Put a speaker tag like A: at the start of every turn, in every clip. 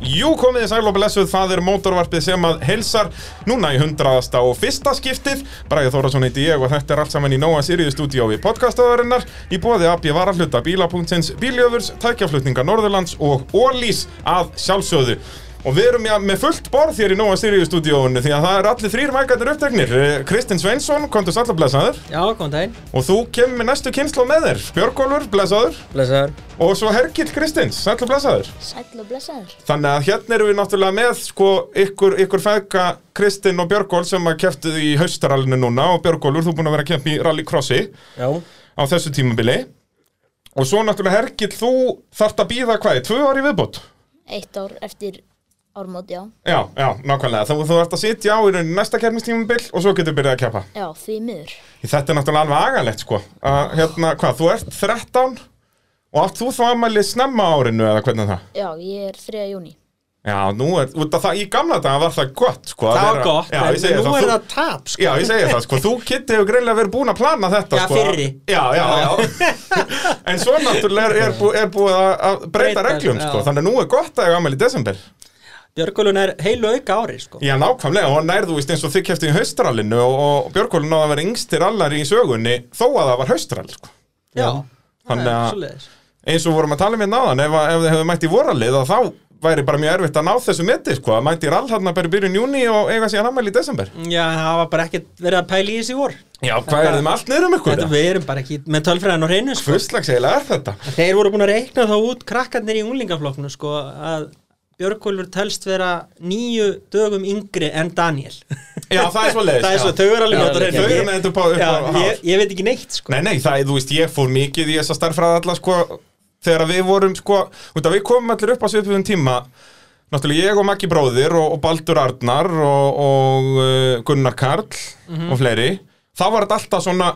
A: Jú, komið þið sæl og blessuð, það er mótorvarpið sem að heilsar núna í hundraðasta og fyrsta skiptið. Bræði Þórasson heiti ég og þetta er allt saman í Nóa Sirius stúdíó við podcastaðarinnar í bóði AB Varahluta Bíla.ins, Bíljöfurs, Tækjaflutninga Norðurlands og Ólís að sjálfsögðu. Og við erum ja, með fullt borð hér í Nóa Sirius stúdíóinu því að það er allir þrýr mækarnir uppteknir. Eh, Kristinn Sveinsson, kontur sallablessaður
B: Já, góðan daginn.
A: og þú kemur með næstu kynslu með þér. Björgólfur, blessaður
B: Blessaður.
A: og svo Hergill Kristins, sallablessaður.
C: Sæll og blessaður.
A: Þannig að hérna erum við náttúrulega með sko, ykkur, ykkur feðka Kristinn og Björgól sem að keftu í haustarallinu núna og Björgólur, þú er búin að vera að kempa í rallycrossi
B: Já.
A: á þessu tímabili og svo náttúrulega Hergill, þú þarft að býða hvað, í tvö ár í viðbót?
C: Eitt ár eftir ármót, já.
A: Já, já, nákvæmlega, þú, þú ert að sitja á í rauninni næsta kefnistímabil og svo getur byrjað að keppa
C: Já, því miður.
A: Þetta er náttúrulega alveg agalegt sko að, hérna, hvað, þú ert 13 og átt þú þá aðmæli snemma á árinu eða hvernig það?
C: Já, ég er 3. júni.
A: Já, nú er, út af það, í gamla daga var það gott sko að
B: Það var
A: vera-
B: gott,
A: já,
B: en
A: ég segi
B: nú
A: þú-
B: er það tap, sko.
A: Já, ég segi það, sko, þú kitti hefur greinlega verið búin að plana þetta,
B: Já,
A: sko.
B: fyrri.
A: Já, já, já. en svo náttúrulega er, er, bú, er búið að að breyta
B: Breyta,
A: reglum,
B: já.
A: sko, þannig að nú er gott að ég ámæli í desember.
B: Björgólun er heilu auka ári, sko.
A: Já, nákvæmlega, og nærðu víst eins og þið kefti í haustralinu og, og Björgólin náða að vera yngstir allar í sögunni þó að það var haustral, sko.
B: Já.
A: Þannig
B: Það er
A: að-
B: svoleiðis.
A: Eins og vorum að tala um hérna áðan, ef, að- ef þið hefur mætt í voralið þá væri bara mjög erfitt að ná þessu meti, sko, að mæti í rall hérna bara í byrjun júni og eiga síðan afmæli í desember.
B: Já, það var bara ekkert verið að pæla í þessi vor.
A: Já, hvað er þið með allt niður um ykkur?
B: Þetta við erum bara ekki með tölfræðan og reynu, sko.
A: Hvurslags eiginlega er þetta?
B: Þeir voru búin að reikna þá út krakkarnir í unglingaflokknu, sko, að Björgólfur telst vera nýju dögum yngri en Daniel.
A: Já, það er svo leiðis.
B: það er svo, þau eru alveg
A: Já,
B: með þetta
A: þau eru með þetta upp á- upp á hár.
B: Já, ég, ég veit ekki neitt, sko.
A: Nei, nei, það er, þú veist, ég fór mikið í þessa starffræða alla, sko, þegar við vorum, sko, út að við komum allir upp á svipuðum tíma, náttúrulega ég og Maggi bróðir og, og Baldur Arnar og, og uh, Gunnar Karl
B: Mhm.
A: og fleiri, þá var þetta alltaf svona,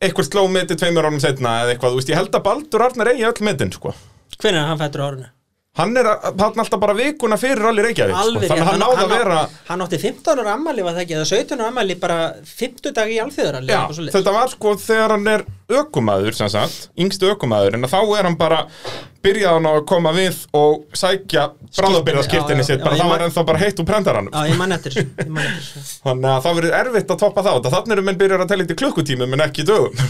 A: eitthvað sló meti tveimur árum setna eða eitthvað, þú veist, ég held að Baldur Arnar eigi öll metin, sko.
B: Hvernig er hann fættur á árunu?
A: Hann er að- hann alltaf bara vikuna fyrir allir Reykjavík, sko,
B: Alveg,
A: þannig að hann náði að vera...
B: hann átti 15 ára ammali var það ekki, eða 17 ára ammali bara 50 dag í alþjóðuralli
A: Já, þetta var sko þegar hann er ökumæður sem sagt, yngstu ökumæður en þá er hann bara byrjaðan á að koma við og sækja bráðabyrðaskirtinni
B: já, já,
A: sitt, bara
B: já,
A: það
B: ég
A: var
B: man-
A: ennþá bara heitt úr prendarann
B: Já, ég man eftir þessu, ég man eftir þessu.
A: þannig að það verið erfitt að toppa það þannig eru menn byrjar að tella eitthvað klukkutímum en ekki dögum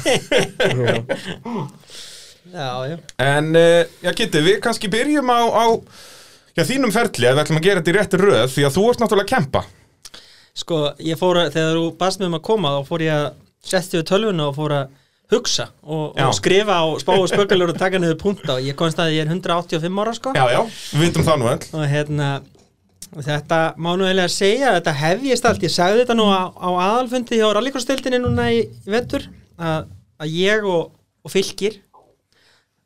B: Já, já
A: en uh, já Kitti, við kannski byrjum á, á já, þínum ferli ef við ætlum að gera þetta í rétti röð því að þú ert náttúrulega að kempa
B: Sko, ég fór að, þegar þú baðst mig um að koma þá fór ég að setja við tölvuna og fór að hugsa og,
A: Já.
B: og skrifa og spá og spökulur og taka niður punkt og ég komst að ég er 185 ára, sko
A: já, já, við vitum það nú öll
B: og hérna og þetta má nú eiginlega segja að þetta hefjist allt, ég sagði þetta nú á, á aðalfundi hjá rallycrossdeildinni núna í í vetur að, að ég og, og fylgir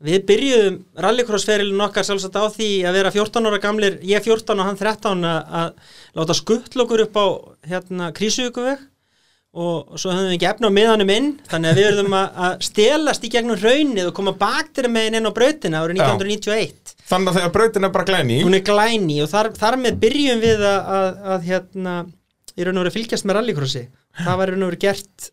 B: við byrjuðum rallycrossferilin okkar sjálfsagt á því að vera 14 ára gamlir ég 14 og hann 13 að, að láta skuttl okkur upp á hérna krísuvíkuveg og svo höfum við ekki efna á miðanum inn þannig að við verðum að, að stelast í gegnum raunnið og koma baktir meginn inn á brautina árið
A: Já.
B: 1991
A: þannig að þegar brautin er bara glæni
B: hún er glæni og þar, þar með byrjum við að, að, að hérna, í raun og verið fylgjast með rallycrossi það var í raun og verið gert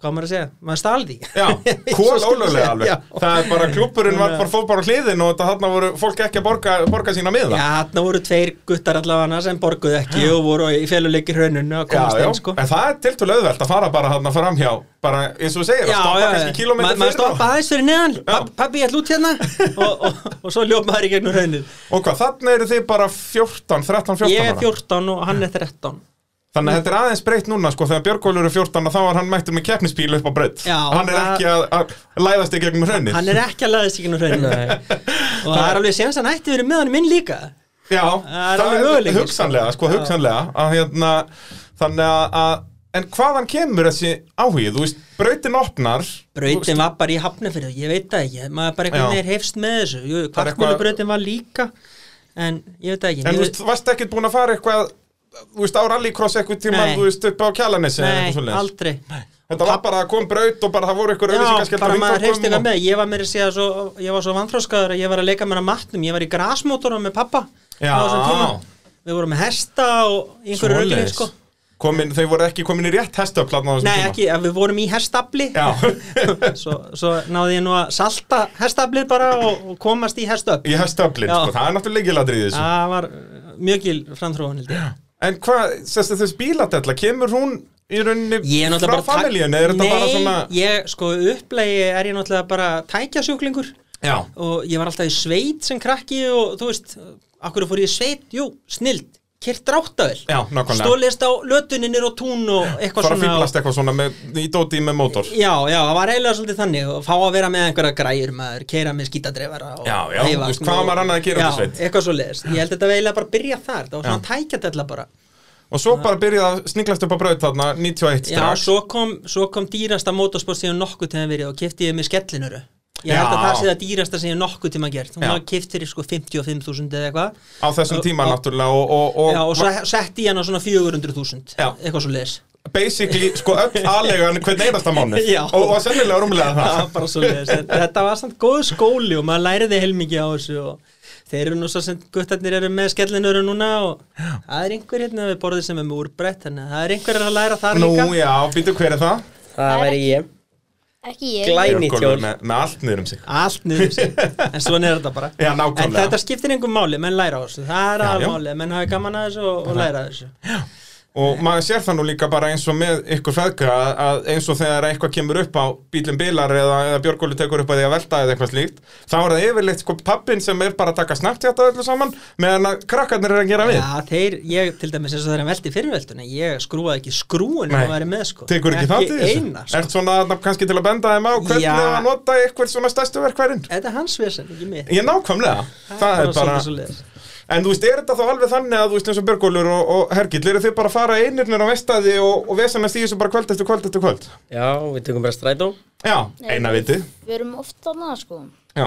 B: hvað á maður að segja, maður staldi
A: Já,
B: Svo
A: kól
B: skal
A: ólöglega
B: segja,
A: alveg
B: já.
A: Það er bara klúpurinn var bara fór bara á hliðin og þetta þarna voru fólk ekki að borga, borga sína
B: Já,
A: miða
B: þarna voru tveir guttar allavega sem borguðu ekki og voru í féluleikir hrauninu að komast inn sko.
A: en það er tiltölu auðvelt að fara bara þarna framhjá bara eins og þú segir, að stoppa kannski
B: Ma-
A: kilómetri
B: maður
A: fyrir
B: stoppa
A: og,
B: aðeins fyrir neðan Pab- pabbi, ég ætla út hérna og, og, og svo ljóp maður í gegnum hrauninu
A: og hvað, þarna eru þið bara 14, 13, 14
B: ég er
A: ára.
B: 14 og hann er 13
A: Þannig að þetta er aðeins breytt núna sko, þegar Björgólfur er 14 að þá var hann mættur með keppnispílu upp á breytt
B: Já,
A: Hann er
B: það-
A: ekki að, að læðast í gegnum hraunir
B: hann er ekki að laða sig í gegnum hrauninu og það er alveg séns að hann ætti verið með hann minn líka
A: Já,
B: Það er alveg möguleiki, sko.
A: hugsanlega, sko, hugsanlega að hérna, þannig að, að en hvaðan kemur þessi áhugið, þú veist, brautin opnar
B: Brautin var bara í hafnafyrðu, ég veit það ekki maður bara einhvern
A: Já.
B: veginn hefst með þessu
A: Það er
B: Jú,
A: eitthvað-
B: kvartmjölubrautin var líka en ég veit það ekki
A: en
B: Ég
A: þú veist, varst ekkert búin að fara eitthvað þú veist, á rallycross eitthvað tíma,
B: Nei.
A: þú veist, upp á kjalanessi eða eitthvað
B: Nei,
A: svoleiðis?
B: aldrei
A: Þetta var bara að kom braut og bara það voru eitthvað
B: Já,
A: auðvitað
B: bara maður hefst eitthvað með Ég var meira að segja svo, ég var svo vanþróskaður að ég var að leika mér að matnum, ég var í grasmótorum með pappa á
A: Já.
B: þessum tíma. Við vorum með hesta og í einhverju
A: Svoleiðis.
B: röglir sko
A: komin, þau voru ekki komin í rétt hestöfl þarna á þessum
B: Nei,
A: tíma.
B: ekki, ef við vorum í hestafli
A: Já,
B: svo, svo náði ég nú að salta hestaflið bara og, og komast í hestöfl
A: í hestöflin,
B: Já.
A: sko, það er náttúrulega lykilatriði í þessu.
B: Það var uh, mjög gil framþróun held ég
A: En hvað, sérstu þessi bíladella, kemur hún í rauninni
B: Ég
A: frá
B: er náttúrulega bara
A: familíun, eða er þetta bara svona
B: Nei, ég sko upplegi er ég náttúrulega bara tækjasjúklingur
A: Já,
B: og ég var alltaf í sveit sem krakki og þú veist, akkur fór ég í sveit jú, snild, kert ráttavel
A: Já, nákvæmlega.
B: Stólist á lötuninir og tún og eitthvað
A: fara að
B: svona
A: fýblast eitthvað svona með, í dóti með mótor
B: Já, já, það var eiginlega svolítið þannig og fá að vera með einhverja græjur maður, keira með skítadreifara og
A: Já, já,
B: æfa,
A: þú veist,
B: sko.
A: hvað á maður annað að gera
B: Já,
A: út í sveit?
B: eitthvað svo leiðist, ég held að þetta var eiginlega bara að byrja þar, það var svona tækjadella bara
A: Og svo bara byrjaði að sniglast upp á braut þarna 91
B: Já,
A: strax
B: svo kom, svo kom dýrasta motorsport sem ég hef nokkuð tíma verið og kefti ég með skellinuru Ég held
A: Já.
B: að það sé það dýrasta sem ég hef nokkuð tíma gert Hún
A: Já.
B: var keft fyrir sko 55.000 eða eitthvað
A: Á þessum tíma
B: Og-
A: náttúrulega og, og, og,
B: Já, og svo setti ég hann á svona 400.000
A: Já.
B: eitthvað svo leiðis
A: basically sko öll aðlegan hvern einasta mánu
B: Já.
A: og, og sennilega rúmlega
B: Það var
A: það
B: bara svo leiðis Þetta var samt góð skóli og maður læriði heilmikið á þessu og þeir eru nú svo sem guttarnir eru með skellinuru núna og það er einhver hérna við borðið sem er með úrbrett þannig að það er einhver að læra þar
A: Nú
B: líka
A: já, býtu hver er það?
D: Það væri ég
C: Ekki ég.
D: Glæ- Bænýtt
A: Björgólfur
D: hjól.
A: með, með allt niður um sig
B: Allt niður sig En svona er þetta bara
A: Já, nákvæmlega.
B: En þetta skiptir einhver máli, menn læra á þessu Það er
A: Já, já.
B: aðal máli, menn hafi gaman að þessu og, og læra að þessu
A: Og maður sér það nú líka bara eins og með ykkur feðka að- að eins og þegar eitthvað kemur upp á bílum bilar eða, eða Björgólu tekur upp að því að velta eða eitthvað slíkt þá er það yfirleitt sko pappin sem er bara að taka snabbt hjá öllu saman meðan að krakkarnir eru að gera við
B: Já, þeir, ég til dæmis eins og þeirra velti fyrirvelduna Ég skrúaði ekki skrúin
A: Nei.
B: að væri með sko
A: Tekur ekki það til þessu?
B: eina sko
A: Ert svona na, kannski til að benda þeim á hvernig
B: Já.
A: að nota eitthvað svona stærstu verkværin?
B: Þetta er hans vesen, ekki mitt
A: Ég nákvæmlega, það er bara En þú veist, er þetta þá alveg þannig að þú veist eins og Björgólfur og, og Hergill eru þið bara að fara einirnir á vestæði og, og vesanast í þessu bara kvöld eftir kvöld eftir kvöld?
D: Já, við tökum bara strætó
A: Já, eina vitið
C: Við erum oft þarna, sko.
A: Já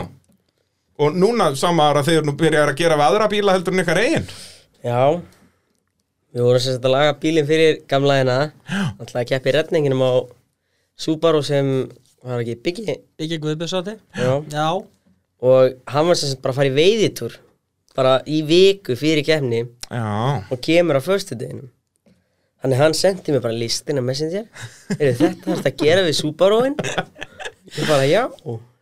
A: Og núna sama ára þegar nú byrjar að gera við aðra bíla heldur en ykkar eigin
D: Já Við vorum sem sagt að laga bílinn fyrir gamla hérna Þannig að keppi redninginum á Subaru sem var ekki byggi
B: Ekki Guðbjörns á þig
D: Já.
B: Já,
D: Og hann var sem sagt bara að fara í veiðitúr Bara í viku fyrir keppni
A: Já
D: Og kemur á föstudeginum Þannig hann sendi mér bara listina messenger Er þetta þarfst að gera við Subaruinn? Ég bara já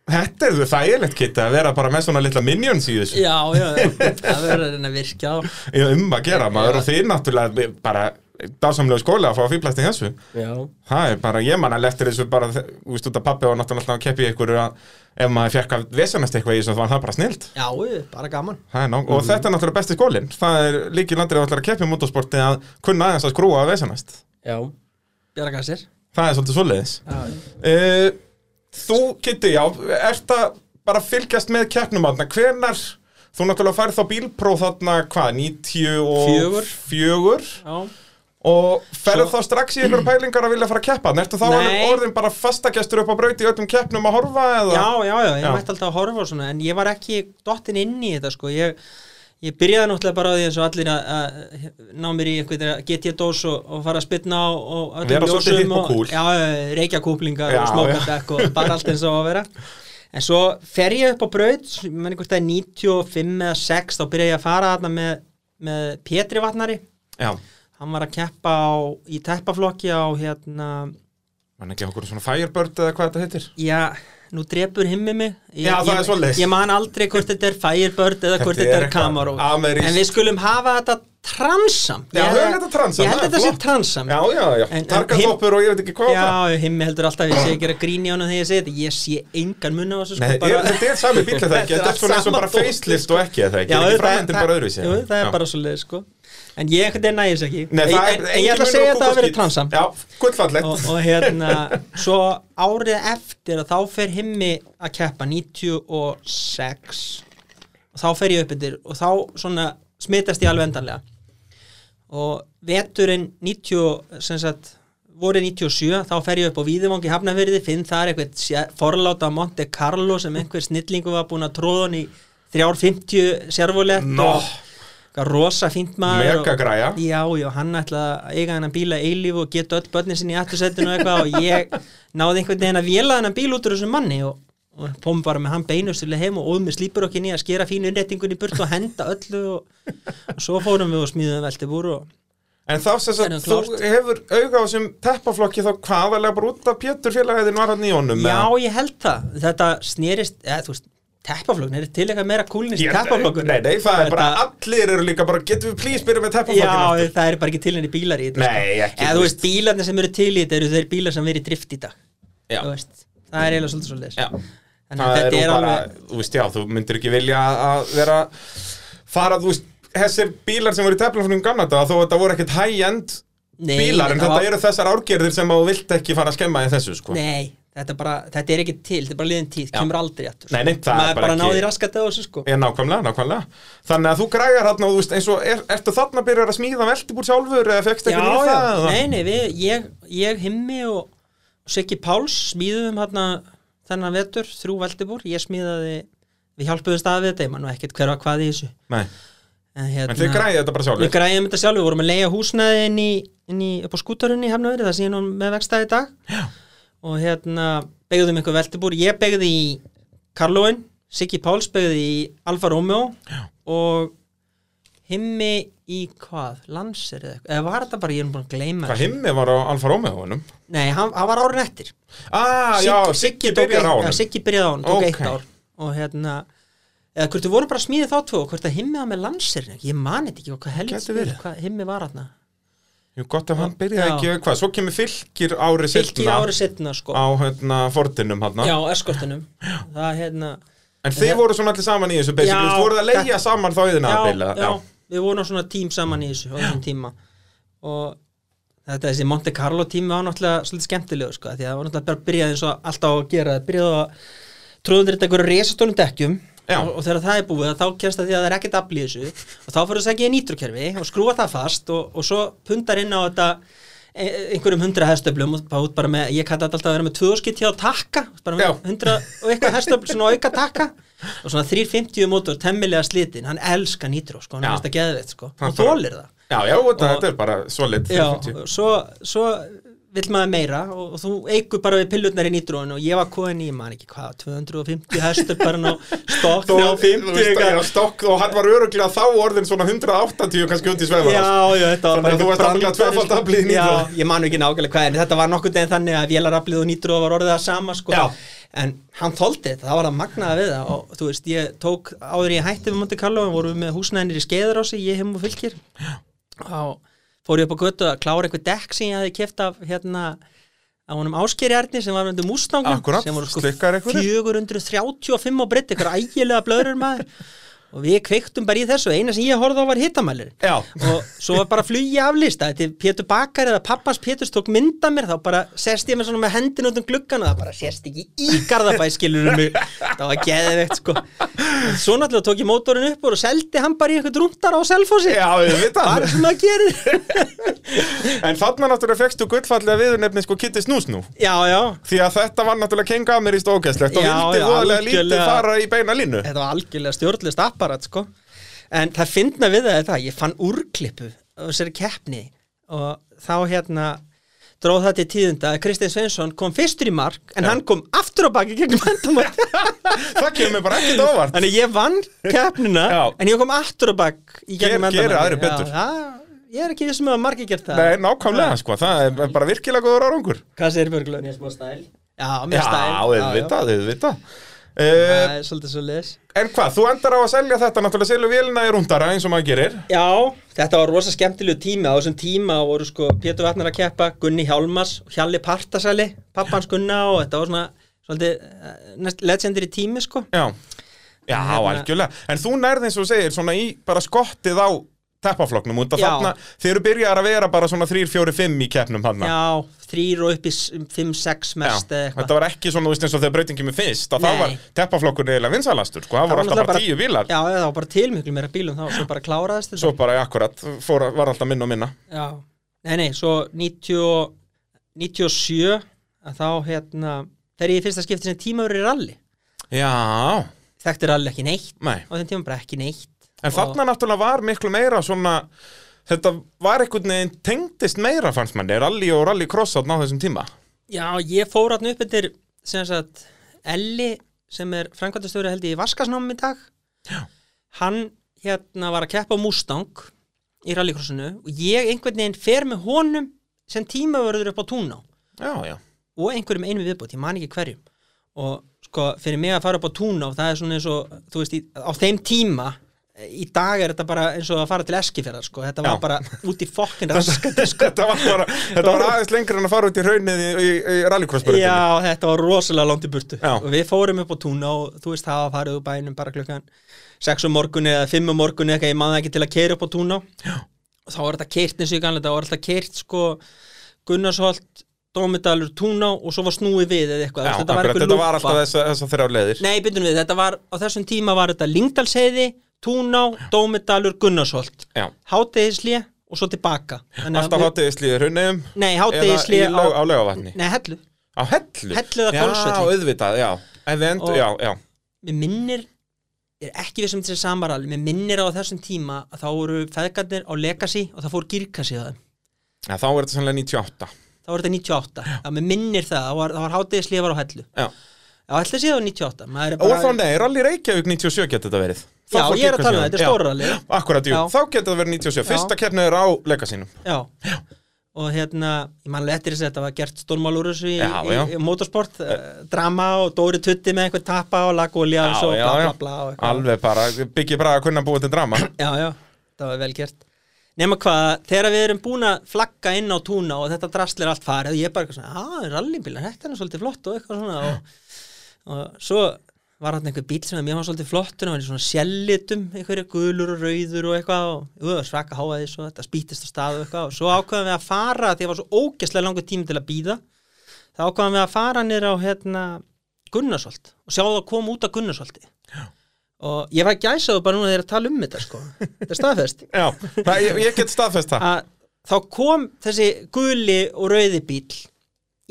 A: Þetta er þú þægilegt kitta að vera bara með svona litla minions í þessu
B: já, já Það verður að reyna að virkja á
A: Já, um að gera maður og þið náttúrulega bara dásamlega skóla að fá að fýblast í þessu
D: Já
A: Það er bara, ég man alveg eftir þessu bara, þe- þú veist út að pappi var náttúrulega alltaf að keppi ykkur að ef maður fekk að vesanast eitthvað í þessu þá var það bara snilt
B: Já, jú, bara gaman
A: Það er nóg,
B: Mhm.
A: og þetta er náttúrulega besti skólinn Það er líkið landrið að ætlar að keppi í motorsporti að kunna aðeins að skrúa að vesanast
D: Já
B: Bjarga sér
A: Það er svolítið svoleiðis
B: Já,
A: uh, Þú, Kitty, já, ert að bara fylgjast með keppnum aðna Hvenar, þú náttúrulega færð þá bílpróf þarna, hvað, 94
B: Fjögur. já.
A: Og ferðu þá strax í einhverju pælingar að vilja fara að keppa Ertu þá
B: Nei.
A: alveg orðin bara fastagestur upp á braut í öllum keppnum að horfa eða?
B: já, já, já, ég
A: Já.
B: mætti alltaf að horfa á svona en ég var ekki dottin inn í þetta sko ég, ég byrjaði náttúrulega bara á því eins og allir að, að ná mér í einhverja GT-dós og, og fara að spytna á og öllum
A: Vera svolítið hipp og
B: og,
A: cool.
B: já, já, reykja kúplingar
A: Já,
B: og
A: já.
B: smókandekk og bara allt eins og á að vera en svo fer ég upp á braut menn hvort það er 95 eða 6 þá byrja ég að fara þarna með, með Petri Vatnari
A: Já,
B: hann var að keppa á, í teppaflokki á hérna
A: mann ekki okkur svona firebird eða hvað þetta heitir
B: Já, nú drepur himmi mig ég,
A: Já, það
B: ég,
A: er svoleiðis.
B: Ég man aldrei hvort þetta er Firebird eða hvort
A: Þetta
B: þetta
A: er
B: er Camaro
A: eitthvað amerískt.
B: En við skulum hafa þetta transam
A: Já,
B: Ég hef-
A: höfum þetta transam,
B: Ég held
A: það er
B: þetta sé
A: flott.
B: transam
A: Já, já, já,
B: En- en
A: targatoppur og ég veit ekki hvað það
B: Já, himmi heldur alltaf að ég sé að gera grín í honum þegar ég segi þetta Ég sé engan munna á þessu sko
A: Nei,
B: bara-
A: er, þetta er sami bíl það ekki, þetta
B: Þetta var
A: er svona eins og
B: sama
A: bara
B: dótið,
A: facelift og ekki eða ekki,
B: Já,
A: er ekki
B: það-
A: framhendin
B: það-
A: bara öðruvísi
B: Jú, það
A: Já.
B: er bara svo leið sko En ég ekkert er nægis ekki
A: Nei,
B: En-
A: það er
B: en- En ég ætla
A: engin
B: að segja
A: munur á
B: þetta að vera
A: kúkaskít.
B: transam
A: Já, gullfallegt
B: og, og hérna svo árið eftir að þá fer himmi að keppa 96 og þá fer ég upp yfir og þá svona smitast ég alveg endanlega og veturinn 90 sem sagt voru 97, þá fer ég upp á Víðuvangi hafnafyrði, finn þar eitthvað sé- forláta á Monte Carlo sem einhver snillingu var búin að tróða hann í 350 servolett
A: Nó.
B: og eitthvað rosa fínt maður og-
A: Mega græja.
B: já, já, hann ætlaði að eiga hennan bíla eilíf og geta öll börnin sinni í aftursettinu og eitthvað og ég náði einhvern veginn að vela hennan bíl út úr þessum manni og, og kom bara með hann beinustilega heim og óð með slípur okkur í að skera fínu innrettingun í burt og henda öllu og, og svo fórum við og smíðum veltibúr og
A: En þá sem sagt,
B: Það er nú
A: þú
B: klárt.
A: hefur auga á sem teppaflokki þá hvaðalega bara út af Pétur félagæðin var hann í honum
B: Já,
A: eða?
B: ég held það. Þetta snerist, eða, þú veist, teppaflokkur, er til eitthvað meira kúlinist
A: Ég-
B: teppaflokkur?
A: Nei, nei, það er bara,
B: Þetta-
A: allir eru líka bara, getum við please byrja með
B: Já,
A: teppaflokkina aftur?
B: það eru bara ekki til henni bílar í þetta.
A: Nei,
B: sko.
A: ekki,
B: Eða
A: þú
B: þú veist, bílarnir sem eru til í þetta eru þeir bílar sem verið drift í dag.
A: Já.
B: Þú veist, það er eiginlega svolítið svolítið.
A: Já.
B: Þannig að
A: það er
B: þetta
A: nú
B: er
A: bara,
B: alveg,
A: þú veist, já, þú myndir ekki vilja að vera fara, þú veist, þessir bílar sem voru í teflunum gamla þetta, þó þetta voru ekkert high-end
B: Nei,
A: bílar, en
B: það
A: þetta
B: var-
A: eru þessar árgerðir sem þú vilt ekki fara að skemma í þessu, sko.
B: nei, þetta er bara, þetta er ekki til, þetta er bara liðin tíð, kemur aldrei aftur. sko.
A: Nei, nei, það er
B: Maður
A: bara
B: bara
A: ekki-
B: náði raskat á þessu, sko.
A: Já, nákvæmlega, nákvæmlega. Þannig að þú grægar hann og þú veist, eins og, er, ertu þarna að byrja að smíða veltibúr sjálfur eða fekkst ekki nýja það? eða?
B: nei, nei, við, ég, ég himmi og Siggi Páls smíðum hérna þennan vetur, þrjú veldibúr, ég smíðaði, við hjálpuðum staðið við þetta, ég mann nú ekkert hver var hvað í þessu.
A: Nei,
B: En, hérna,
A: en þið græði þetta bara sjálfur.
B: Við græðum þetta sjálf, við vorum að leiða húsnaði inn í, inn í, upp á skútarunni í Hafnaveri, það sé ég nú með vegstæði í dag. Já. Og hérna, beigðum einhver veltibúr, ég beigði í Karlóin, Siggi Páls beigði í Alfa Romeo Já. og himmi í hvað, Lanser eða eitthvað, eða var þetta bara, ég er nú búin að gleyma
A: Hvað himmi var á Alfa Romeo honum?
B: þessu. Nei, hann, hann var árin eftir.
A: Ah, já, Siggi
B: tók
A: byrjar á
B: eitt-
A: honum.
B: Já, Siggi byrjaði á honum, tók
A: Ok.
B: eitt ár og hérna, eða hvort við vorum bara að smíði þá tvo og hvort að himmi var með Lanserin, ég mani þetta ekki og hvað
A: Gæti
B: helst,
A: verið.
B: hvað himmi var hann
A: Jú, gott ef hann byrjaði
B: Já.
A: ekki, hvað, svo kemur fylgir ári
B: Fylki
A: seinna
B: ári setna sko
A: á hérna, Fordinum hann.
B: Já, eskortinum Það hérna
A: En þið voru svona allir saman í þessu basically,
B: Já,
A: þú voruð að leigja
B: þetta-
A: saman þá yðin að
B: já,
A: bila
B: já, við vorum svona tím saman í þessu á þessum tíma og þetta þessi Monte Carlo tími var náttúrulega svolítið skemmtilegu sko því að það var náttúrulega bara að byrja eins og alltaf á að gera það byrjaði á að trúðundir þetta einhverju resastónum dekkjum
A: Já.
B: og, og þegar það er búið þá kemst það því að það er ekkert afl í þessu og þá fyrir þess ekki í nýtrukerfi og skrúa það fast og, og svo pundar inn á þetta e- einhverjum hundra hestöflum og bara út bara með, ég kalli þetta alltaf að vera með tvöðskitt hjá takka, bara
A: Já.
B: með hundra og eitthvað hestöfl, svona auka takka og svona 350 mótor, temmilega slitin hann elska nýtrú, sko, hann
A: Já.
B: er þetta geðveitt sko,
A: Hann
B: hann
A: bara-
B: þólir það
A: Já, já, þetta, þetta er bara solid
B: Já,
A: 350.
B: svo, svo vill maður meira og, og þú eigur bara við pillutnar í nýtrúin og ég var komin í, mann ekki hvað, 250 hestur bara ná stokk
A: Þú- þú
B: 350
A: veist,
B: eitthvað.
A: já, stokk, og hann var öruglega þá orðin svona 180 kannski út í sveifar
B: Já, já, þetta var
A: Þannig að þú varst alveg að tvöfald aflið í nýtrú
B: sko. Já, ég manu ekki nákvæmlega hvað en þetta var nokkuð en þannig að vélaraflið og nýtrú var orðið það sama sko
A: Já.
B: en hann þoldi þetta, það var að magnaða við það og þú veist, ég tók áður en ég hætti við Monte Carlo og vorum við með húsnæðinir í skeiðar á sig, ég heim og fylgir og fór ég upp á götu að klára eitthvað dekk sem ég hafði keft af hérna á honum áskerjarni sem var undir mústangum
A: Akkúrat,
B: sem voru sko
A: slikkar einhverjir.
B: 435 á breytt, eitthvað ægilega blöður maður og við kveiktum bara í þessu, eina sem ég horfði á var hittamælirinn
A: Já,
B: og svo var bara flugi aflista þetta er Pétur Bakar eða pappans Péturs tók mynda mér þá bara sest ég með svona með hendin út um gluggan og það bara sest ekki í garðabæ skilur um mig það var geðveikt sko En svo náttúrulega tók ég mótorin upp úr og seldi hann bara í eitthvað drúmtar á selfósi
A: já, við vita
B: bara svona að gera
A: En þarna náttúrulega fekstu gullfallega viðurnefni sko Kitty Snús nú
B: já já
A: Því að þetta var náttúrulega kenga að mér í stókestlegt og
B: Já,
A: vildi
B: já,
A: voðalega lítið
B: algjörlega.
A: fara í beina línu
B: þetta var algjörlega stjórnlist apparat sko en það finna við það þetta ég fann úrklippu á þessari keppni og þá hérna dróð það til tíðinda að Kristinn Sveinsson kom fyrstur í mark en
A: Já.
B: hann kom aftur á baki gegnum endamátt
A: Það kemur bara ekkert óvart
B: Þannig að ég vann keppnina
A: Já.
B: En ég kom aftur á bakk í gegnum
A: Ger- gerir
B: endamann.
A: aðrir
B: Já,
A: betur.
B: já, Ég er ekki þessum að margir gert það
A: Nei, nákvæmlega sko, það er bara virkilega góður árangur
B: Hvað segir Björglun?
D: Mér smá stæl
B: Já,
A: Já,
B: mér stæl
A: við vita, við vita uh,
B: Það er svolítið svo les
A: En hvað, þú endar á að selja þetta náttúrulega selju vélina í rúndara eins og maður gerir
B: Já, þetta var rosa skemmtilegu tími á þessum tíma voru sko Pétur Vatnar að keppa Gunni Hjálmars, Hjalli Partasali pappans Gunna og þetta var svona svolítið eh, næst legendir í tími sko
A: Já, já
B: Hérna-
A: algjörlega En þú nærði eins og þú segir svona í bara skottið á teppafloknum út að
B: Já.
A: þarna þeir eru byrjar að vera bara svona 3, 4, 5 í keppnum hann
B: Já, þrýr og upp í 5-6 mest eða eitthvað
A: þetta var ekki svona þú veist eins og þegar breytingi með fyrst að það
B: Nei.
A: var teppaflokkur eiginlega vinsalastur sko, það voru alltaf bara 10 bílar
B: Já, það var bara til miklu meira bílum þá og svo bara kláraðist þetta
A: Svo bara akkurat, fór, var alltaf minna og minna
B: Já, nei, nei, svo 90, og- 97 að þá hérna fer ég í fyrsta skipti sem tímaður í rally
A: Já,
B: þekkti rally ekki neitt
A: nei
B: á þeim tíma bara ekki neitt
A: En
B: Og-
A: þarna náttúrulega var miklu meira svona Þetta var einhvern veginn tengdist meira fannst manni, rally og rally cross á þessum tíma.
B: Já, ég fór hann upp eftir sem sagt Elli sem er framkvæmtastöru held ég í Vaskasnámi í dag Já. hann hérna var að keppa á Mustang í rallycrossinu og ég einhvern veginn fer með honum sem tímavörður upp á túná
A: já, já,
B: og einhverjum einum viðbót, ég man ekki hverjum og sko, fyrir mig að fara upp á túná það er svona eins og, þú veist, í, á þeim tíma í dag er þetta bara eins og að fara til Eskifjörðar, sko, þetta var
A: Já.
B: bara út í fokkin raskandi, sko
A: þetta var bara þetta var aðeins lengra en að fara út í raunnið í, í, í rallycrossbörðinni
B: Já, þetta var rosalega langt í burtu
A: Já.
B: og við fórum upp á túna og þú veist það var farið úr bænum bara klukkan 6 um morgunni eða 5 um morgunni eitthvað, ég maður ekki til að keira upp á túna Já. og þá var þetta keirt eins og ég kannlega það var alltaf keirt sko Gunnarsholt, Dómedalur, túna og svo var snúið við eða eitthvað
A: Já,
B: Þú veist,
A: þetta, akkurat,
B: einhver
A: þetta var
B: lúpa.
A: alltaf þess, þess að þeirra leiðir
B: Nei, byrjum við, þetta var á þessum tíma var þetta Lingdalsheiði, túna, Dómedalur, Gunnarsholt
A: Já.
B: Hátegislið og svo tilbaka Þannig að
A: Alltaf
B: við-
A: hátegislið í raunniðum
B: Nei, hátegislið
A: á, á laugavatni
B: Nei, hellu
A: Á hellu
B: Hellu eða Hvolsvelli.
A: Já, auðvitað, já En við endur,
B: Og-
A: já, já
B: mér minnir ég er ekki um við sem þessi samarall mér minnir á þessum tíma að þá voru feðgarnir á Legacy og það fór girkassi á þeim
A: Já, Þá er þetta sannlega 98
B: þá voru þetta 98, að mér minnir það það var, það var hátegið slífar á hellu
A: Já
B: já, hellu síðan 98 maður er
A: Og
B: bara,
A: þá nei, Rally Reykjavík 97 getur þetta verið Þá
B: Já,
A: fór
B: ég er að tala
A: Kirkjusíðan.
B: um þetta, þetta er stóra rally.
A: Já, Akkurat, jú,
B: Já.
A: þá getur þetta verið 97 Fyrsta keppnið er á leikasínum
B: já. og hérna, ég man letir þess að þetta var gert stórmál úr þessu í,
A: Já, já.
B: í, í motorsport eh, drama og Dóri Tutti með eitthvað tappa og lagolja og svo bla bla bla og eitthvað.
A: Alveg bara, byggja bara að kunna búið til drama
B: Já, já, það var vel gert Nefna hvað, þegar við erum búin að flagga inn á túna og þetta drastlir allt farið og ég er bara eitthvað svona, að rallybílar, þetta er nú svolítið flott og eitthvað svona og, og svo var hann einhver bíl sem að mér var svolítið flottur og hann var í svona sjellitum, einhverju gulur og rauður og eitthvað og uh, svaka háaði svo þetta spýtist á stað og eitthvað og svo ákveðum við að fara því að var svo ógeðslega langur tími til að býða þá ákveðum við að fara nýr á hérna, Gunnarsholt og sjá það að koma út af Gunnarsholti og ég var gæsaðu bara núna þegar ég er að tala um þetta sko. þetta er staðfest
A: Já, það, ég, ég get staðfest það
B: að þá kom þessi guli og rauði bíl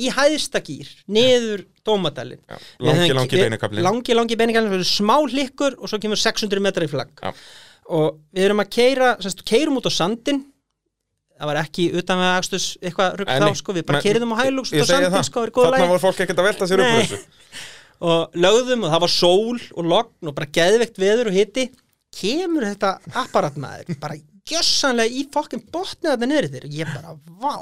B: í hæðsta gýr, niður dómadalinn
A: Já,
B: Við
A: langi,
B: höfum-
A: langi
B: við-
A: beinukaflinn.
B: langi, langi beinukaflin, það eru smá hlikkur og svo kemur 600 metrar í flagg
A: Já.
B: og við erum að keira, semst, keirum út á sandin það var ekki utan með akstus eitthvað rugg
A: Nei,
B: þá, sko, við bara
A: men-
B: keiriðum á hælúks út
A: Ég
B: á
A: segi
B: sandin,
A: það.
B: sko, það er góð
A: Þarna
B: læg
A: voru fólk ekkert að velta sér upp úr
B: Nei.
A: þessu
B: og lögðum og það var sól og logn og bara geðveikt veður og hitti kemur þetta apparat maður bara gjössanlega í fokkin botnið þetta niður þér og ég bara, vá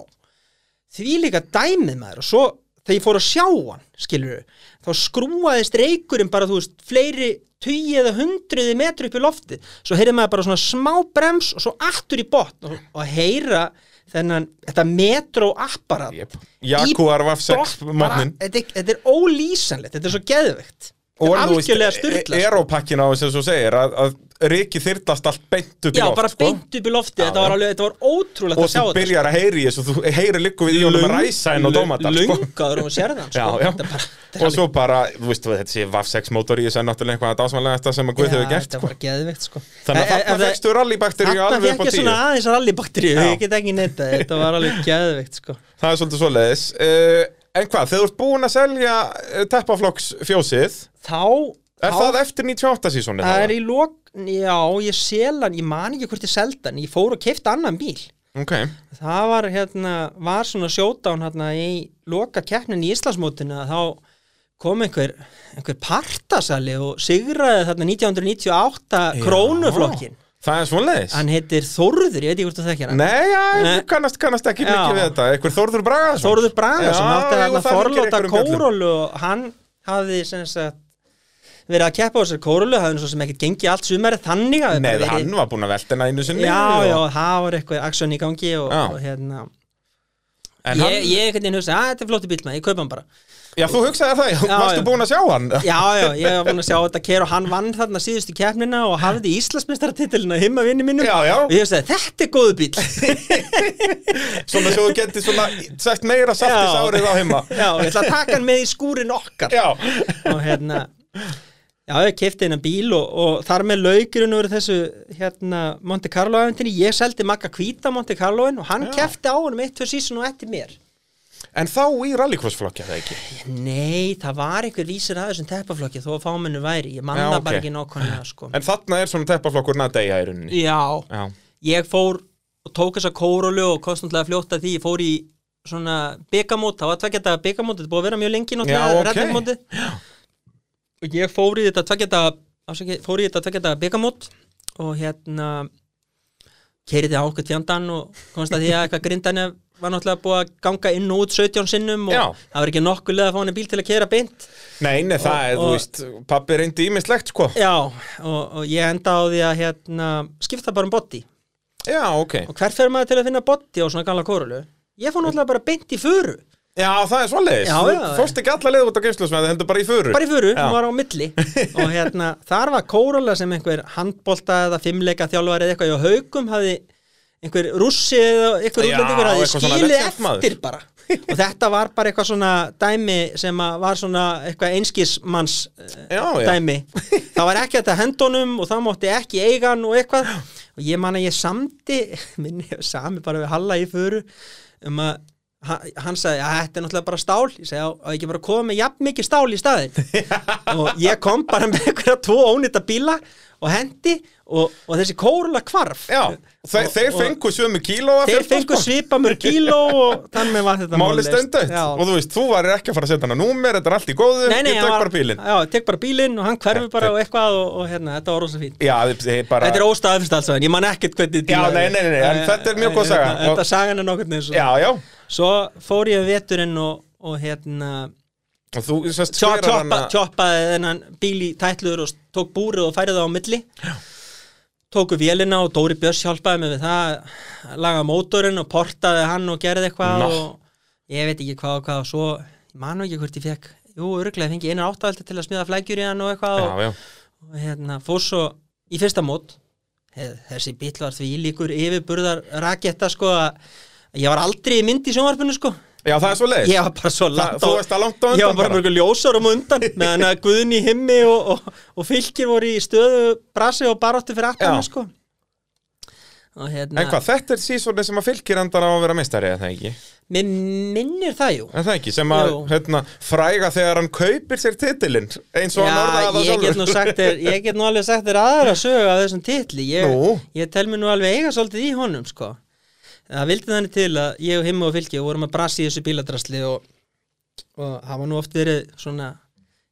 B: því líka dæmið maður og svo þegar ég fór að sjá hann, skilur þá skrúaðist reykurinn bara, þú veist, fleiri tugi eða hundruði metri upp í lofti svo heyrði maður bara svona smá brems og svo aftur í botn og, og heyra þennan, þetta metro apparat
A: Jep. Jaguar VAF 6
B: Brott bara-
A: morgnin.
B: þetta, er- þetta er ólýsanlegt, þetta er svo geðveikt
A: Og
B: Þetta er
A: þú veist,
B: algjörlega sko. styrla
A: e- Aeropakkin á þessu sem þú segir að, að Riki þyrlast allt beint upp í
B: Já,
A: loft
B: bara
A: sko.
B: beint upp í lofti,
A: Já,
B: þetta var
A: já.
B: alveg, þetta var ótrúlegt
A: Og
B: að sjá
A: þú
B: þetta sko.
A: byrjar að heyri þessu Þú heyri líku við í honum að ræsa inn á dómatar sko.
B: Lungaður og sérðan
A: Já,
B: sko.
A: já
B: Þetta er bara, þetta er
A: Og svo bara, þú veist, þetta sé VAF 6 mótor í þessu er náttúrulega eitthvað að dásmanlega sem að Guð hefur gert
B: Þetta
A: sko.
B: var geðveikt sko
A: Þannig að þarna fegstu rallybakteríu
B: Þarna
A: alveg upp á
B: fekk ég svona
A: tíu
B: aðeins rallybakteríu,
A: Já.
B: ég get ekki neitt að þetta var alveg geðveikt sko
A: Það er svolítið svoleiðis uh, En hvað, þegar þú ert búin að selja eh, teppaflokks fjósið
B: Þá
A: Er
B: þá-
A: það eftir 98 sísónið?
B: Það er í lok, já, ég sel hann, ég man ekki hvort ég seldi hann, ég fór og keipta annan bíl
A: Ok,
B: það var hérna, var svona sjótán hérna í loka keppnin í Íslandsmótinu að þá kom einhver, einhver partasali og sigraði þarna 1998 krónuflokkin.
A: það er svoleiðis
B: Hann heitir Þórður, ég veit ekki hvort þú þekkir hann.
A: Nei, já,
B: Nei.
A: þú kannast, kannast ekki
B: Já.
A: mikið við þetta Ekkur Þórður Bragaðsson
B: Þórður Bragason, átti hérna forlóta
A: kóról
B: kórólu og hann hafði sem sagt verið að keppa á þessari kórólu, hafði nú svo sem ekkert gengið allt sumarið þannig að
A: Nei, hann var búin að velta hennar einu sinni
B: Já,
A: og-
B: já, það var eitthvað aksjón í gangi og,
A: Já.
B: og hérna
A: En
B: ég,
A: hann,
B: ég einhvern veginn hugsa, að þetta er flótti bíl maður, ég kaupa hann bara
A: já, þú hugsaði það, já,
B: Já,
A: varstu
B: já.
A: búin að sjá hann
B: Já, já, ég var búin að sjá þetta kér og hann vann þarna síðustu keppnina og hafði Íslandsmeistaratitilina himma vinni mínum
A: Já, já.
B: og ég veist að þetta er góðu bíl
A: Svona svo þú geti svona sett meira saftis
B: Já.
A: árið á heima
B: Já, ég ætla að taka hann með í skúrin okkar
A: Já,
B: og hérna Já, ég kefti hennan bíl og, og þar með laukirinn úr þessu hérna Monte Carlo aðvendinni, ég seldi Magga Hvíta Monte Carloin og hann
A: Já.
B: kefti á honum eitt, tvö sísun og eftir mér
A: en þá í rallycrossflokki er það ekki
B: Nei, það var einhver vísir að þessum teppaflokki þó að fámennu væri, ég
A: Já,
B: manna okay.
A: ok.
B: bara ekki nákvæmlega sko.
A: En þarna er svona teppaflokkur nadeja í rauninni
B: Já,
A: Já,
B: ég fór og tók þessa kórólu og konstantlega fljótt að því ég fór í svona byggamót, það var tveggjata byggamót þetta er búið að vera mjög lengi
A: Já,
B: náttúrulega
A: ok.
B: reddingmóti og ég fór í þetta tveggjata fór í þetta tveggjata byggamót og hérna keiriði á okkur tjandan og komst að því að eitthvað grindan var náttúrulega búið að ganga inn og út 17 sinnum og
A: Já.
B: það var ekki nokkuð leið að fá hann í bíl til að keira beint
A: Nei, nei, það er, þú
B: og-
A: veist, pappi reyndi ímislegt, sko
B: Já, og, og ég enda á því að hérna, skipta bara um botti
A: Já, ok
B: og hver fer maður til að finna botti á svona gala kórulu? Ég fór náttúrulega bara beint í föru
A: Já, það er svoleiðis
B: Já,
A: Þú
B: já.
A: Fórst ekki alla leið út á geimslusmeði, hendur bara í föru
B: bara í föru,
A: Já.
B: hún var á milli og hérna, þar var kórala sem einhver handbolta eða fimmleika þjálfari eða eitthvað í haugum hafði einhver rússi eða einhver
A: Já,
B: útlendingur hafði
A: eitthvað svona
B: skilið
A: legend maður.
B: eftir bara og þetta var bara eitthvað svona dæmi sem að var svona eitthvað einskismanns eh,
A: Já, já.
B: dæmi það var ekki þetta hendunum og það mátti ekki eigan og eitthvað og ég man að ég samdi minni ég sami bara við Halla í föru um að ha- hann sagði að þetta er náttúrulega bara stál ég segi að ekki bara koma með jafn mikið stál í staðin og ég kom bara með einhverja tvo ónýta bíla og hendi og, og þessi kórulega kvarf
A: Já, þe
B: Og-
A: þeir
B: og-
A: fengu sömu kílóa
B: þeir fengu svipa mörg kíló og þannig var þetta mál
A: Máli
B: leyst.
A: stendautt
B: Já.
A: Og þú veist, þú varir ekki að fara að setja hana númer Þetta er allt í góðu,
B: Nei, nei,
A: ég
B: hann
A: tök
B: var-
A: bara bílinn
B: Já, ég tek bara bílinn og hann hverfi bara og eitthvað og, og hérna, þetta var rosa fín
A: Já, þið er bara
B: Þetta er óstaðfist alls en ég man ekkert hvernig
A: Já,
B: bílar-
A: nei, nei, nei, nei, en
B: Eh,
A: þetta er mjög góð
B: eh,
A: saga.
B: hérna, Þetta
A: Og-
B: sagan er nokkurn eins og
A: Já, já
B: Svo fór ég við veturinn og, og hérna
A: Og þú sérst
B: tjó-
A: skverar
B: tjoppa-
A: hana
B: tjoppaði þennan bíl í tætluður og s- tók búrið og færið það á milli tóku vélina og Dóri Björns hjálpaði mig við það lagaði mótorinn og portaði hann og gerði eitthvað
A: Ná.
B: og ég veit ekki hvað og hvað og svo ég man nú ekki hvort ég fekk jú, örglega fengi einar áttaveldi til að smíða flækjur í hann og eitthvað og,
A: Já, já
B: og hérna, fór svo í fyrsta mót Heð, þessi bíl var því líkur yfirburðar raketta sko að ég var aldrei í mynd í sjónvarpinu sko
A: Já, það er svo leiðis
B: ég var bara svo langt
A: þú varst að langt á undan
B: ég var bara
A: bara.
B: mörgur ljósar um undan meðan að Guðni himmi og, og, og fylgir voru í stöðu brasi og baróttu fyrir
A: Já.
B: aftan sko og hérna
A: En hvað, þetta er sísóni sem að fylgir endar á að vera meistari, eða það ekki?
B: mér minnir það jú
A: En það ekki, sem að
B: Jú.
A: hérna, fræga þegar hann kaupir sér titilinn eins og hann orðaði það
B: ég get nú sagt þér ég get nú alveg sagt þér aðra sögu af þessum titli ég,
A: Nú?
B: ég tel mér nú alveg eiga svolítið í honum sko það vildi þannig til að ég og himmi og fylgi vorum að brasi í þessu bíladrasli og, og hafa nú oft verið svona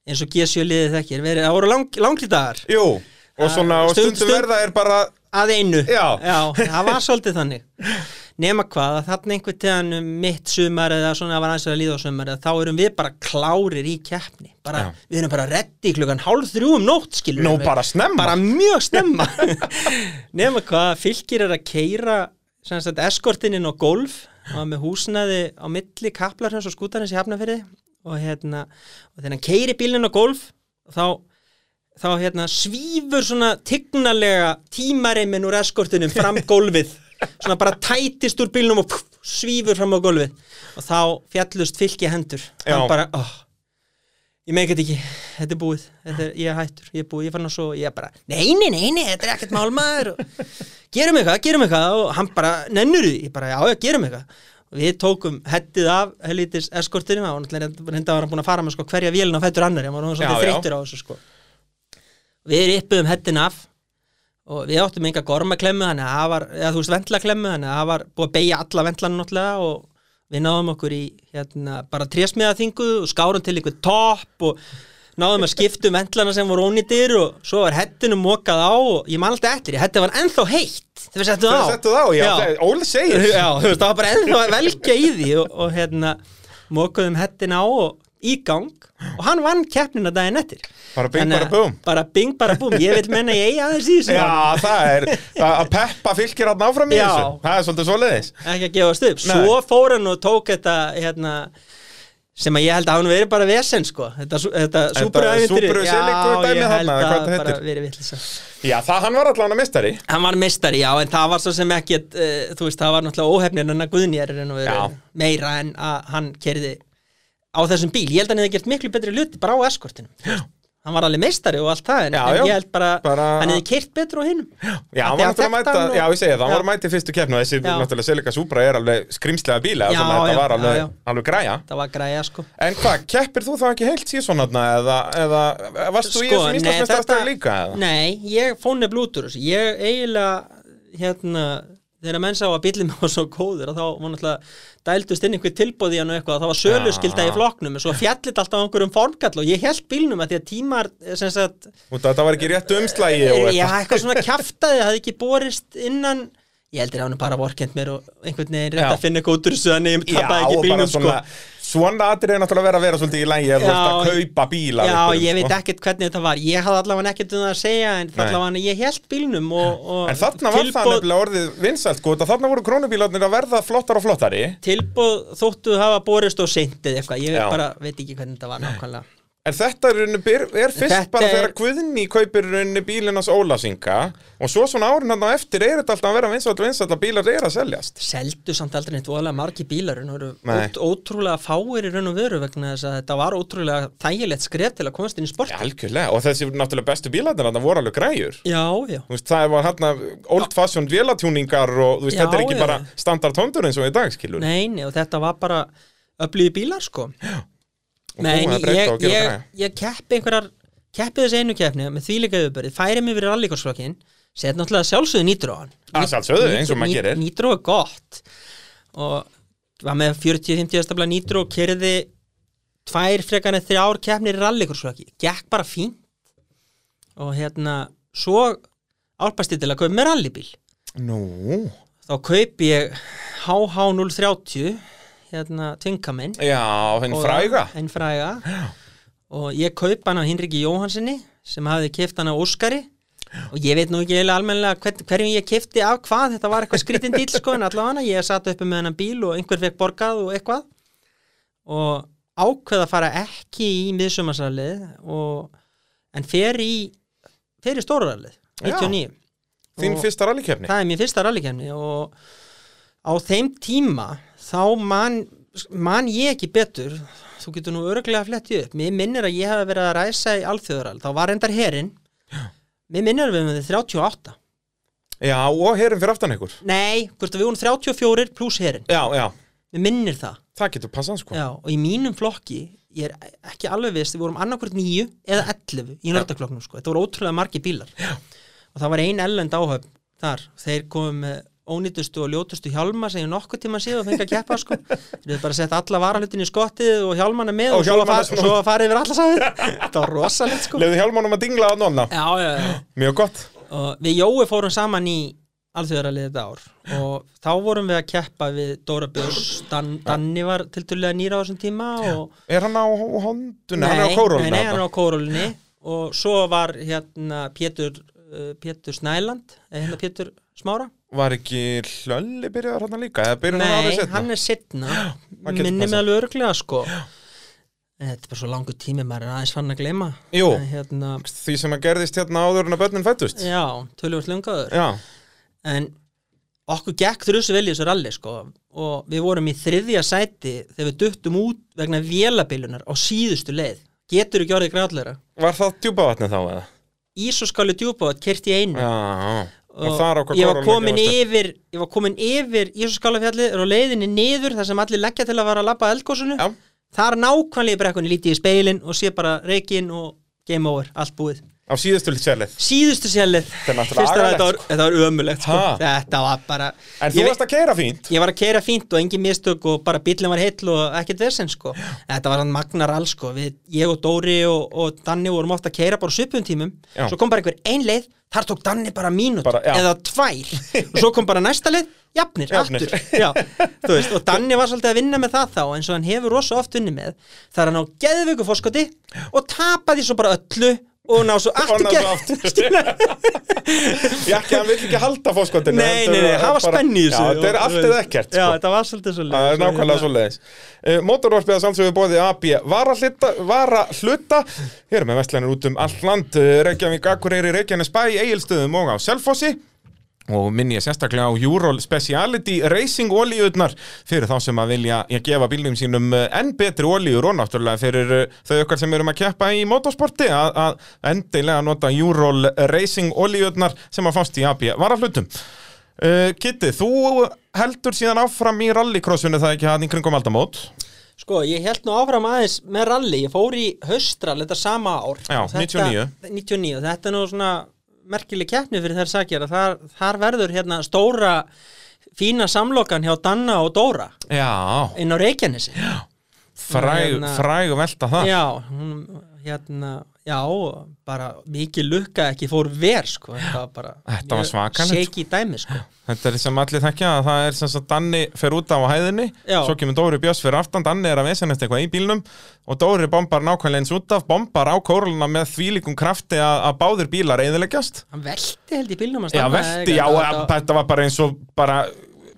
B: eins og G7 liðið þekkir verið, það voru lang, langri dagar
A: Jú, og svona, og
B: Ah, Stund-
A: stundum
B: stund-
A: verða er bara
B: að einu
A: Já.
B: það var svolítið þannig nema hvað að þarna einhvern tíðan um mitt sumar eða svona var aðeins að líða á sumar eða þá erum við bara klárir í keppni bara,
A: Já.
B: við erum bara reddi klukkan hálf þrjú um nótt skilur
A: Nú, bara snemma.
B: bara mjög snemma nema hvað fylgir er að keira sem sagt eskortininn á golf og með húsnaði á milli kaplarhjóns og skútarins í hafnafyrði og hérna og þegar hann keiri bílinn á golf þá þá hérna svífur svona tignalega tímareimin úr eskortinum fram gólfið svona bara tætist úr bílnum og pff, svífur fram á gólfið og þá fjallust fylki hendur
A: Já.
B: hann bara, oh, ég meik þetta ekki þetta er búið, þetta er, ég er hættur ég er búið, ég fann að svo, ég er bara, nei, nei, nei, nei þetta er ekkert málmaður og, gerum eitthvað, gerum eitthvað og hann bara, nennur því ég bara, já, já, gerum eitthvað og við tókum hettið af helvitis eskortinum og reynda var hann búin að fara með sko, hverja vélina fættur annar, ég var hann
A: Já, já.
B: svolítið þreyttur á þessu sko við rippuðum hettin af og við áttum enga gormaklemmu þannig að það var, eða þú veist vendlaklemmu þannig að það var búið að beigja alla vendlanu náttúrulega og við náðum okkur í hérna, bara trésmiðaþingu og skárum til einhver topp og náðum að skipta um vendlana sem voru ónýtir og svo var hettinu mokað á og ég man alltaf eftir, þetta var ennþá heitt þegar við settum
A: Þegar
B: á
A: settu þá, já, það- Óli segir
B: Já, þú veist, það var bara ennþá að velja í því og, og hérna, mokuðum hettin á og í gang og hann vann keppnina daginn eftir
A: Bara bing,
B: Þannig
A: bara
B: að-
A: búm.
B: bara bing, bara búm, ég vil menna ég eigi aðeins í þessu
A: Já, það er að peppa fylgir hann áfram í
B: Já.
A: þessu Það er svolítið svo leiðis
B: ekki að gefa stuð
A: Nei.
B: svo fór hann og tók þetta hérna, sem að ég held að hann verið bara vesen sko, þetta, sú- þetta súpruævintýri
A: Subaru Silico dæmi
B: ég held
A: þarna,
B: að
A: hvað þetta
B: bara
A: heitir?
B: verið vitlisa
A: Já, það hann var allan að mistari
B: hann var mistari, já, en það var svo sem ekki uh, þú veist, það var náttúrulega óhefnin en að Guðnýjar er
A: Já.
B: meira en að hann kerði á þessum bíl, ég held að hann hefði gert miklu betri luti bara á eskortinu hann var alveg meistari og allt það en,
A: Já,
B: en
A: já.
B: ég held bara,
A: Bara-
B: hann hefði kert betur á hinum
A: Já, hann var náttúrulega að mæta, já ég segi það, hann var að mæta í fyrstu keppnu og þessi
B: Já.
A: náttúrulega Selica Supra er alveg skrimslega bíla
B: Já,
A: þannig að
B: já,
A: þetta var
B: já,
A: alveg,
B: já.
A: alveg græja
B: það var græja sko
A: En hvað, keppir þú þá ekki heilt sísonarna eða, eða varst þú í þessum íslensmestarstæði líka? eða?
B: Sko, Nei, ég fór nefn blútur þessu. Ég eiginlega, hérna, þegar menn sá að bíllinn var svo góður og þá var náttúrulega dældust inn einhver tilbóð í hann og eitthvað og það var söluskylda
A: Já.
B: í flokknum og svo fjallit alltaf á einhverjum formkall og ég held bílnum að því að tímar, sem sagt,
A: Út af þetta var ekki rétt umslægi og
B: er, já,
A: eitthvað
B: eitthvað svona kjaftaði, það hafði ekki borist innan ég heldur að hann er bara vorkend mér og einhvern veginn er
A: Já.
B: rétt að finna góð úr þessu þannig ég
A: Já,
B: tappaði
A: og
B: ekki
A: bara
B: bílnum sko
A: svona Svona atrið er náttúrulega verið að vera svolítið í lægi að þú ert að
B: Já,
A: kaupa bíla
B: Já, ég veit ekkert hvernig þetta var Ég hafði allavega ekkert um það að segja En
A: sko. Nei.
B: allavega ég held bílnum og, og
A: En þarna var það nefnilega orðið vinsælt sko, þarna voru krónubílarnir að verða flottar og flottari
B: Tilbúð þóttu hafa borist og seintið eitthvað Ég
A: Já.
B: bara veit ekki hvernig þetta var nákvæmlega
A: En þetta er, í rauninni byr- er fyrst
B: Þetta
A: bara
B: er-
A: þegar Guðni kaupir í rauninni bílinn hans Ólasinga og svo svona árin hann á eftir er þetta alltaf að vera vinsælt vinsælt að bílar er að seljast
B: Seldu samt aldrei neitt voðalega margi bílar en voru
A: Nei.
B: ót, ótrúlega fáir í raun og veru vegna þess að þetta var ótrúlega þægilegt skref til að komast inn í sport
A: Já, algjörlega, og þessi náttúrulega bestu bílarnir hann voru alveg græjur
B: Já, já
A: Þú veist, það var hérna old fashioned vélatjúningar og þú veist,
B: Já,
A: þetta er ekki
B: já.
A: bara standard hondur eins og í dag, skilur
B: Nei, nei, og þetta var bara öflýði bílar sko
A: Og
B: Nei,
A: búið
B: en
A: að breyta og
B: ég,
A: gera
B: ég,
A: græja.
B: ég keppi einhverjar keppi þessi einu keppni með þvíleika yfirbörið, færi mig fyrir rallíkorsflokkin set náttúrulega sjálfsögðu nýtróan
A: Að sjálfsögðu, eins og maður gerir.
B: Nýtró er gott og var með 40-50 stafla nýtró og kerði tvær frekarni þrjár keppnir í rallíkorsflokki gekk bara fínt og hérna, svo álpast ég til að kaupa með rallybíl
A: Nú,
B: þá kaupi ég HH030 hérna, tvingaminn
A: já, þenn
B: Og-
A: fræga
B: Hinn fræga Og ég kaup hann af Hinriki Jóhansinni sem hafði keft hann af Óskari og ég veit nú ekki eiginlega almennilega hver, hverjum ég kefti af hvað, þetta var eitthvað skrítin dýl sko en allavega ég satt uppi með hennan bíl og einhver fekk borgað og eitthvað og ákveð að fara ekki í miðsumarsalið og en fer í fer í stóruðalið,
A: Já.
B: 99
A: Þín
B: og-
A: fyrsta rallykefni
B: það er mér fyrsta rallykefni og á þeim tíma þá man, man ég ekki betur þú getur nú örglega flettið upp mér minnir að ég hafi verið að ræsa í alþjóðaral þá var endar herinn mér minnir að við höfum þið 38
A: Já, og herum fyrir aftan ykkur
B: nei, hvort að við höfum 34 pluss herinn
A: Já, já,
B: mér minnir það
A: það getur passað sko
B: Já, og í mínum flokki ég er ekki alveg viðst, við vorum annarkvort nýju eða 11 í nördaklokknum sko. þetta voru ótrúlega margi bílar Já. og það var ein ellend áhöfn þar þeir komu með ónýtustu og ljótustu hjálma sem ég nokkuð tíma síðan og fengi að keppa sko. þeir eru bara að setja alla varalutin í skottið og hjálmana með
A: Og
B: og, svo, að
A: hjálmana
B: fara,
A: svona.
B: og svo að fara yfir allasafið þetta var rosalegt sko.
A: Leðu hjálmanum að dingla að nonna
B: Já, já, já
A: Mjög gott
B: og við Jói fórum saman í alþjóðaralið þetta ár og þá vorum við að keppa við Dóra Björns Dan, Danni var tiltölulega nýra á þessum tíma og
A: Er hann á hondunni? hann er á kórólunni
B: nei, nei, hann er á kórólunni og svo var hérna Pétur, uh, Pétur Snæland eða hérna Pétur Smára
A: Var ekki hlölli byrjaður hann líka? Eða byrjaður hann
B: Nei,
A: árið setna?
B: hann er setna
A: það getur
B: minni með
A: passað.
B: alveg örglega sko En Þetta er bara svo langur tími maður er aðeins fann að gleyma
A: Jú.
B: En hérna,
A: Því sem að gerðist hérna áður en að börnin fættust
B: Já, tölvöld lungaður
A: Já,
B: en okkur gekk þrjusu vel í þessu ralli sko og við vorum í þriðja sæti þegar við duttum út vegna vélabilunar á síðustu leið getur ekki orðið gráðleira
A: var það djúpavatni þá eða?
B: Ís og skáli djúpaðat kert í einu
A: Já, og, og þar okkar
B: ég var
A: kórólunni
B: komin yfir ég var komin yfir Ís og skálafjalli og á leiðinni niður þar sem allir leggja til að vara að labba að eldgósunu
A: Já,
B: þar nákvæmlega í brekkunni lítið í speilin og sé bara reikinn og game over, allt búið
A: á síðustu selið
B: síðustu sérlið
A: Þetta er náttúrulega agalegt,
B: þetta var, þetta var ömulegt sko.
A: Ha?
B: þetta var bara
A: En
B: Ég
A: þú
B: veit-
A: varst að keira fínt
B: ég var að keira fínt og engin mistök og bara bílinn var heill og ekkert vesinn sko. þetta var hann magnar all sko. Við, ég og Dóri og, og Danni vorum ofta að keira bara svipum tímum,
A: Já.
B: svo kom bara einhver ein leið þar tók Danni bara mínút
A: Bara, já.
B: eða tvær, og svo kom bara næsta leið jafnir,
A: Jafnir.
B: aftur já, þú veist, og Danni var svolítið að vinna með það þá eins og hann hefur rosa oft unni með það er hann á geðvöku fórskoti og tapaði svo bara öllu og ná svo
A: Og
B: aftur
A: náðu
B: geð
A: aftur. Ég ekki, hann vill ekki halda fóskotinu
B: nei, nei, nei, hafa spenni í þessu
A: Já, þetta er
B: og-
A: allt eða ekkert
B: já,
A: sko.
B: þetta var svolítið Hérna- svolítið
A: Það er nákvæmlega svo leiðis. Mótorvarpið að sjálfsögðu bóði AB varahluta, varahluta. Hér með vestlanir út um allt land, eh, Reykjavík, Akureyri, Reykjanes bæ, Egilstöðum og á Selfossi. Og minni ég sérstaklega á Júról Speciality Racing olíurnar fyrir þá sem að vilja að gefa bílnum sínum eh, enn betri olíur og náttúrulega fyrir eh, þau okkar sem erum að keppa í motorsporti að, að endilega nota Júról Racing olíurnar sem að fást í AB varahlutum. Uh, Kitti, þú heldur síðan áfram í rallycrossinu það ekki hann í kringum aldamót
B: Sko, ég held nú áfram aðeins með rally, ég fór í haustral þetta sama ár.
A: Já,
B: Og þetta,
A: 99.
B: 99, þetta er nú svona merkileg keppni fyrir þær sakir að þar, þar verður hérna stóra fína samlokan hjá Danna og Dóra
A: Já,
B: inn á Reykjanesi.
A: fræg,
B: Hérna-
A: fræg velta það
B: Já, hún, hérna, Já, bara mikið lukka ekki fór ver sko, þetta var bara
A: Þetta var svakalegt,
B: Seiki dæmi sko
A: Þetta er sem allir þekkja að það er sem sagt Danni fer út af á hæðinni
B: Já.
A: Svo kemur Dóri Björns fyrir aftan, Danni er að vesenast eitthvað í bílnum Og Dóri bombar nákvæmlega eins út af, bombar á kórluna með þvílíkum krafti að, að báðir bílar eðileggjast
B: Hann velti held í bílnum hans
A: Já,
B: þarna,
A: velti,
B: eða
A: já,
B: eitthvað,
A: þetta,
B: þetta-
A: var bara eins og bara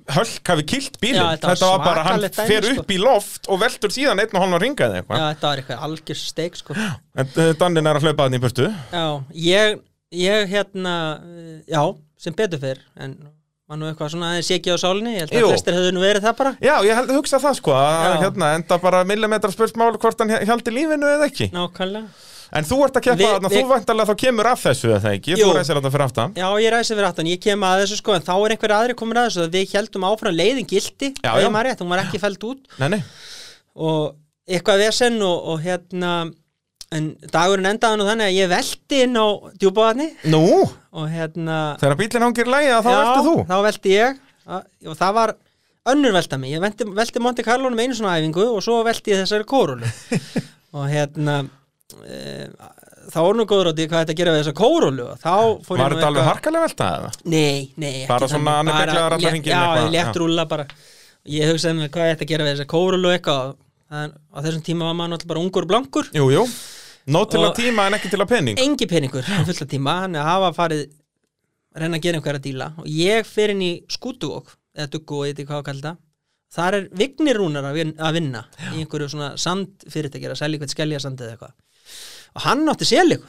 A: Hölk hafi kilt bílinn,
B: Já, þetta var
A: þetta var bara, hann
B: svakalegt dæmi,
A: fer
B: sko.
A: upp í loft og veltur síðan einn og hann var ringað
B: Já,
A: eitthvað
B: þetta var eitthvað algjör steik sko
A: En uh, Dannin er að hlaupa þannig í burtu
B: Já, ég, ég hérna, eh, já, sem betur fyrr, en var nú eitthvað svona aðeins ekki á sálinni, ég held að
A: Jú.
B: flestir hefðu nú verið það bara.
A: Já, ég held að hugsa það sko, að
B: Já.
A: hérna enda bara millimetra spursmál hvort hann hjaldi lífinu eða ekki
B: Nákvæmlega.
A: En þú ert að keppa
B: Vi-
A: þarna,
B: vi-
A: þú vantarlega þá kemur af þessu eða það ekki,
B: Jú.
A: þú reysir þetta fyrir aftan
B: Já, ég ræsi fyrir aftan, ég kem að þessu sko, en þá er einhver aðri komin að þessu, að við heldum áfram leiðin gildi,
A: Já,
B: ef
A: já.
B: ég maður rétt, hún var ekki fælt út
A: Nei, nei,
B: og eitthvað vesen og, og hérna, en dagurinn endaði nú þannig að ég velti inn á djúbaðni
A: nú,
B: og hérna...
A: þegar bílinn hangir lægi þá
B: Já,
A: ertu þú
B: þá velti ég Að- og það var önnur velta mig ég velti, velti Monte Carlo um einu svona æfingu og svo velti ég þessari kórulu og hérna e, þá er nú góður á því hvað þetta gera við þessa kórulu og þá
A: Var
B: fór ég nú
A: þetta alveg harkalega velta eða?
B: Nei, nei, ekki
A: Bara svona
B: þannig,
A: annað beglaðar allan
B: létt-
A: hringinn
B: Já,
A: eitthvað,
B: ég létt
A: já.
B: rúlla bara Ég hugsaði mér hvað ég ætti að gera við þessa kórulu og eitthvað en á þessum tíma var maður náttúrulega bara ungur blankur
A: Jú, jú, nóg til
B: Og-
A: að tíma en ekki til að pening
B: engi peningur á fulla tíma hann er að hafa farið reyna að gera einhverja díla og ég fer inn í skútuvók eða duggu og eitthvað hvað að kalla það þar er vignir rúnar að vin- að vinna í einhverju svona sand fyrirtækjara selja eitthvað skelja sand eða eitthvað og hann átti selig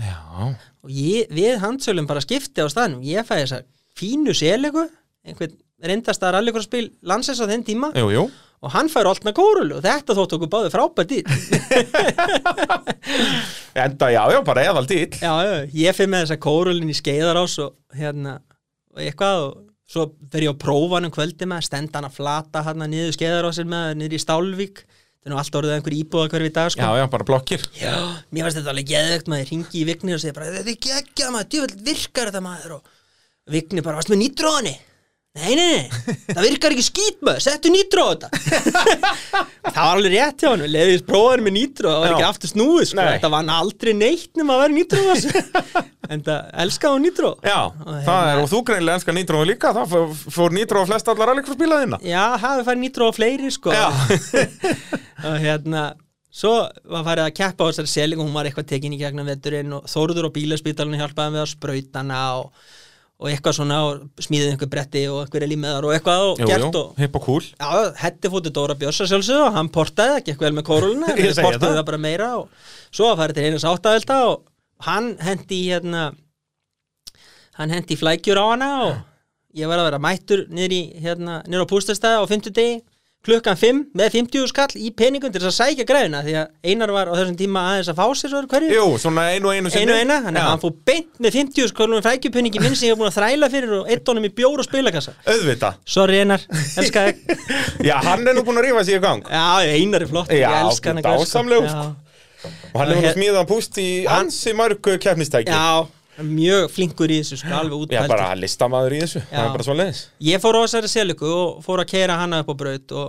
A: Já,
B: og ég, við handsölum bara skipti á staðnum ég fæði þessa fínu seligu einhvern reyndast að rallycrossbíl landsins á þenn tíma
A: jú, jú
B: og hann fær alltaf kórulu og þetta þótt okkur báði frábært dýr
A: Enda, já, já, bara eðal dýl
B: Já, já, ég fyrir með þessa kórulin í skeiðarás og hérna og eitthvað og svo fer ég á prófan um kvöldi með að stenda hana flata hérna niður skeiðarásin með niður í Stálvík það er nú allt orðið einhver íbúða hverfi í dag
A: Já,
B: sko.
A: já, bara blokkir
B: já, mér fannst þetta alveg geðvegt maður ringi í Vigni og segja bara þetta er geggjað maður, djúvel virkar þetta maður og Vigni bara, varst með nýtróðanni? Nei, nei, nei, það virkar ekki skýt maður, settu nýtróð þetta Það var alveg rétt hjá hann, við leiðist prófaðin með nýtróð, það var
A: Já.
B: ekki aftur snúið sko.
A: Nei.
B: Þetta var hann aldrei neitt nema að vera nýtróð En það elskaði hún nýtróð
A: Já, það
B: hérna-
A: er, og þú greinilega enska nýtróðu líka, það fór- fór nýtróðu flest allar rallycrossbíla þína
B: Já, hafi farið nýtróð á fleiri sko og hérna svo var farið að keppa á þessari seling og hún var eitthvað tekin í gegnum veturinn og Þórður og bílaspítalunni hjálpaði með að sprautana og, og eitthvað svona og smíðið einhver bretti og einhver elímeðar og eitthvað og
A: Jú,
B: gert
A: jú,
B: og
A: hipp og kúl
B: Já, hætti fótið Dóra Björsa sjálfsög og hann portaði það, gekk vel með kóruluna
A: Ég
B: við
A: segi
B: portaði
A: það.
B: það bara meira og svo var farið til einu sáttavelta og hann hendi í hérna hann hendi í flækjur á hana og ég var að vera mættur niður í hérna, niður á pústastæða á 50 degi klukkan 5 með 50 skall í peningum til þess að sækja græðina því að Einar var á þessum tíma aðeins að fá sér svo hverju
A: Jú, svona einu og einu sinni
B: einu og eina, þannig að hann fór beint með 50 skallum frækjupenningi minn sem ég hef búin að þræla fyrir og eitt honum í bjór og spilakassa
A: Auðvita
B: Sorry Einar, elska þig
A: Já, hann er nú búin að rífa sig í gang
B: Já, Einar er flott,
A: Já,
B: ég elska hann
A: dásamlegur, sko. Og hann
B: Og
A: hefur nú
B: hér-
A: smíðan púst í ansi mörgu keppnistæki
B: Já, hann er mjög flinkur í þessu, sko, alveg
A: Já,
B: útpæltur
A: bara listamaður í þessu, það
B: Já.
A: er bara svo leiðis
B: Ég fór á þessari seliku og fór að keira hana upp á braut og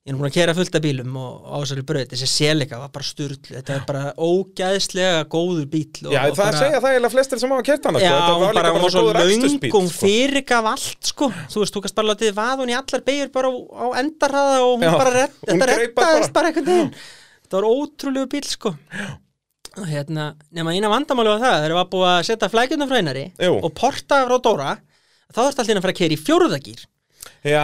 B: ég er nú búin að keira fullt af bílum og á þessari braut, þessi selika var bara sturl þetta er bara ógæðslega góður bíl og,
A: Já, það er
B: og bara,
A: að segja það eiginlega flestir sem hafa kert hana
B: Já,
A: sko. Þetta
B: hún
A: var
B: bara
A: líka
B: hún
A: bara
B: var svo
A: svo góður
B: löng
A: akstursbíll,
B: og hún
A: sko.
B: fyrirgaf allt sko. þú veist, þú kannast bara látið vaða hún í allar beigur bara á, á endarraða og hún
A: Já,
B: bara redd,
A: hún
B: þetta
A: greip bara.
B: reddaðist bara einhvern veginn þetta var ótrúlegu bíl sko. og hérna, nema eina vandamáli var það þegar var búið að setja flækjurnar frá einari
A: Jú.
B: og porta frá Dóra þá þarfst allir að fara að keira í fjórðagýr og
A: Já,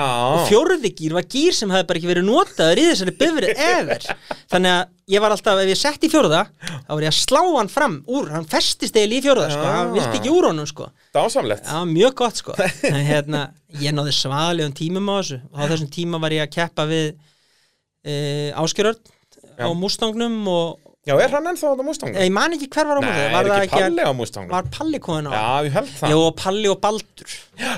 B: fjórðigýr var gýr sem hefði bara ekki verið notaður í þessari bifri efer þannig að ég var alltaf, ef ég sett í fjórða þá var ég að slá hann fram úr hann festist eiginlega í fjórða, sko,
A: Já.
B: hann vilti ekki úr honum sko.
A: dásamlegt
B: Já, mjög gott sko En hérna, Ég náði svaðalegum tímum á þessu og á þessum tíma var ég að keppa við e, Áskjörörn á Mustangnum og eh,
A: Já, er hann ennþá á Mustang?
B: ég man ekki hver var á
A: Nei,
B: móti,
A: er
B: var það
A: ekki
B: að-
A: Palli á Mustang?
B: Var Palli kona á?
A: Já, ég held það
B: Jú, og Palli og Baldur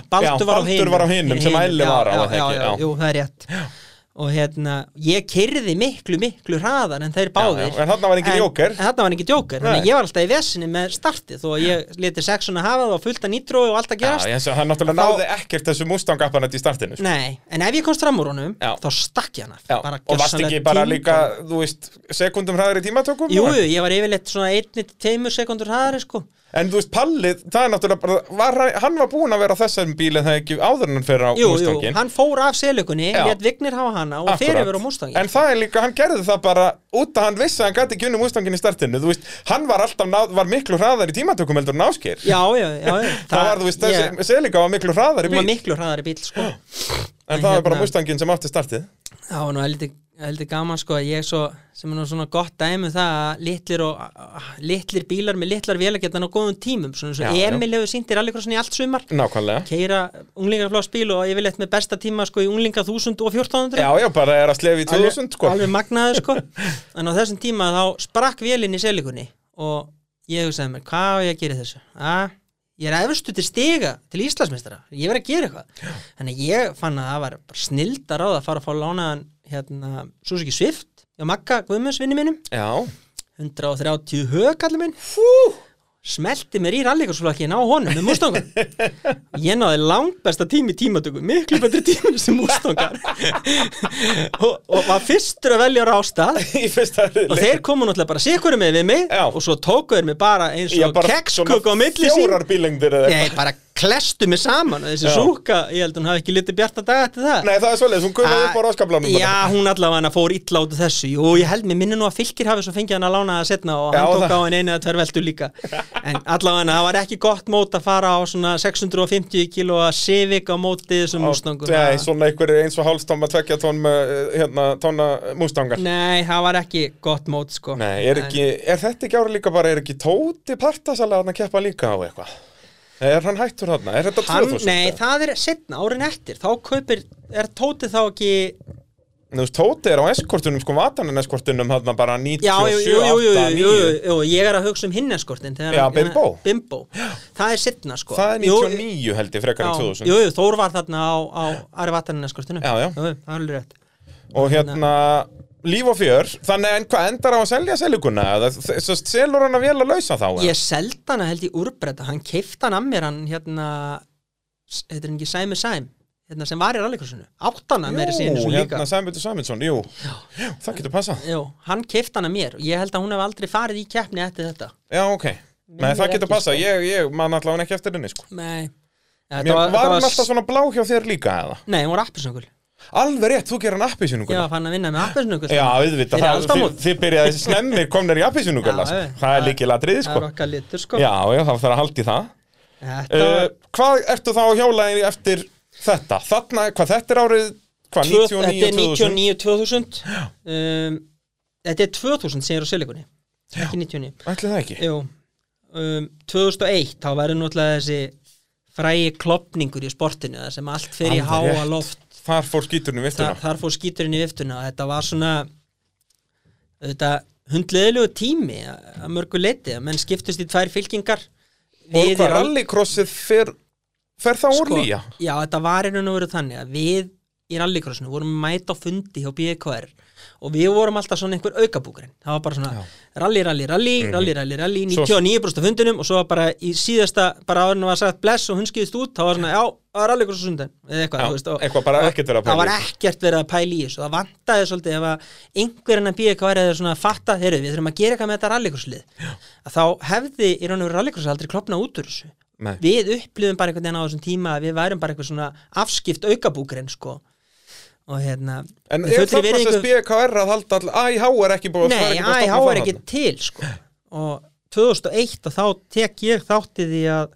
B: Baldur
A: já,
B: var á
A: Baldur
B: hinum
A: var á hinum sem Elli
B: já,
A: var á,
B: já,
A: var það
B: já,
A: ekki?
B: já,
A: Já.
B: Jú, það er rétt og hérna, ég kyrði miklu, miklu hraðar en þeir báðir
A: já, en þarna var enginn
B: En-
A: jóker.
B: en þarna var enginn jóker, þannig
A: Nei.
B: að ég var alltaf í vesinni með startið þó að ég leti sexuna hafa það og fullta nýtró og allt að
A: Já,
B: gerast
A: ég sé að hann náttúrulega
B: Þá-
A: náði ekkert þessu Mustang apparat í startinu sko.
B: Nei, en ef ég komst fram úr honum
A: Já.
B: þá stakk ég hana
A: Já,
B: Bara
A: og varst
B: gjörsamlega
A: ekki bara
B: týnd
A: líka,
B: og-
A: þú veist, sekundum hraðir í tímatökum?
B: Jú,
A: og-
B: jú, ég var yfirleitt svona einni til teimur sekundur hraðari sko
A: En þú veist, Pallið, það er náttúrulega bara, var, hann- hann var búinn að vera á þessum bíli þegar ekki áður en hann fyrir á
B: Jú, jú,
A: Mustangin.
B: hann fór af selugunni,
A: Já.
B: létt vignir hafa hana og um
A: Akkurat.
B: fyrir verið á Mustangin
A: En það er líka, hann gerði það bara út að hann vissi að hann gæti ekki unni Mustangin í startinu Þú veist, hann var alltaf, náð, var miklu hraðar í tímatökum heldur en áskir
B: Já, já, já, já
A: Það, var, þú veist, þessi
B: ég-
A: Selika var miklu hraðar í
B: Hún
A: bíl
B: var miklu hraðari bíl sko
A: En það var bara
B: hérna-
A: Mustangin sem átti startið
B: Það var nú heldig, heldig gaman sko að ég svo, sem er nú svona gott dæmi um það að litlir, og, litlir bílar með litlar vélagetan á góðum tímum svona eins
A: Já,
B: og
A: já.
B: Emil hefur sýnt í rallycrossin í allt sumar
A: Nákvæmlega
B: keira unglingaflás bíl og yfirleitt með besta tíma sko í unglinga 1000 og 1400
A: Já, já, bara er að slefi í 2000, sko
B: alveg magnaður sko en á þessum tíma þá sprakk vélinn í selikunni og ég hugsaði mér, hvað á ég að gera í þessu að ég er efstu til stiga til Íslandsmeistara, ég verð að gera eitthvað þannig að ég fann að það var bara snildar á það að fara að fá lánaðan hérna, Suzuki Swift hjá Magga Guðmundsvinni mínum
A: Já,
B: 130 hög allir minn smelti mér í rallíkarsflokkin á honum með mústangar ég náði langt besta tími tímatöku miklu betri tími sem mústangar og, og var fyrstur að velja rástað
A: í fyrsta
B: og þeir komu náttúrulega bara sikkurum með við mig
A: Já.
B: og svo tóku þeir mig bara eins
A: Já,
B: og
A: bara
B: kekskök á milli sín
A: Fjórar bílengdir eða
B: Nei,
A: eitthvað
B: bara klestu mig saman og þessi
A: Já.
B: súka, ég held hún hafi ekki litið bjarta dag eftir það
A: Nei, það er svoleiðis, hún guðnaði upp á ráskablanum bara.
B: Ah, Já, hún allavega fór illa út úr þessu Jú, ég held mér minni nú að fylgir hafi svo fengið hann að lána það setna og
A: Já,
B: hann tók
A: það-
B: á henni einu eða tver veldu líka En allavega það var ekki gott mót að fara á svona 650 kílóa Civic á móti þessum mústangum
A: Nei, eh, svona einhverju eins og hálfstóma, tvekja tón með, hérna, tóna Mustangar
B: Nei, það var ekki gott mót sko
A: Nei, er, ekki, er þetta ekki ára líka bara, er ekki Tóti Partasalega að keppa líka á eitthvað? Er hann hættur þarna? Er þetta
B: hann,
A: 2000?
B: Nei, það er setna, árin eftir Þá kaupir, er Tóti þá ekki
A: Þú veist, Tóti er á eskortunum, sko, vatanin eskortunum þarna bara 97,
B: Já, jú, jú, jú, jú,
A: 8,
B: jú,
A: 9
B: jú, jú, jú Ég er að hugsa um hinneskortin
A: Já, Bimbo.
B: Bimbo Það er setna sko
A: Það er
B: Jú,
A: 99 held ég frekar en
B: Já,
A: 2000
B: Jú, jú, Þór var þarna á, á Ari Vatanina skortinu
A: Já, já.
B: Það er alveg rétt
A: Og hérna, líf og fjör Þannig en hvað endar á að selja seluguna? Svo selur hann að vel að lausa þá? eða?
B: Ég seldi hana held í úrbreyta, hann keifti hann að mér hann hérna, s- heitir hann ekki Sæmi Sæm hérna, sem var í rallikursinu, átt hana meira
A: Jú,
B: síðan líka
A: hérna Sæmundur Sæmundsson, jú Jú, Það getur passa
B: Jú, hann keifti hana mér og ég held að hún hef aldrei farið í keppni eftir þetta
A: Já, ok Nei, það getur passa,
B: sko.
A: ég, ég man allavega ekki eftir henni, sko
B: Nei
A: Mér var, hann alltaf svona blá hjá þér líka, eða?
B: Nei, hún var appisnökul
A: Alveg rétt, þú gerir hann appisjónunguna
B: Ég var fann að vinna með appisnökul
A: Já, auðvitað,
B: Fyrir
A: það, þið,
B: aldamót.
A: þið byrjaði þessi snemmir komnir í appisjónunguna
B: Já,
A: sko.
B: já.
A: Það er líkil atriði,
B: Það
A: sko
B: er
A: Já,
B: okkar litur sko
A: já, það þarf að haldi það
B: Þetta
A: uh,
B: var
A: Hvað ertu þá að hjála í eftir þetta? Þarna, hvað þetta er árið Hvað,
B: Tvö-
A: 99, 2000?
B: Þetta er 99-2000 um, Þetta er 2000 sem er á silikunni ekki 99
A: Ætli það ekki?
B: Jú, um, 2001 þá verður náttúrulega þessi frægi klopningur í sportinu það sem allt fer í
A: Alveg
B: háa
A: rétt.
B: loft
A: Þar fór skíturinn í
B: Þa,
A: viftuna
B: þar fór skíturinn í viftuna og þetta var svona þetta hundleðilegu tími að að mörgu leiti að menn skiptust í tvær fylkingar
A: Og
B: Við í
A: hvað
B: rall-
A: rallycrossið fer, fer það úr nýja?
B: Sko, Já, þetta var einhvern veru þannig að við í rallycrossinu vorum að mæta á fundi hjá BKR og við vorum alltaf svona einhver aukabúkurinn það var bara svona rally, rally, rally, rally, rally, rally
A: Mhm. Svo-
B: 99% af fundinum og svo var bara í síðasta, bara áður en var sagt bless og hún skýðist út, þá var svona, já, það var rallycross sundan, eða eitthvað,
A: Já,
B: þú veist, og-
A: eitthvað bara
B: og-
A: ekkert verið að
B: það
A: pæla
B: var
A: í
B: ekkert verið að pæla í þessu, það vantaði svolítið ef að einhverjana BKR eða svona fatta, heyrðu, við þurfum að gera eitthvað með þetta rallycrosslið að þá hefði í raun og veru rallycross aldrei klopnað út úr þessu
A: Nei.
B: við upplifum bara einhvern veginn á þessum tíma að við værum bara eitthvað svona afskipt aukabúkurinn sko og hérna
A: En
B: við
A: er
B: fullri
A: þarna
B: virðingu-
A: sem BKR að halda all... Æhá er ekki búið það er
B: Nei,
A: ekki búið að
B: AIH
A: stoppa
B: er
A: það
B: ekki
A: þarna.
B: til sko. og 2001 og þá tek ég þátti því að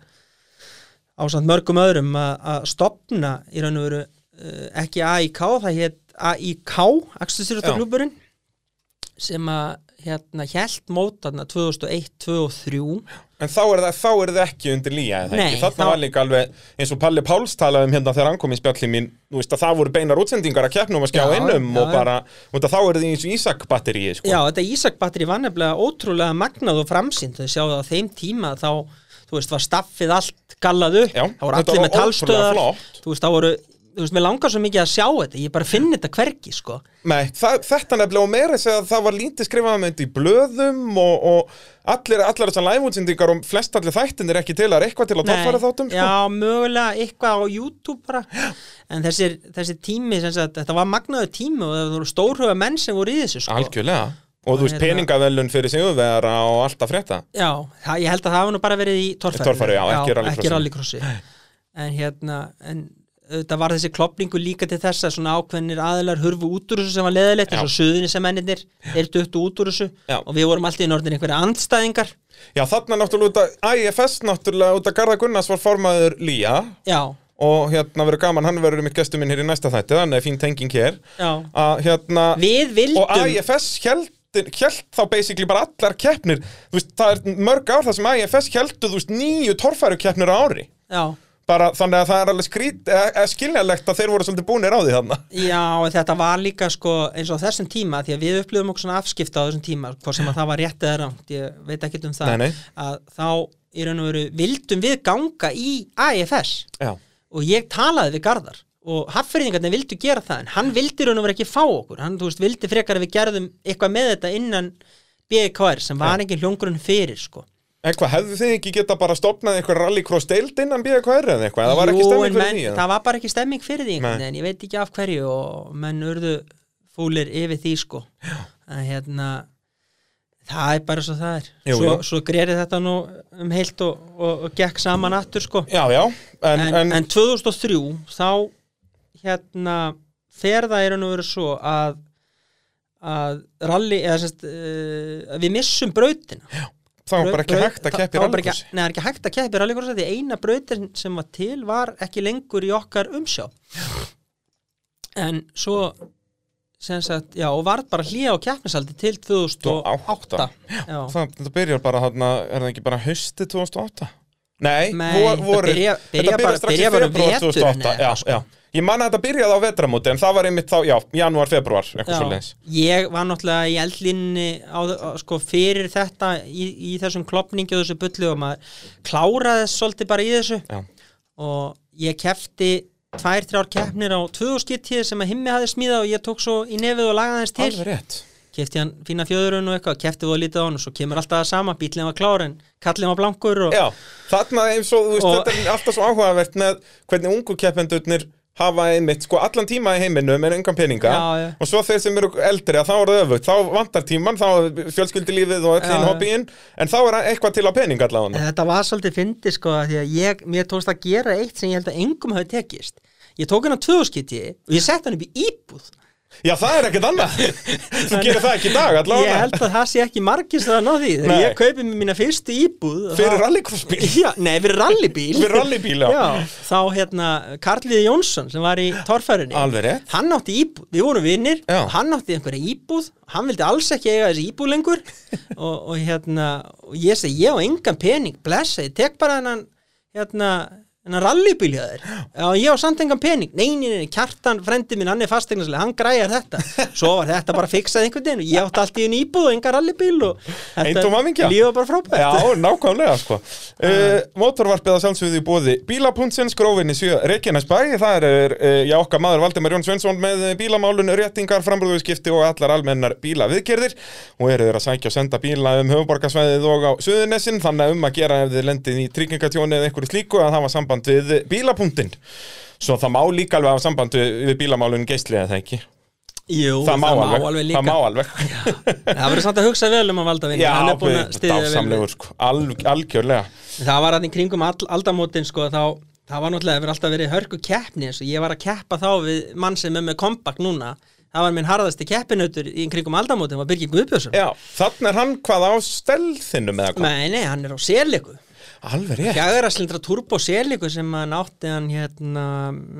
B: ásamt mörgum öðrum að, að stopna í raun og veru uh, ekki AIK, það hétt AIK
A: Já.
B: Akstursýrjóttaklúburinn sem að hérna hjælt mótarna 2001, 2002 og 2003
A: En þá er, það, þá er það ekki undir lýja eða
B: Nei,
A: ekki? Þarna
B: þá-
A: var líka alveg eins og Palli Páls talaði um hérna þegar hann kom í spjalli mín Þú veist að það voru beinar útsendingar að keppnum að skjá
B: Já,
A: innum
B: já,
A: og
B: já.
A: bara út að þá er það eins og Ísak-batteríi sko.
B: Já, þetta Ísak-batteri var nefnilega ótrúlega magnað og framsýnd þau sjáðu á þeim tíma þá, þú veist, var staffið allt gallað upp
A: Já,
B: þá voru
A: þetta
B: allir
A: var
B: með
A: ótrúlega
B: talstöðar
A: flott.
B: þú veist, þá voru þú veist, mér langar svo mikið að sjá þetta ég bara finn þetta hvergi, sko
A: Nei, það, þetta nefnilega og meira að segja að það var lítið skrifað um þetta í blöðum og, og allir, allar þessar læfútsendingar og flest allir þættin er ekki til, það er eitthvað til að
B: Nei,
A: torfæra þáttum sko.
B: Já, mögulega eitthvað á YouTube bara En þessir, þessi tími, sem sagt, þetta var magnaðu tími og það voru stórhuga menn sem voru í þessu, sko
A: Algjörlega Og þú veist
B: Hérna-
A: peningavellun fyrir sigurvegara og allt að frétta
B: Já, það, ég held að það hafa nú bara verið í torfæru,
A: Torfæru, já, ekki rallycrossi.
B: rallycrossi. En hérna, en þetta var þessi klopningu líka til þess að svona ákveðnir aðilar hurfu út úr þessu sem var
A: Já.
B: leðilegt eins og suðinni sem mennirnir er duttu út úr þessu
A: Já.
B: og við vorum alltaf í norðin einhverja andstæðingar
A: Já, þarna náttúrulega út að IFS náttúrulega út að Garða Gunnars var formaður Lía
B: Já,
A: og hérna verður gaman, hann verður mitt gestur minn hér í næsta þætti, þannig er fín tenging hér
B: já
A: að hérna
B: Við vildum
A: og IFS held held þá basically bara allar keppnir þú veist, það er mörg ár það sem IFS heldur þú veist, nýju torfæru keppnir á ári
B: Já,
A: bara þannig að það er alveg skrít, eh, skiljanlegt að þeir voru svolítið búnir á því þarna
B: já, en þetta var líka sko eins og á þessum tíma því að við upplifum okkur svona afskipta á þessum tíma hvort sem að það var rétt eða rámt, ég veit ekkert um það
A: Nei, nei.
B: að þá í raun og veru vildum við ganga í AFS
A: Já,
B: og ég talaði við Garðar og haffyrðingarnir vildu gera það en hann vildi raun og verið ekki fá okkur hann, þú veist, vildi frekar að við gerðum eitthvað með þetta innan BKR sem var engin hljóngurinn fyrir, sko
A: en hvað, hefðu þið ekki geta bara stopnað eitthvað rallycross deild innan BKR eða eitthvað, það var
B: Jú,
A: ekki
B: en
A: stemming fyrir
B: menn-
A: því eða?
B: það var bara ekki stemming fyrir því einhvern
A: Nei.
B: veginn, ég veit ekki af hverju og menn urðu fúlir yfir því, sko en hérna það er bara svo það er
A: Jú,
B: svo,
A: jú.
B: svo greiri þetta nú um heilt og, og, og gekk saman aftur, sko
A: Já, já, en,
B: en, en, 2003 þá hérna fer það er hann að vera svo að að rally eða sérst uh, við missum brautina já,
A: þá er bara ekki hægt að keppi rallycrossi
B: Nei, það er ekki hægt að keppi rallycrossi því eina brautin sem var til var ekki lengur í okkar umsjá en svo sem sagt, já, og var bara hlýja á keppnisaldi til 2008
A: 2008.
B: Já.
A: það, það byrjar bara þarna, er það ekki bara hausti 2008? Nei,
B: Nei,
A: vor-
B: þetta
A: vorið.
B: byrja- byrja
A: þetta
B: bara-
A: byrjar strax í
B: byrja bara um
A: februar
B: veturinn
A: 2008
B: eða sko.
A: já, já. Ég man að þetta byrjaði á vetramóti en það var einmitt þá, já, janúar, februar eitthvað
B: Já,
A: svolítið
B: ég var náttúrulega í eldlinni á, á, sko, fyrir þetta í, í þessum klopningi og þessu bullu og maður kláraði svolítið bara í þessu
A: Já,
B: og ég kefti tvær, þrjár keppnir á 2010 sem að himmi hafi smíðað og ég tók svo í nefið og lagaði hans til
A: alveg rétt
B: kefti hann fína fjöðurun og eitthvað, kefti þú að lítið á hann og svo kemur alltaf það sama, bílinn var klár en kallinn var blankur og
A: Já, þarna eins og, þú veist,
B: Og-
A: þetta er alltaf svo áhugavert með hvernig ungu keppendurnir hafa einmitt, sko, allan tíma í heiminum en engan peninga
B: Já, já.
A: og svo þeir sem eru eldri að þá er það öfugt, þá vantar tíman þá er fjölskyldilífið og
B: Já,
A: öllin
B: já.
A: hobbyin en þá er eitthvað til á pening allavega
B: En Þetta var svolítið fyndi sko af því að ég, mér tókst að gera eitt sem ég held að engum hafi tekist. Ég tók hann á tvöðuskiti og ég sett hann upp í íbúð.
A: Já, það er ekkert annað Þú gerir það ekki í dag
B: Ég
A: allavega
B: held að það sé ekki margir sem það ná því. Þegar
A: Nei.
B: ég kaupi mér mína fyrstu íbúð. og
A: Fyrir
B: það-
A: rallycrossbíl
B: Já, nei, fyrir rallybíl.
A: Fyrir rallybíl, já.
B: Þá hérna, Karliði Jónsson sem var í torfærunni.
A: Alveg rétt.
B: Hann átti íbúð, við vorum vinnir,
A: Já.
B: hann átti einhverja íbúð, hann vildi alls ekki eiga þessi íbúð lengur og, og hérna, og ég segi, ég á engan pening, blessa, ég tek bara hennan, hérna, hennan rallybíl hjá þér. Já, ég á samt engan pening, nei, nei, nei, kjartan, frendi minn, hann er fasteignarslega, hann græjar þetta. Svo var þetta bara fixað einhvern veginn og ég átti allt í einu íbúð og engan rallybíl og þetta
A: Eintóm hamingja.
B: lífið var bara frábært.
A: Já, nákvæmlega sko uh, Mótorvarpið að sjálfsögðu í bóði Bílapuntsins, grófinni sjö, Reykjanesbæ Það er, uh, já, okkar maður Valdimar Jón Svensson með eh, bílamálun, réttingar, frambrúðuskipti og allar almennar bílaviðgerðir og eru þeir að sækja og senda bíla um höfuborgarsvæðið og á Suðunessin, þannig að um að gera ef þið lendið í tryggingatjóni eða einhverju slíku að hafa samband við bílapuntin Svo það má líka alveg hafa samband við, við bílamálun geisli eða það ekki
B: Jú,
A: það má alveg,
B: líka.
A: það má alveg
B: Það verður samt að hugsa vel um að valda vinna
A: Já,
B: hann er búin að
A: við-
B: styðja vel við.
A: dásamlegur sko, alg, algjörlega
B: Það var hann í kringum all, aldamótin sko, þá, það var náttúrulega verið alltaf verið hörku keppni eins og ég var að keppa þá við mann sem er með kompakt núna það var minn harðasti keppinautur í kringum aldamótin var Birgir Guðbjörnsson
A: Já, þannig er hann hvað á stelðinu með hvað
B: Nei, nei, hann er á sérleiku
A: Alveg rétt
B: Gæðaraslindra turbo sérleiku sem hann átti hann hérna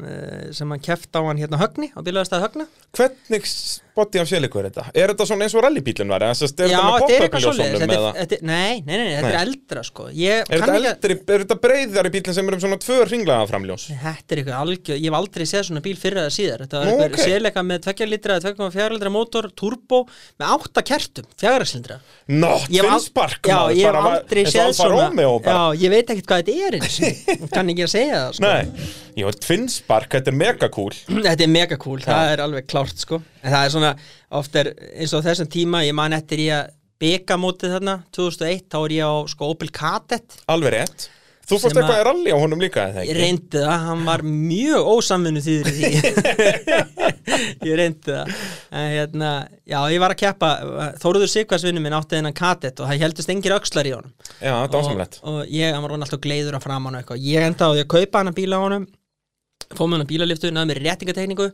B: eh, sem hann keft á hann hérna högni á bílaðastæð högna
A: Hvernig spotti af séleikur er þetta? Er þetta svona eins og rallybílinn var? Já, þetta með
B: Já, þetta er
A: pop-up
B: eitthvað svoleiðis
A: ljósunum
B: þetta er-
A: eða?
B: þetta er- Nei, nei, nei, nei, þetta er
A: Nei.
B: eldra sko Ég
A: Er
B: kann
A: þetta
B: ekki að-
A: eldri, er þetta breiðari bílinn sem er um svona tvö ringlega framljós?
B: Þetta er eitthvað algjör, ég hef aldrei séð svona bíl fyrir eða síðar Þetta var
A: Nú,
B: eitthvað
A: ok.
B: sérleika með 2 litra eða 2,4 litra mótor, turbo með 8 kertum, fjagraslindra
A: Nó, tvinnspark
B: Já, ég hef aldrei séð
A: svona
B: svona
A: Já,
B: Já, ég veit ekkert hvað þetta er einu sinni. Kann ekki að segja það sko.
A: Nei, Jú, tvinnspark, þetta er megakúl
B: Þetta er mega cool, það er alveg klárt sko En það er svona, oft er eins og á þessum tíma, ég man eftir ég að beka mótið þarna, 2001, þá er ég á sko Opel Kadett,
A: Alveg rétt Þú fórst
B: Sem að-
A: eitthvað í rally á honum líka, eða
B: ég
A: ekki?
B: reyndi það hann var mjög ósamvinnu þýður í því Ég reyndi það en hérna, já, ég var að keppa Þóruður Sigvarsvinnu minn átti þennan Kadett og það heldist engir öxlar í honum
A: Já, þetta var samlegt
B: og, og ég, hann var hann alltaf gleiður að framan og eitthvað Ég enda á því að kaupa hann að bíla á honum Fóð með hann að bílaliftu, náði mér réttingatekningu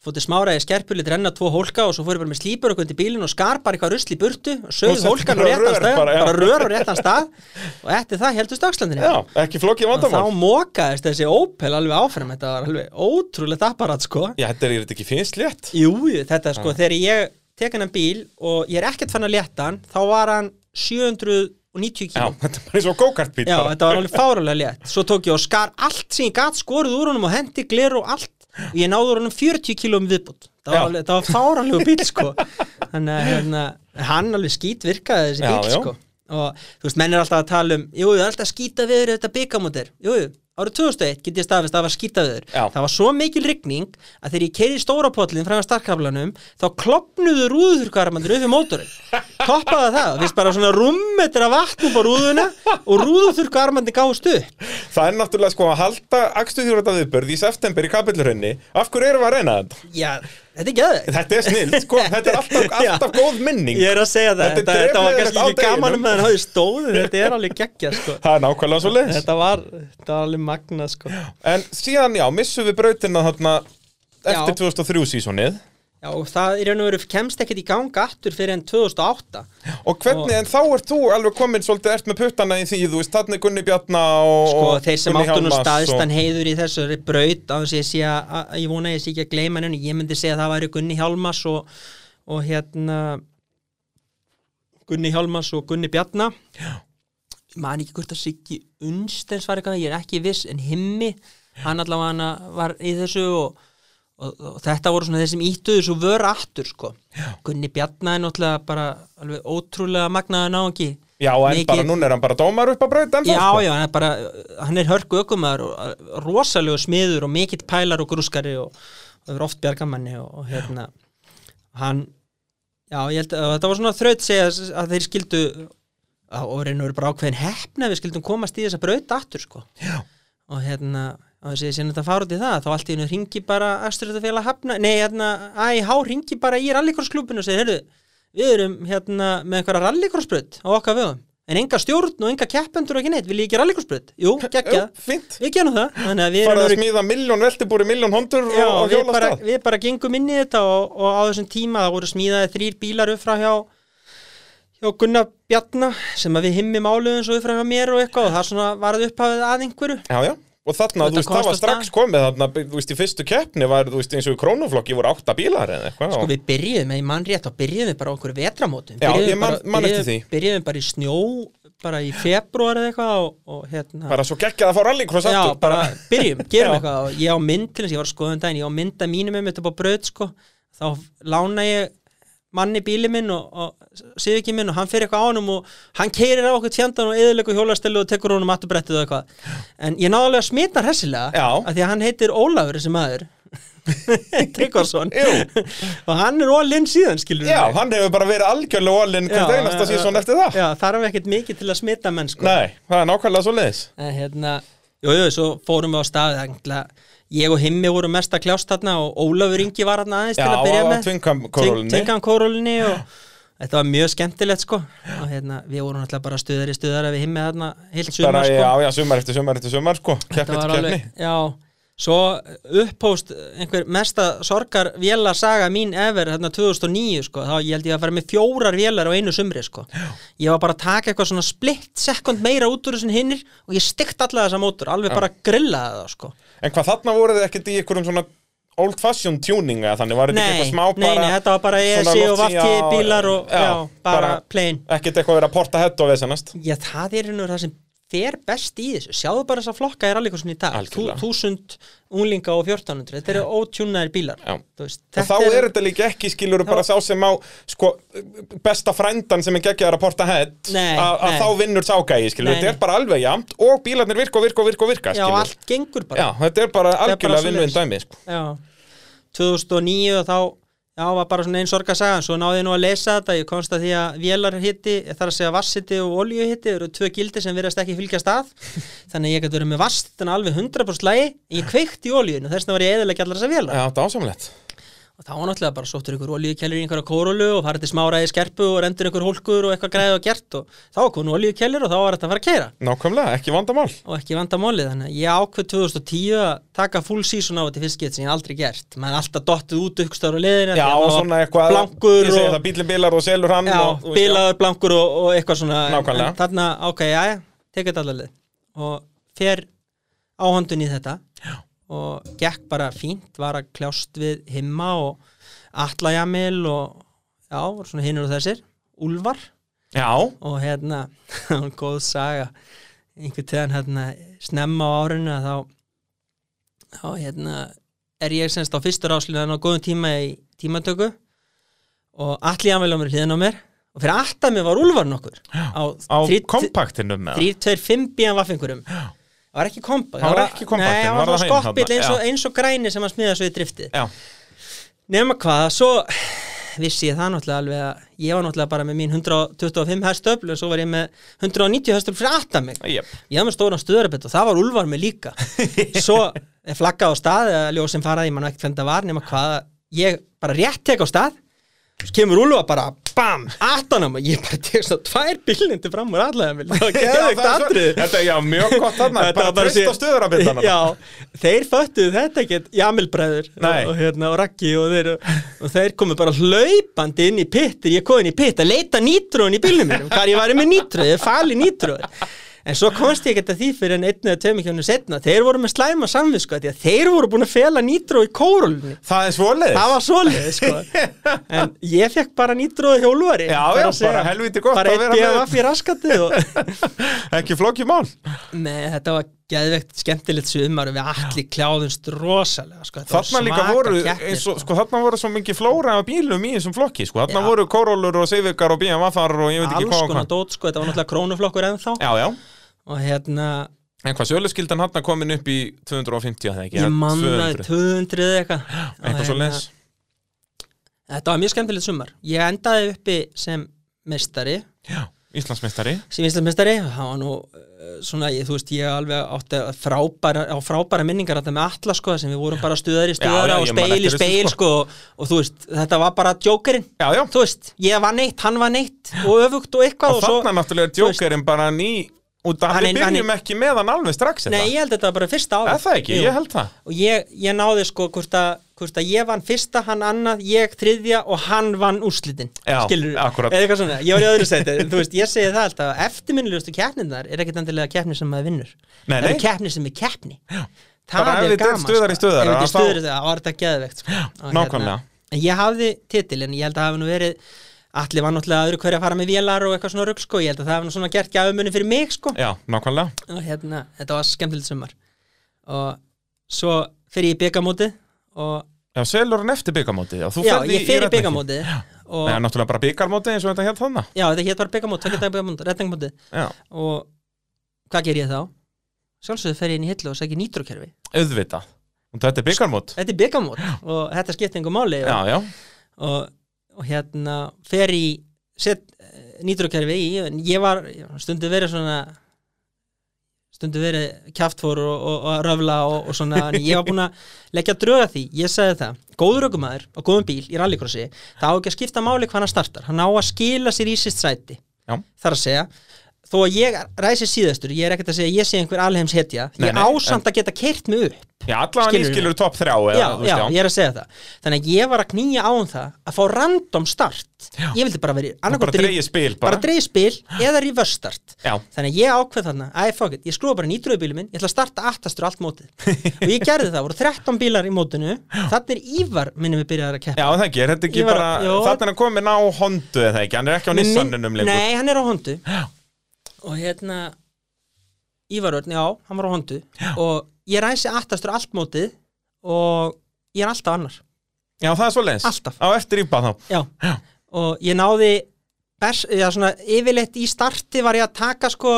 B: Fóð til smáraði skerpu, lit renna tvo hólka og svo fór ég bara með slípur okkur undir bílinn og skar bara eitthvað rusl í burtu og
A: Og
B: sögði
A: setti
B: hólkan á
A: bara
B: réttan
A: rör
B: stað
A: bara,
B: bara,
A: já.
B: rör á réttan stað og eftir það hérna. heldur stökslandinni
A: Já, ekki flókið
B: og þá
A: vandamál
B: mókaðist þessi Opel alveg áfram þetta var alveg ótrúlegt apparat sko
A: Já, þetta er, er þetta ekki finnst létt
B: Jú, jú, þetta
A: Ah.
B: sko, þegar ég tek hann bíl og ég er ekkert fann að leta hann þá var hann 790
A: Já,
B: kíló
A: þetta er bara eins og go-kart-bít
B: Já,
A: bara.
B: þetta var alveg fárulega létt Svo tók ég og skar allt sem ég gat skorið úr honum og hendi gler og allt og ég náði úr honum 40 kílóum viðbútt það
A: Já.
B: var, alveg- það var fáralegu bíl sko Þannig að hérna, hann alveg skýt virkaði þessi
A: Já,
B: bíl
A: já.
B: sko og þú veist, menn er alltaf að tala um jú, það er alltaf að skýta viður þetta byggamótir jú, jú, árið 2001 get ég staðfist að það var skýta viður
A: Já.
B: það var svo mikil rigning að þegar ég keiri í stóra pollin fram að starkaflanum þá klopnuðu rúðurkarmandur upp í mótorinn toppaði það, það finnst bara svona rúmmetra vatn upp á rúðuna og rúðurkarmandi gáðust upp
A: Það er náttúrulega sko að halda akstuðjúrata viðbörð í september í kapillurunni Af hverju erum við að reyna þetta?
B: já, þetta er geðveikt
A: Þetta er snill, sko, þetta er alltaf,
B: Já.
A: alltaf góð minning
B: ég er að segja það,
A: Þetta er
B: þetta, þetta var
A: drefleiðilegt
B: kannski
A: á
B: ekki
A: deginum.
B: gaman um meðan hafði stóðu þetta er alveg geggja sko
A: Það er nákvæmlega svo leiðis
B: þetta var, þetta var alveg magna sko
A: En síðan, já, missum við brautina þarna eftir
B: Já.
A: 2003 sísonið
B: Já, og það í raun og veru kemst ekkert í gang aftur fyrir enn 2008
A: Og hvernig, en þá ert þú alveg komin svolítið ert með puttana í því, þú veist, þarna er Gunni Bjarna og,
B: sko,
A: og
B: þeir sem
A: Gunni
B: áttu nú
A: Hjálmars
B: staðstan heiður í þessari braut á þess að ég sé að, að- ég vona að ég sé ekki að gleyma henni ég myndi segja að það væri Gunni Hjálmas og, og hérna Gunni Hjálmas og Gunni Bjarna Já Man ekki hvort að Siggi Unstens var eitthvað, ég er ekki viss en himmi, hann allavega var í þessu og, og, og þetta voru svona þeir sem íttuðu svo vör aftur sko. Já. Gunni Bjarna er náttúrulega bara alveg ótrúlega magnaði náungi
A: Já, en bara núna er hann bara dómar upp að brauta ennþá,
B: Já,
A: sko.
B: já, hann er bara, hann er hörku ökumæður og rosalegu smiður og mikill pælar og grúskari og það er oft bjargamanni og, og hérna hann, já, ég held að þetta var svona þraut segja að þeir skildu að- og reynur eru bara ákveðin heppna að við skildum komast í þess að brauta aftur sko já. og hérna og þess að ég sinna þetta að fara út í það þá allt í hennu ringi bara Östurðafélag hafna nei, hérna, æhá, ringi bara í rallikorsklubinu og segir, heyrðu, við erum hérna með einhverja rallikorsbrut á okkar vögum en enga stjórn og enga keppendur og ekki neitt, vil ég ekki rallikorsbrut? Jú, geggja,
A: Jú, fínt
B: við gerum það þannig að við
A: Farað að
B: erum
A: smíða milljón veltibúri, milljón hondur
B: Já,
A: og, og
B: við bara,
A: hjólastað
B: við bara gengum inn í þetta og, og á þessum tíma það voru smíðaði þrýr bílar upp frá hjá hjá Gunnar Bjarna sem að við himmi máluðum svo upp frá hjá mér og eitthvað og það svona varð upphafið að einhverju
A: Já, já, og þarna,
B: Þetta
A: þú veist, það
B: komst
A: var
B: af
A: strax
B: stað.
A: komið þarna, þú veist, í fyrstu keppni var, þú veist, eins og í krónuflokki voru átta bílar eða eitthvað
B: sko
A: og-
B: við byrjuðum, ef ég mann rétt þá byrjuðum við bara á einhverju vetramótum
A: Já,
B: Byrjuðum
A: ég man-
B: bara-
A: man eftir
B: byrjuðum-
A: því.
B: byrjuðum bara í snjó bara í februar eða eitthvað og, og hérna
A: Bara svo geggjað að fá rallycross
B: já,
A: aftur
B: bara byrjum,
A: Já.
B: gerum eitthvað og ég á mynd til þess, ég var að skoða um daginn ég á mynd að mínum einmitt upp á braut sko þá lána ég manni bíli minn og, og síðu ekki minn og hann fyrir eitthvað ánum og hann keirir á okkur tjandan og eðilegu hjólastellu og tekur honum attubrettið og eitthvað en ég náðu alveg að smita hressilega
A: Já.
B: af því að hann heitir Ólafur þessi maður Tryggvarsson
A: Jú.
B: og hann er all-in síðan skilur
A: Já, hann hefur bara verið algjörlega ólinn hvert einasta síðan eftir það
B: já, þarf ekkert mikið til að smita menn sko
A: Nei, það er nákvæmlega svo leiðis
B: en hérna, jú, jú, svo fórum við á staðið engla, ég og Himmi voru mest að kljást þarna og Ólafur Ingi var þarna aðeins
A: Já,
B: til að
A: á-
B: byrja
A: á
B: með
A: Twinkam-kórólunni.
B: kórólunni og þetta var mjög skemmtilegt sko og hérna, við vorum alltaf bara stuðari stuðari við Himmi þarna heilt
A: Bara,
B: sumar sko
A: já, já, sumar eftir sumar eftir sumar, sko Keppni
B: þetta
A: til
B: var
A: keppni
B: alveg, já svo upphóst einhver mesta sorgar véla saga mín ever þarna 2009 sko, þá ég held ég að fara með fjórar vélar á einu sumri sko ég var bara að taka eitthvað svona splitt sekund meira út úr þessum hinnir og ég stykt alla þessa mótur, alveg bara grillaði það sko
A: En hvað þarna voru þið ekkert í einhverjum svona old fashion tuning eða þannig var þetta ekki
B: nei,
A: eitthvað smá bara
B: nei, nei, þetta var bara
A: svona
B: ESI og
A: loftsía
B: VFT bílar og já, bara plain
A: Ekkert eitthvað verið að porta hett og vesenast
B: já, það er einhver það sem fer best í þessu sjáðu bara þessa flokka í rallíkursunni í dag
A: Algjörlega.
B: 1000 unglinga og 1400 þetta eru ótjúnaðir bílar
A: Já.
B: Þú veist,
A: og þá er þetta líka ekki skilur bara sá sem á sko, besta frændan sem er geggjaðar að porta hett
B: Nei,
A: að
B: nei.
A: þá vinnur ságæði skilur,
B: Nei,
A: þetta
B: nei.
A: er bara alveg jamt og bílarnir virka og virka og virka og virka
B: já,
A: skilur.
B: allt gengur bara
A: já, þetta er bara
B: bara
A: algjörlega vinnvinn dæmi
B: svoleiðis.
A: sko.
B: Já, 2009 þá já, var bara svona einn sorg að sagja svo náði ég nú að lesa þetta, ég komst að því að vélarhitti, þar að segja vasshitti og oljuhitti eru tvö gildi sem virðast ekki fylgja stað þannig að ég gæti verið með vasshittuna alveg 100% lægi, ég kveikti í oljun og þess vegna var ég eðilega allar þessar vélar
A: já, þetta er ásamlegt
B: og þá var náttúrulega bara sóttur ykkur oljukellir í einhverja kórólu og farið til smáraði skerpu og rendur ykkur hólkur og eitthvað græði og gert og þá kom oljukellir og þá var þetta að fara að keira
A: nákvæmlega, ekki vandamál
B: og ekki vanda málið þannig að ég ákveð 2010 að taka full season á þetta fiskið sem ég hef aldrei gert maður er alltaf dottið út aukstar og liðin
A: já, og svona eitthvað
B: blankur
A: ég segi
B: og,
A: það, bílinn bilar og selur hann
B: já,
A: og, þú veist,
B: bilaður blankur og, og eitthvað svona En-
A: Nákvæmlega.
B: en þarna, ok, já, já, tekið þetta alveg lið og fer áhandun í þetta já. og gekk bara fínt, var að kljást við himma og atlajamil og já, voru svona hinnur og þessir Úlfar
A: já, já,
B: og hérna góð saga einhvern tíðan hérna snemma á árinu að þá þá hérna er ég semst á fyrstur áslíðan á góðum tíma í tímatöku og allir anvel á mér hliðan á mér og fyrir alltaf mér var Úlfar nokkur á,
A: á
B: þrír-
A: kompaktinum með
B: þrír, tveir, fimm bíðan vaffingurum það var ekki kompakt
A: Það var ekki kompakt,
B: nei,
A: en
B: það
A: var
B: var
A: það
B: svona
A: hinn
B: skoppill
A: þarna,
B: eins, og-
A: já.
B: eins og græni sem að smiða svo í driftið
A: já,
B: nema hvað, svo vissi ég það náttúrulega alveg að ég var náttúrulega bara með mín 125 hestöfl og svo var ég með 190 hestöfl fyrir aftan mig
A: jöp
B: ég var með stóran stöðarabett og það var Úlfar með líka svo er flaggað á stað eða ljósin faraði, ég man ekki hvernig það var nema hvað, ég bara rétt tek á stað svo kemur Úlfar bara bam, aftan á mig, ég bara tek svo tvær bílindi fram úr allega vil það var
A: Já,
B: geðveikt
A: það er svo-
B: atrið.
A: Þetta er já, mjög gott þarna,
B: Þetta
A: bara
B: var
A: trist
B: sé-
A: á stöðurabindana
B: Já, þeir föttuðu þetta ekkert Jamilbræður
A: Nei.
B: og, hérna, og Raggi og þeir, og þeir komu bara hlaupandi inn í pittir ég kom inn í pitt að leita nýtrón í bílnum mínum hvar ég væri með nýtrón, ég fali nýtrón en svo komst ég ekkert að því fyrir en einn eða tveimur kjónu setna, þeir voru með slæma samvisku af því að þeir voru búin að fela nýtró í kórólunni
A: Það er svoleiðis
B: það var svoleið sko. en ég fekk bara nýtróðu hjólvari
A: Já, já, bara helvíti gott
B: bara
A: að vera
B: eitt ég
A: með.
B: var fyrir raskandi og...
A: Ekki flókið mál
B: Nei, þetta var geðvegt skemmtilegt sumar og við allir kláðumst rosalega sko. Þetta var
A: Þarna líka
B: svakar
A: voru,
B: keppnir,
A: eins og, sko, þarna voru svo mikið flóra af bílum í þessum flokki, sko Þarna
B: Já.
A: voru korólur og seifirkar og bíamafar og ég veit ekki
B: alls
A: hvað og
B: konar
A: hvað
B: dót sko, þetta var náttúrulega krónuflokkur ennþá
A: Já, já,
B: og hérna,
A: en hvað söluskildan hann komin upp í 250 að það ekki
B: ég
A: eða
B: mannaði
A: 200,
B: 200 eða eitthvað Og hérna,
A: Eitthvað svo les
B: Þetta var mjög skemmtilegt sumar Ég endaði uppi sem mestari
A: Já, Íslandsmeistari
B: sem íslensmestari, það var nú eh, svona, ég, þú veist, ég alveg átti að frábæra, á frábæra minningar þetta með alla sko, sem við vorum bara stuðari,
A: Já, já,
B: stuðara og
A: ég man
B: speil í
A: eftir þessu,
B: speil
A: sko.
B: sko, og, og þú veist, þetta var bara djókerinn
A: Já, já,
B: þú veist, ég var neitt, hann var neitt og öfugt og eitthvað
A: og
B: og, svo,
A: þarna náttúrulega er
B: þú veist-
A: djókerinn bara ný Út af
B: Hann
A: við
B: er- hann er-
A: byrjum ekki með hann alveg strax hérna.
B: nei, ég held að þetta var bara fyrsta ára
A: Er það ekki? Ég held það
B: og ég, ég náði sko hvort að, hvort að ég vann fyrsta, hann annað, ég þriðja og hann vann úrslitin
A: Já,
B: skilur
A: akkúrat.
B: eða eitthvað svona, ég var í öðru seti þú veist, ég segi það alltaf, eftirminnilegustu keppnirnar er ekkit endilega keppnir sem maður vinnur
A: Nei,
B: það
A: nei.
B: er keppnir sem er keppni Já.
A: Bara ef
B: það
A: þetta er
B: er gaman
A: stuðari
B: sko.
A: stuðara,
B: Ef þetta er
A: þá-
B: stuðari stuðara, þá var þetta geðvegt sko. Og
A: nákvæmlega.
B: En ég hafði titil, en ég held að það hafi nú verið Allir var náttúrulega öðru hverju að fara með vélar og eitthvað svona rugg sko, ég held að það hafi nú svona gert gæfumunni fyrir mig sko
A: Já, nákvæmlega
B: og hérna, þetta var skemmtilegt sumar og svo fer ég í byggamótið og
A: Já, selur hann eftir byggamótið Já, þú
B: já,
A: ferð
B: ég fer í
A: reddingin.
B: byggamótið og
A: Það er náttúrulega bara byggarmótið eins og þetta hér þannig
B: já, þetta hétt var byggamótið, tökja dag byggamótið, retningmótið
A: Já,
B: og hvað ger ég þá? Sjálfsögðu fer ég inn í hillu og sæki nýtrókerfi
A: auðvitað Og þetta er byggarmót
B: Þetta er byggamót og þetta skipti engu máli
A: Já,
B: og,
A: já,
B: og, og hérna fer í set nýtrókerfi í, en ég var stundu verið svona stundu verið kjaftfór og, og, og röfla og, og svona, en ég var búinn að leggja dröga því, ég sagði það, góður ökumæður á góðum bíl í rallycrossi, það á ekki að skipta máli hvað hann startar, hann á að skila sér í sitt sæti,
A: Já.
B: þar að segja þó að ég ræsi síðastur, ég er ekkert að segja að ég sé einhver alheims hetja,
A: Nei,
B: ég
A: nei,
B: ásamt að geta keirt mig upp
A: já allavega
B: Skilurðu
A: nýskilur topp þrjá eða,
B: já,
A: þú
B: já,
A: veist,
B: ég er að segja það þannig að ég var að knýja á um það að fá random start ég vildi bara verið
A: Bara dreigir spil bara,
B: bara dreigja spil eða reverse start
A: Já.
B: þannig að ég ákveð þarna, æ, fuck it, ég skrúa bara nýtrúi bílum minn, ég ætla að starta aftastur allt mótið og ég gerði það, voru 13 bílar í mótinu þannig er Ívar minnum við byrjaði að keppa
A: Já, það ekki, er þetta ekki
B: Ég var-
A: bara
B: Jó.
A: Þarna er hann komin á Hondu eða ekki Hann er ekki á
B: Með minn-
A: Nissaninum lengur
B: Nei, hann er á hondu
A: Já.
B: og hérna Ívarörn, já, hann var á hondu og ég ræsi aftastur allt mótið og ég er alltaf annar
A: Já, það er svo leins
B: Alltaf.
A: Á eftir íbað þá
B: já.
A: Já.
B: og ég náði best, já, svona, yfirleitt í starti var ég að taka sko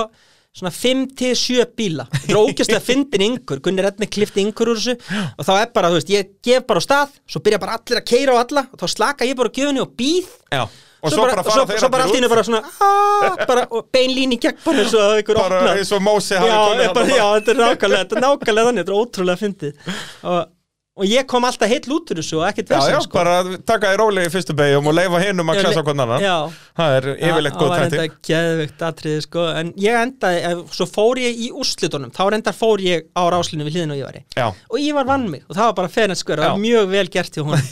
B: svona 5-7 bíla þetta er ógæslega fyndin yngur, Gunni Redmi klifti yngur úr þessu og þá er bara, þú veist, ég gef bara á stað svo byrja bara allir að keira á alla og þá slaka ég bara á gjöfunni og býð
A: Já Og svo, bara fara
B: svo,
A: þeir
B: svo bara allt
A: allir
B: í einu bara svona aaa, bara, og beinlín í gegn bara eins og ykkur
A: Bara
B: opnað
A: eins og Mósi hafi
B: já,
A: komið
B: ég bara,
A: þarna
B: já, þetta er nákvæmlega, þetta er nákvæmlega þannig, þetta er ótrúlega fyndið og, og ég kom alltaf heill út úr þessu og ekkert
A: Já, já,
B: vesinn, sko
A: bara taka þér rólega í fyrstu beigjum og leifa hinum að
B: Já,
A: klessa
B: le-
A: hvern annan
B: já.
A: Það er yfirleitt góð
B: Það var
A: tætti
B: enda geðveikt atriði, sko en ég endaði, ef- svo fór ég í úrslitunum þá reyndar fór ég á ráslinu við hliðin og Ívari
A: Já,
B: og Ívar vann mig og það var bara fennið skver, það
A: Já.
B: var mjög vel gert hjá hún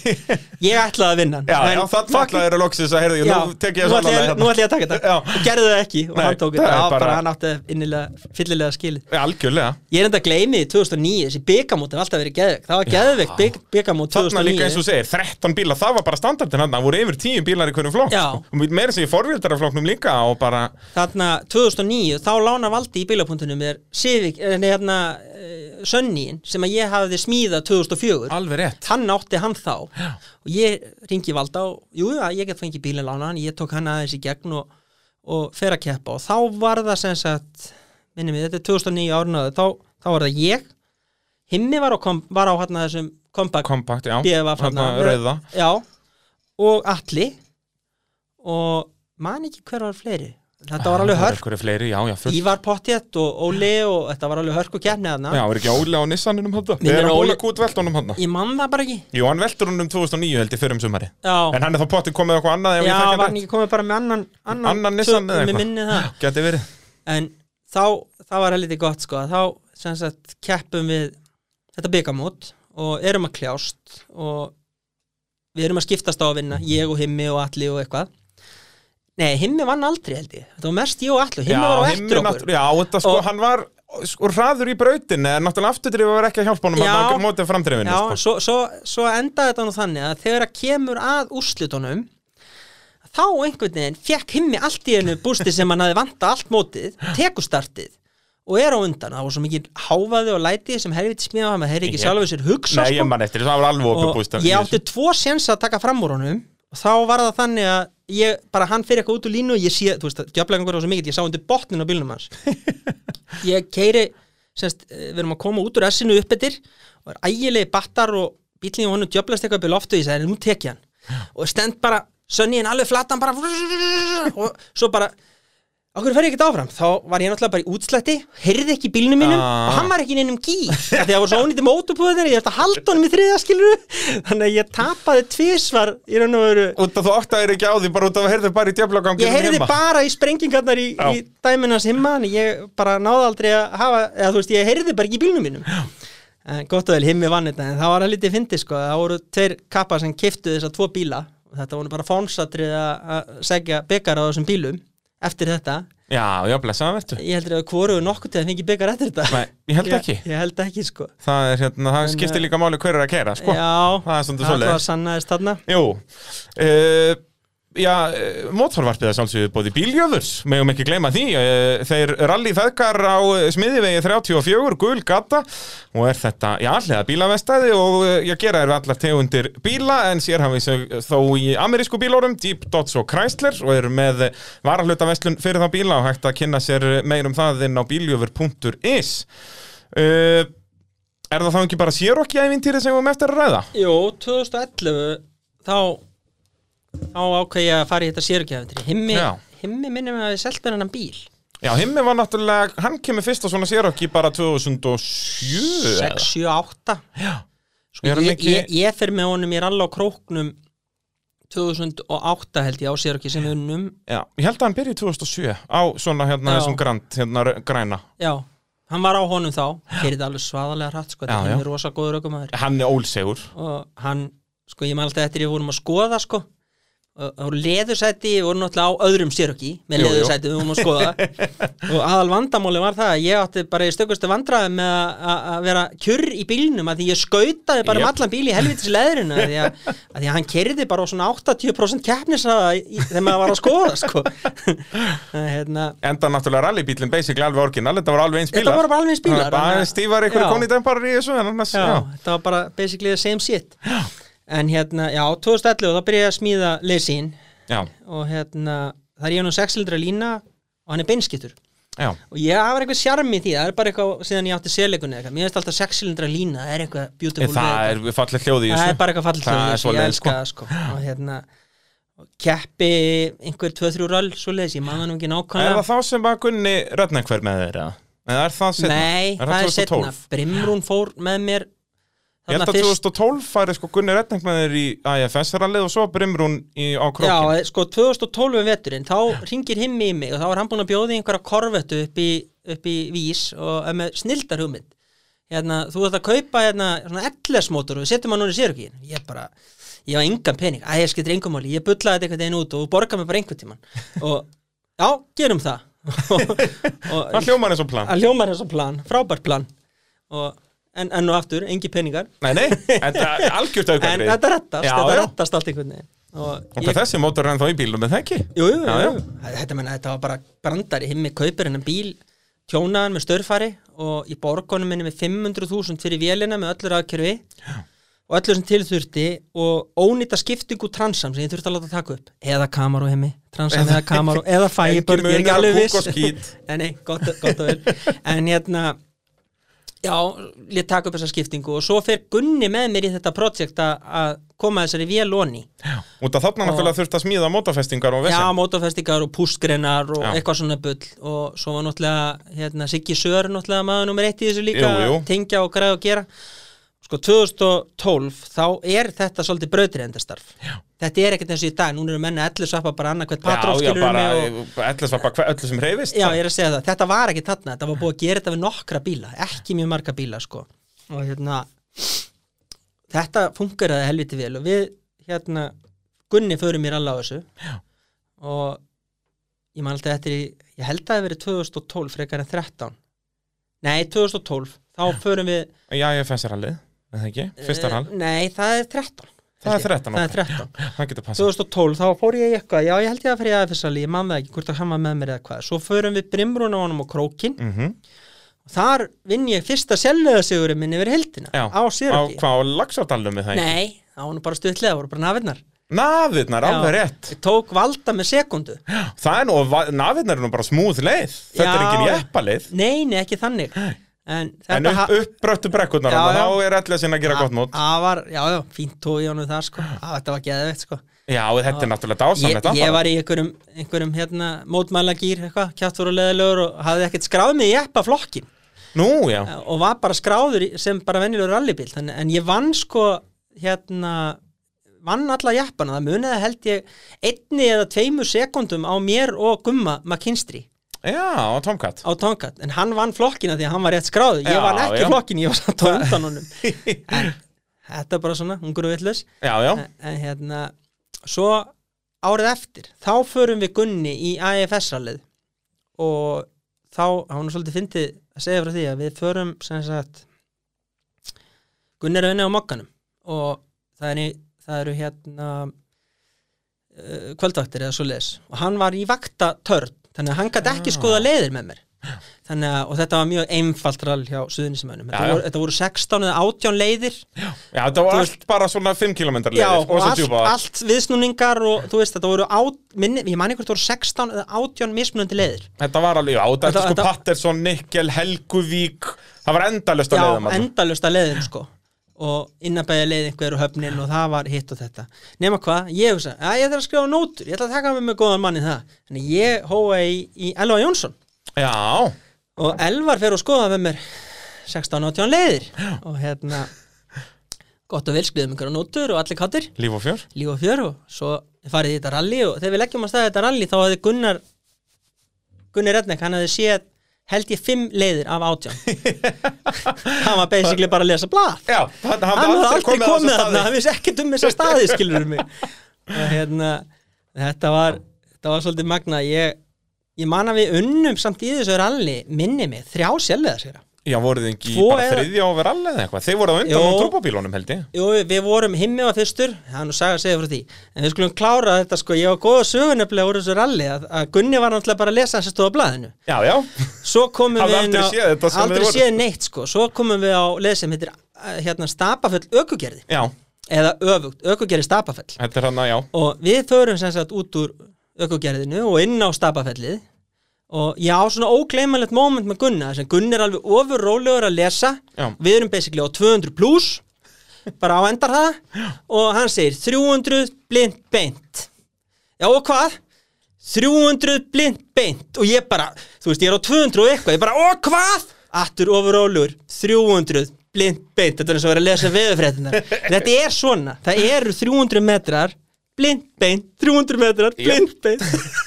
B: ég ætlaði að vinna hann,
A: já,
B: en
A: já þannig
B: fucking-
A: alltaf eru loksins að heyrðu,
B: Já,
A: nú tek ég hérna. þessu
B: nú ætla
A: allavega
B: ég- Nú ætla ég að taka þetta
A: Já.
B: og gerði það ekki og
A: Nei,
B: hann tók
A: það
B: þetta
A: er
B: Já,
A: bara-
B: bara, hann átti innilega, fyllilega skilið
A: Já, Algjörlega
B: Ég er enda að gleymi því 2009, þessi byggamót hef alltaf verið geðvegt Það var geðvegt bygg, byggamót
A: Þarna líka eins og
B: 2009
A: þú segir, 13 bíla, það var bara standardin hann, það voru yfir 10 bílar í hvernig flokk
B: Já.
A: sko. og meira sem í forvildaraflokknum líka og bara,
B: Þarna 2009, þá lána valdi í bílapunktunum er Sivik, eh, nei hérna Sönnín sem að ég hafði smíðað 2004
A: alveg rétt
B: Hann átti hann þá og ég ringi valda og jú, já, ég get fengið bílinn lána hann, ég tók hann aðeins í gegn og, og fer að keppa og þá var það sem sagt, minni mig, þetta er 2009 árnaði, þá, þá var það ég Himmi var á, kom, var á hann þessum kompakt
A: Kompakt, já,
B: BFF
A: Þarna
B: þarna.
A: rauða
B: Já, og Alli og man ekki hver var fleiri þetta var
A: Það
B: alveg
A: eru
B: hörk,
A: einhverju fleiri, já, já, fullt
B: Ívar Pottjett og Óli og þetta var alveg hörk og kjarnið
A: Já,
B: þarna
A: er ekki Óli á Nissaninum hann
B: Minnir
A: Við erum
B: að
A: Óli
B: Óli-
A: kút veltunum hann
B: Ég man það bara ekki
A: Jú, hann veltur honum 2009 held ég fyrir um sumari En
B: Já,
A: hann er þá pottin komið eitthvað annað ef
B: já
A: ég þekki
B: var
A: rétt.
B: hann ekki komið bara með annan annan,
A: Annan Nissan
B: tök-
A: eða
B: Mér
A: eitthvað.
B: minni það
A: Gæti verið
B: En þá, þá var það lítið gott sko að þá sem sagt keppum við þetta byggamót og erum að kljást og við erum að skiptast á að vinna ég og Himmi og Alli og eitthvað Nei, Himmi vann aldrei held ég þetta var mest ég og Alli og Himmi var á
A: Himmi
B: eftir okkur
A: náttúrulega- Já, þetta sko,
B: Og-
A: hann var sko hraður í brautinni en náttúrulega afturdrifið var ekki að hjálpa honum
B: Já.
A: að ná mótið framdrifinu
B: Já,
A: sko.
B: svo, svo, svo endaði þetta nú þannig að þegar að kemur að úrslitunum þá einhvern veginn fekk himmi allt í einu bústi sem hann hafði vanta allt mótið, tekustartið og er á undan, það var svo mikið háfaði og lætið sem helviti smíða hann, það hefði ekki
A: Ég-
B: sjálfur sér hugsa
A: Nei, ég
B: sko.
A: man eftir, það var alveg opið búst
B: og ég átti tvo séns að taka fram úr honum og þá var það þannig að ég, bara hann fyrir eitthvað út úr línu og ég sé, þú veist, djöflæðingur var svo mikið, ég sá undir botnin á bílnum hans ég keiri semst, eh, við erum að koma út úr S-inu uppbyttir og er ægilegi battar og bílinn í honum djöflast eitthvað upp í loftu og ég sagði, nú tek ég hann og stend bara, sönniðin alveg flatan bara og svo bara okkur fer ég ekkert áfram, þá var ég náttúrulega bara í útslætti heyrði ekki í bílnum mínum
A: Ah.
B: og hann var ekki í neinum gýr því það voru svo ónýtti mótupúðir, ég ætti að halda honum í þriða skilur þannig að ég tapaði tvisvar í raun og veru
A: Út af þú áttaðir ekki á því, bara út af að heyrðu bara í djöflaganginum
B: ég heyrði bara í sprengingarnar í,
A: Já.
B: í dæminans himma en ég bara náði aldrei að hafa eða þú veist, ég heyrði bara ekki í bílnum mínum en gott og vel himmi vann þetta en það var að lítið fyndi sko, það voru tveir kappar sem kiftu þessa tvo bíla og þetta voru bara fónsatrið að segja byggar á þessum bílum eftir þetta,
A: Já, já, blessaðan vertu
B: ég heldur að hvoruðu nokkuð til að fengi byggar eftir þetta
A: Nei, ég held ekki
B: ég, ég held ekki sko
A: Það er hérna, það
B: En,
A: skiptir
B: eh,
A: líka máli hver er að kera, sko
B: já,
A: það er svolítið
B: það
A: svoleiðis.
B: var sannaðist þarna
A: Jú uh, Já, uh, mótfarvarpið að sjálfsögðu bóði bíljöfurs, meðum ekki gleyma því uh, Þeir rally feðgar á eh, smiðivegi 34, gul gata og er þetta, já, allega bílavestæði og uh, ég gera þér allar tegundir bíla en sér hafið þau þó í amerísku bílórum, Jeep, Dodge og Chrysler og eru með varahluta fyrir þá bíla og hægt að kynna sér meir um það inn á bíljöfur.is uh, Er það þá ekki bara sér okki ævintýri sem við um eftir að ræða?
B: Jú, 2011 þá þá ákveð ég að fara í þetta sérugjöfandri himmi,
A: Já.
B: himmi minnum að við selta hennan bíl
A: Já, himmi var náttúrulega, hann kemur fyrst á svona sérokki bara 2007 eða?
B: 6, 7, 8
A: Já, Er
B: sko, ég,
A: hann
B: ég,
A: ekki-
B: ég, fer með honum, ég er alveg á króknum 2008 held ég á sérugjöf sem við unnum
A: já, ég held að hann byrja í 2007 á svona hérna
B: Já.
A: þessum grand, hérna r- græna
B: já, hann var á honum þá kerið alveg svaðalega hratt sko,
A: Já,
B: þetta
A: já.
B: er rosa góður ökumæður
A: Hann er ólsegur
B: og hann, sko ég man alltaf eftir ég vorum að skoða sko og það voru leðursæti, við vorum náttúrulega á öðrum séröki með
A: Jú, jú.
B: leðursæti, við vorum að skoða og aðal vandamáli var það að ég átti bara í stökustu vandræði með að- að að vera kjurr í bílnum að því ég skautaði bara um
A: Jep.
B: allan bíl í helvitis leðurinn að, því að, að því að hann kerði bara á svona 80% keppnisraða í- í- þegar maður var að skoða sko. Þannig að, hérna,
A: Enda náttúrulega rallybílinn basically alveg orginal, þetta voru alveg eins
B: Þetta
A: bílar
B: voru bara alveg eins bílar,
A: Það var Bara
B: þannig að-
A: aðeins stífar einhverju
B: Já.
A: konidempar í þessu en annars,
B: já,
A: já,
B: þetta var bara basically the same shit en hérna, já, 2011 þá byrjaði ég að smíða leysín
A: já,
B: og hérna, það er ég nú 6 litra lína og hann er beinskiptur
A: já,
B: og ég það var eitthvað sjarm í því, það er bara eitthvað síðan ég átti selegunni eitthvað, mér finnst alltaf 6 litra lína það er eitthvað
A: Ég,
B: beautiful
A: það
B: við
A: er fallið hljóð í
B: þetta.
A: þessu
B: það er bara eitthvað fallit
A: Það er
B: ég
A: svoleiðis,
B: elska það sko. og hérna og keppi einhver 2-3 röll svoleiðis, ég man það nú ekki
A: Er
B: nákvæmlega
A: það þá sem bara Gunni Rönnekver með þeir, eða? Eða er það setna?
B: nei, það er setna, Brimrún fór með mér
A: Ég held
B: þarna
A: að 2012 færi sko Gunni Rönnekver með þeir í AFS-rallið og svo Brimrún í, á krókin
B: Já, sko 2012 um veturinn þá ringir himmi í mig og þá er hann búin að bjóða í einhverja korvettu upp í, upp í vís og er með snildar hugmynd hérna, þú ert að kaupa hérna, svona ellesmótor og við setjum hann núna í sér ég bara, ég var engan pening að ég skiptir engum máli, ég bullaði þetta einhvern veginn út og borga mig bara einhvern tíman og já, gerum það og,
A: Það hljómar eins og plan
B: að hljóma þessu plan, frábært plan og, en, enn og aftur, engi peningar
A: Nei, nei, þetta er algjört
B: en
A: aukaðrið
B: þetta rettast,
A: Já,
B: þetta
A: já.
B: rettast allt einhvern veginn og
A: Og hvað þessi mótor er ennþá í bílum með það ekki?
B: Jú, jú,
A: Já,
B: jú. Þetta, menna, þetta var bara brandari himmi kaupir hennan bíl tjónaðan með störfari og í borgunum minni með 500.000 fyrir vélina með öllur aðkerfi og öllur sem til þurfti og ónýta skiptingu transam sem ég þurfti að láta taka upp eða Camaro himmi, transam eða Camaro eða Firebird, ég er
A: munur
B: ekki
A: á
B: alveg
A: kúk og
B: viss
A: skít.
B: nei, nei, gott, gott og vel en hérna já, lét taka upp þessa skiptingu og svo fer Gunni með mér í þetta projekt að- að koma þessari vélóni
A: Út af þarna náttúrulega þurft að smíða mótafestingar og
B: Já,
A: vesinn
B: mótafestingar og pústgreinar og
A: Já.
B: eitthvað svona bull og svo var náttúrulega hérna, Siggi Sör náttúrulega maður nummer eitt í þessu líka
A: Jú, jú.
B: tengja og græða og gera Sko 2012 þá er þetta svolítið brautirendastarf Þetta er ekkert eins og í dag, núna eru menna ellu svappa bara annað hvert
A: Já, já,
B: patróskilur
A: bara
B: og...
A: Ellers var bara hver- öllu sem reyfist
B: Já, ég er að segja það, þetta var ekki þarna þetta var búið að gera þetta við nokkra bíla ekki mjög marga bíla sko og hérna þetta funkaraði helviti vel og við hérna, Gunni förum mér alla á þessu Já. og ég man alltaf eftir í, ég held að það hafi verið 2012 frekar en 13 nei 2012, þá förum við
A: Já, ég fæs er hallið, en það ekki, fyrsta hall
B: Eh, nei það er 13
A: Það er 13
B: það
A: ok.
B: er 13
A: Það getur passað
B: 2012 þá fór ég í eitthvað, já ég held ég að fyrir aðeins að ég man það ekki hvort að hann var með mér eða hvað svo förum við brimrún á honum og krókin
A: mm
B: og þar vinn ég fyrsta seljöðasegurinn minn yfir heldina
A: Já,
B: á
A: Á
B: Sýraki
A: hvað, á Laxardalum með það ekki?
B: Nei, þá var nú bara stuðlega, voru bara nafinnar
A: Navirnar, alveg rétt
B: Ég tók valda með sekundu
A: Það er nú, navirnar er nú bara smúð leið Þetta er
B: Já.
A: engin jeppaleið
B: Nei, nei, ekki þannig En
A: En
B: þetta
A: upp,
B: ha-
A: uppbröttu brekkurnar
B: Já,
A: þarna,
B: já.
A: Þá er ellers inn að gera gott mót
B: Það var, já, já, fínt tói honum þar sko Á, Þetta var geðveitt sko
A: Já, og þetta er náttúrulega dásamlegt
B: ég, ég
A: alfarið.
B: var í einhverjum, einhverjum hérna, mótmælagýr, eitthvað, kjátt voru leðilegur og hafði ekkert skráð mig í eppa flokkin
A: Nú, já,
B: og var bara skráður í- sem bara venjulegur rallybíl þannig, en ég vann sko hérna vann alla jappana, það muniði held ég einni eða tveimur sekundum á mér og Gumma McKinstry
A: já, og Tomcat
B: á Tonkat, en hann vann flokkina því að hann var rétt skráður, ég
A: Já,
B: vann ekki
A: já.
B: flokkin ég var satt á undan honum en þetta er bara svona, ungur og villus
A: Já, já,
B: en, en hérna, svo árið eftir, þá förum við Gunni í AFS-rallið og þá, hann er svolítið fyndið að segja frá því að við förum sem sagt Gunni er að vinna á mokkanum og það, er, í- það eru hérna uh, kvöldvaktir eða svo leis og hann var í vakta törn þannig að hann gæti
A: Ah.
B: ekki skoða leiðir með mér þannig að, og þetta var mjög einfalt rall hjá
A: Já,
B: suðunismönnum, þetta,
A: já.
B: voru- þetta voru 16 eða 18 leiðir
A: já þetta var
B: Þú
A: allt bara svona 5 km leiðir
B: Já, og
A: og svo
B: allt,
A: djúpa
B: allt viðsnúningar og þú veist, þetta voru át, minni, ég man ykkur, þetta voru 16 eða 18 mismunandi leiðir
A: Þetta var alveg, já, þetta er
B: Þetta-
A: sko
B: þetta-
A: Patterson, Nikkel, Helguvík Það var endalust að
B: Já,
A: leiða maður
B: endalust að leiðin, sko og innabæja leið einhver og höfnin og það var hitt og þetta nema hvað, ég hugsa, að ég þarf að skrifa nótur ég ætla að taka með mig góðan mann í það þannig ég hóa í, í Elva Jónsson
A: Já,
B: og Elvar fer og skoða með mér 16-18 leiðir og hérna gott og vel skrifum einhverja nótur og allir kattir
A: líf og fjör
B: líf og fjör og svo farið í þetta rally og þegar við leggjum að staða þetta rally þá hefði Gunnar Gunnar Redneck, hann hefði séð held ég fimm leiðir af átján hann var basically bara að lesa blað
A: Já, hann,
B: hann hefði aldrei komið
A: þarna
B: þarna, hann vissi ekkert um þessa staði skilur mig og hérna þetta var, þetta var svolítið magna ég, ég man að við unnum samt í þessu ralli minni mig, þrjá sjálflega sér
A: Já, voruð þið ekki
B: Tvo
A: bara
B: eða-
A: þriðja overall eða eitthvað? Þeir voruð á undan
B: Jó.
A: á trúbabílunum held ég
B: Jú, við vorum himmi var fyrstur, það er nú saga að segja frá því en við skulum klára þetta sko, ég var góða sögunefnilega úr þessu ralli að, að Gunni var náttúrulega bara að lesa hans að stóða blaðinu
A: Já, já,
B: Svo komum
A: Hafði
B: við inn
A: aldrei
B: á-
A: séð þetta sem þið
B: aldrei
A: voru.
B: séð neitt sko, svo komum við á leið sem heitir eh, hérna stapafell ökugerði
A: já,
B: eða öfugt, ökugerði stapafell
A: þetta er hann að já
B: og við förum sem sagt út úr ökugerðinu og inn á stapafellið og ég á svona ógleymanlegt moment með Gunna þess að Gunna er alveg ofur rólegur að lesa
A: Já.
B: við erum basically á 200 plus bara á endar það og hann segir 300 blind beint já og hvað? 300 blind beint og ég bara, þú veist ég er á 200 og eitthvað ég bara og hvað? Attur ofur rólegur 300 blind beint þetta er eins og að vera að lesa veðurfréttina þetta er svona, það eru 300 metrar blind beint, 300 metrar blind beint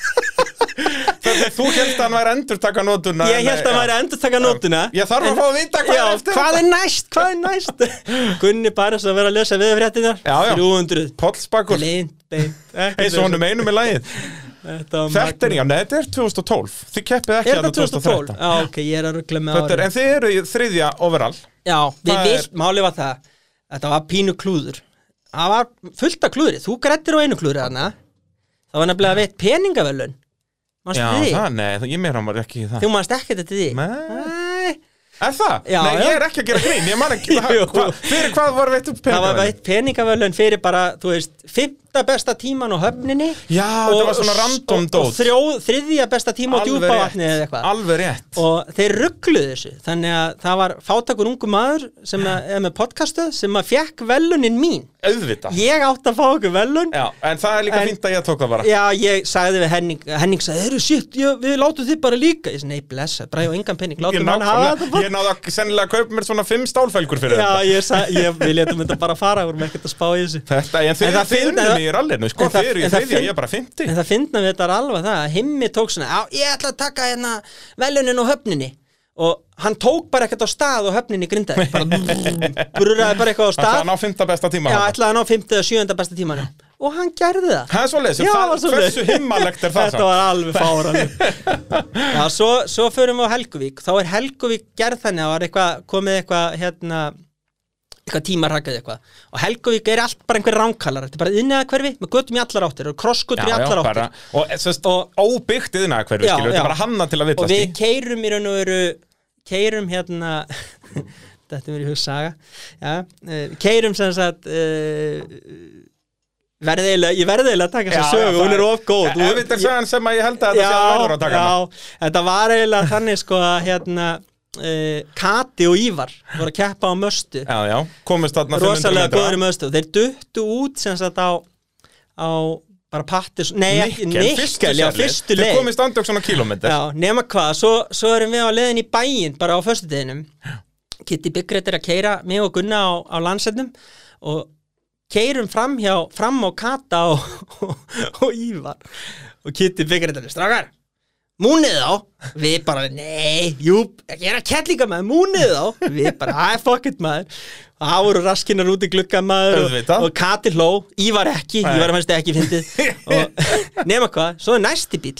A: Þegar þú held að hann væri endurtaka nótuna
B: Ég held að hann væri að endur taka nótuna
A: Ég þarf að
B: En-
A: fá að vita hvað
B: já,
A: er eftir
B: Hvað er næst, hvað er næst Gunni bara svo að vera að lösa við fréttina
A: Já, já.
B: 300
A: Pollsbakur,
B: Blind, beint ekkert
A: eins og honum einum með lagið
B: Þetta,
A: Þetta er, já, nei, þetta er 2012 Þið keppið ekki
B: Er þetta
A: þarna
B: 2012? Já, ok, ég er að ruggla með
A: Þetta er,
B: ári
A: en þið eru í þriðja overall
B: Já, við
A: það
B: vilt, máli var það Þetta var pínu klúður Það var fullt af klúðri, þú grættir á einu klúðri þarna Það var nefnilega veitt peningavelun
A: Já,
B: Manstu því?
A: það, nei, það- ég meira hann var ekki í það
B: Þú manst ekkert þetta því?
A: Nei.
B: Nei
A: Er það?
B: Já,
A: nei,
B: já.
A: ég er ekki að gera grín, ég man ekki
B: Jú.
A: hva, Fyrir hvað var veitt upp
B: það var
A: peningaverðlaun?
B: veitt peningavölun fyrir bara, þú veist, fymta besta tíman á höfninni
A: Já, þetta var svona random
B: og, og
A: dót
B: þrjó, þriðja besta tíma á
A: Alveg
B: djúpavatni eða
A: rétt,
B: eitthvað
A: alveg rétt
B: og þeir ruggluðu þessu þannig að það var fátakur ungu maður sem að, er með podcastu sem að fekk velunin mín
A: Auðvitað
B: ég átti að fá okkur velun
A: Já, en það er líka
B: En-
A: fínt að ég tók það bara
B: Já, ég sagði við Henning Henning sagði, eru shit, ég, við látum þið bara líka Ég sagði, nei, blessa, bræði og engan penning
A: Ég,
B: Látum hann hafa þetta
A: nákvæmlega-
B: bara
A: ég náði að sennilega að kaupa mér svona fimm stálfælgur fyrir
B: Já, ég sagði, ég, við letum þetta bara fara Við erum ekkert að spá í þessu
A: þetta Þetta, en þið
B: En það
A: þið
B: fyndi-
A: unnum í rallinu sko,
B: en það-
A: þið eru í
B: en það
A: þriðja,
B: fyndi-
A: ég er bara fymti
B: En það finna við þetta er alveg það að himmi tók svona, já ég ætla að taka hérna velunin og höfninni og hann tók bara ekkert á stað og höfninni grindaði bara brurraði bara eitthvað
A: Það er
B: á stað
A: ná fymta besta tíma
B: já
A: þarna.
B: ætlaði hann á 50 eða 7. besta tímanum og hann gerði það
A: Það er svoleiðis,
B: Já,
A: það-
B: var svoleiðis.
A: hversu himmalegt er það
B: Þetta var alveg fáran Já, svo, svo förum við á Helguvík þá er Helguvík gerð þannig að það var eitthvað, komið eitthvað hérna, eitthvað tímarhakaði eitthvað og Helguvík er allt bara einhver ránkallar þetta er bara innega með götum í allar áttir og krossgötur í allar áttir
A: bara, og, eh, sest,
B: Og-
A: og óbyggt yðna hverfi
B: Já,
A: skilur, þetta
B: já.
A: er bara hanna til að
B: og
A: villast í
B: við keirum í raun og veru keirum hérna þetta er mér í hug saga ja, uh, keirum sem sagt uh, verðiðilega ég verðiðilega að taka
A: Já,
B: þessa
A: já,
B: sögu,
A: það
B: hún er of góð
A: Ef þetta er sagan sem að ég held að þetta sé að verður að
B: já,
A: taka hana.
B: já, þetta var eiginlega þannig sko að hérna uh, Kati og Ívar voru að keppa á möstu
A: Já, já, komist þarna 500
B: rosalega
A: metra.
B: góður í möstu þeir duttu út sem sagt á, á bara pattis, nei ekki
A: Nikkel, fyrstu
B: Nikkel, já,
A: sérlið.
B: fyrstu
A: Þeir
B: leið
A: komist andjóks svona kílómetr
B: Já, nema hvað, svo, svo erum við á leiðin í bæinn bara á föstudeginum Kitty Byggrætt er að keira mig og Gunna á, á landsetnum og keirum fram hjá, fram á Kata og, og, og Ívar og Kitty Byggrætt er strákar Múnið þá, við bara, nei, jú, ég er að kettlinga maður, múnið þá, við bara, hæ, fuck it maður, og það voru raskinnar út í glugga maður og,
A: Auðvitað.
B: og Kati hló, Ívar ekki,
A: Nei.
B: Ívar fannst ekki fyndið, og nema hvað, svo er næsti bíl,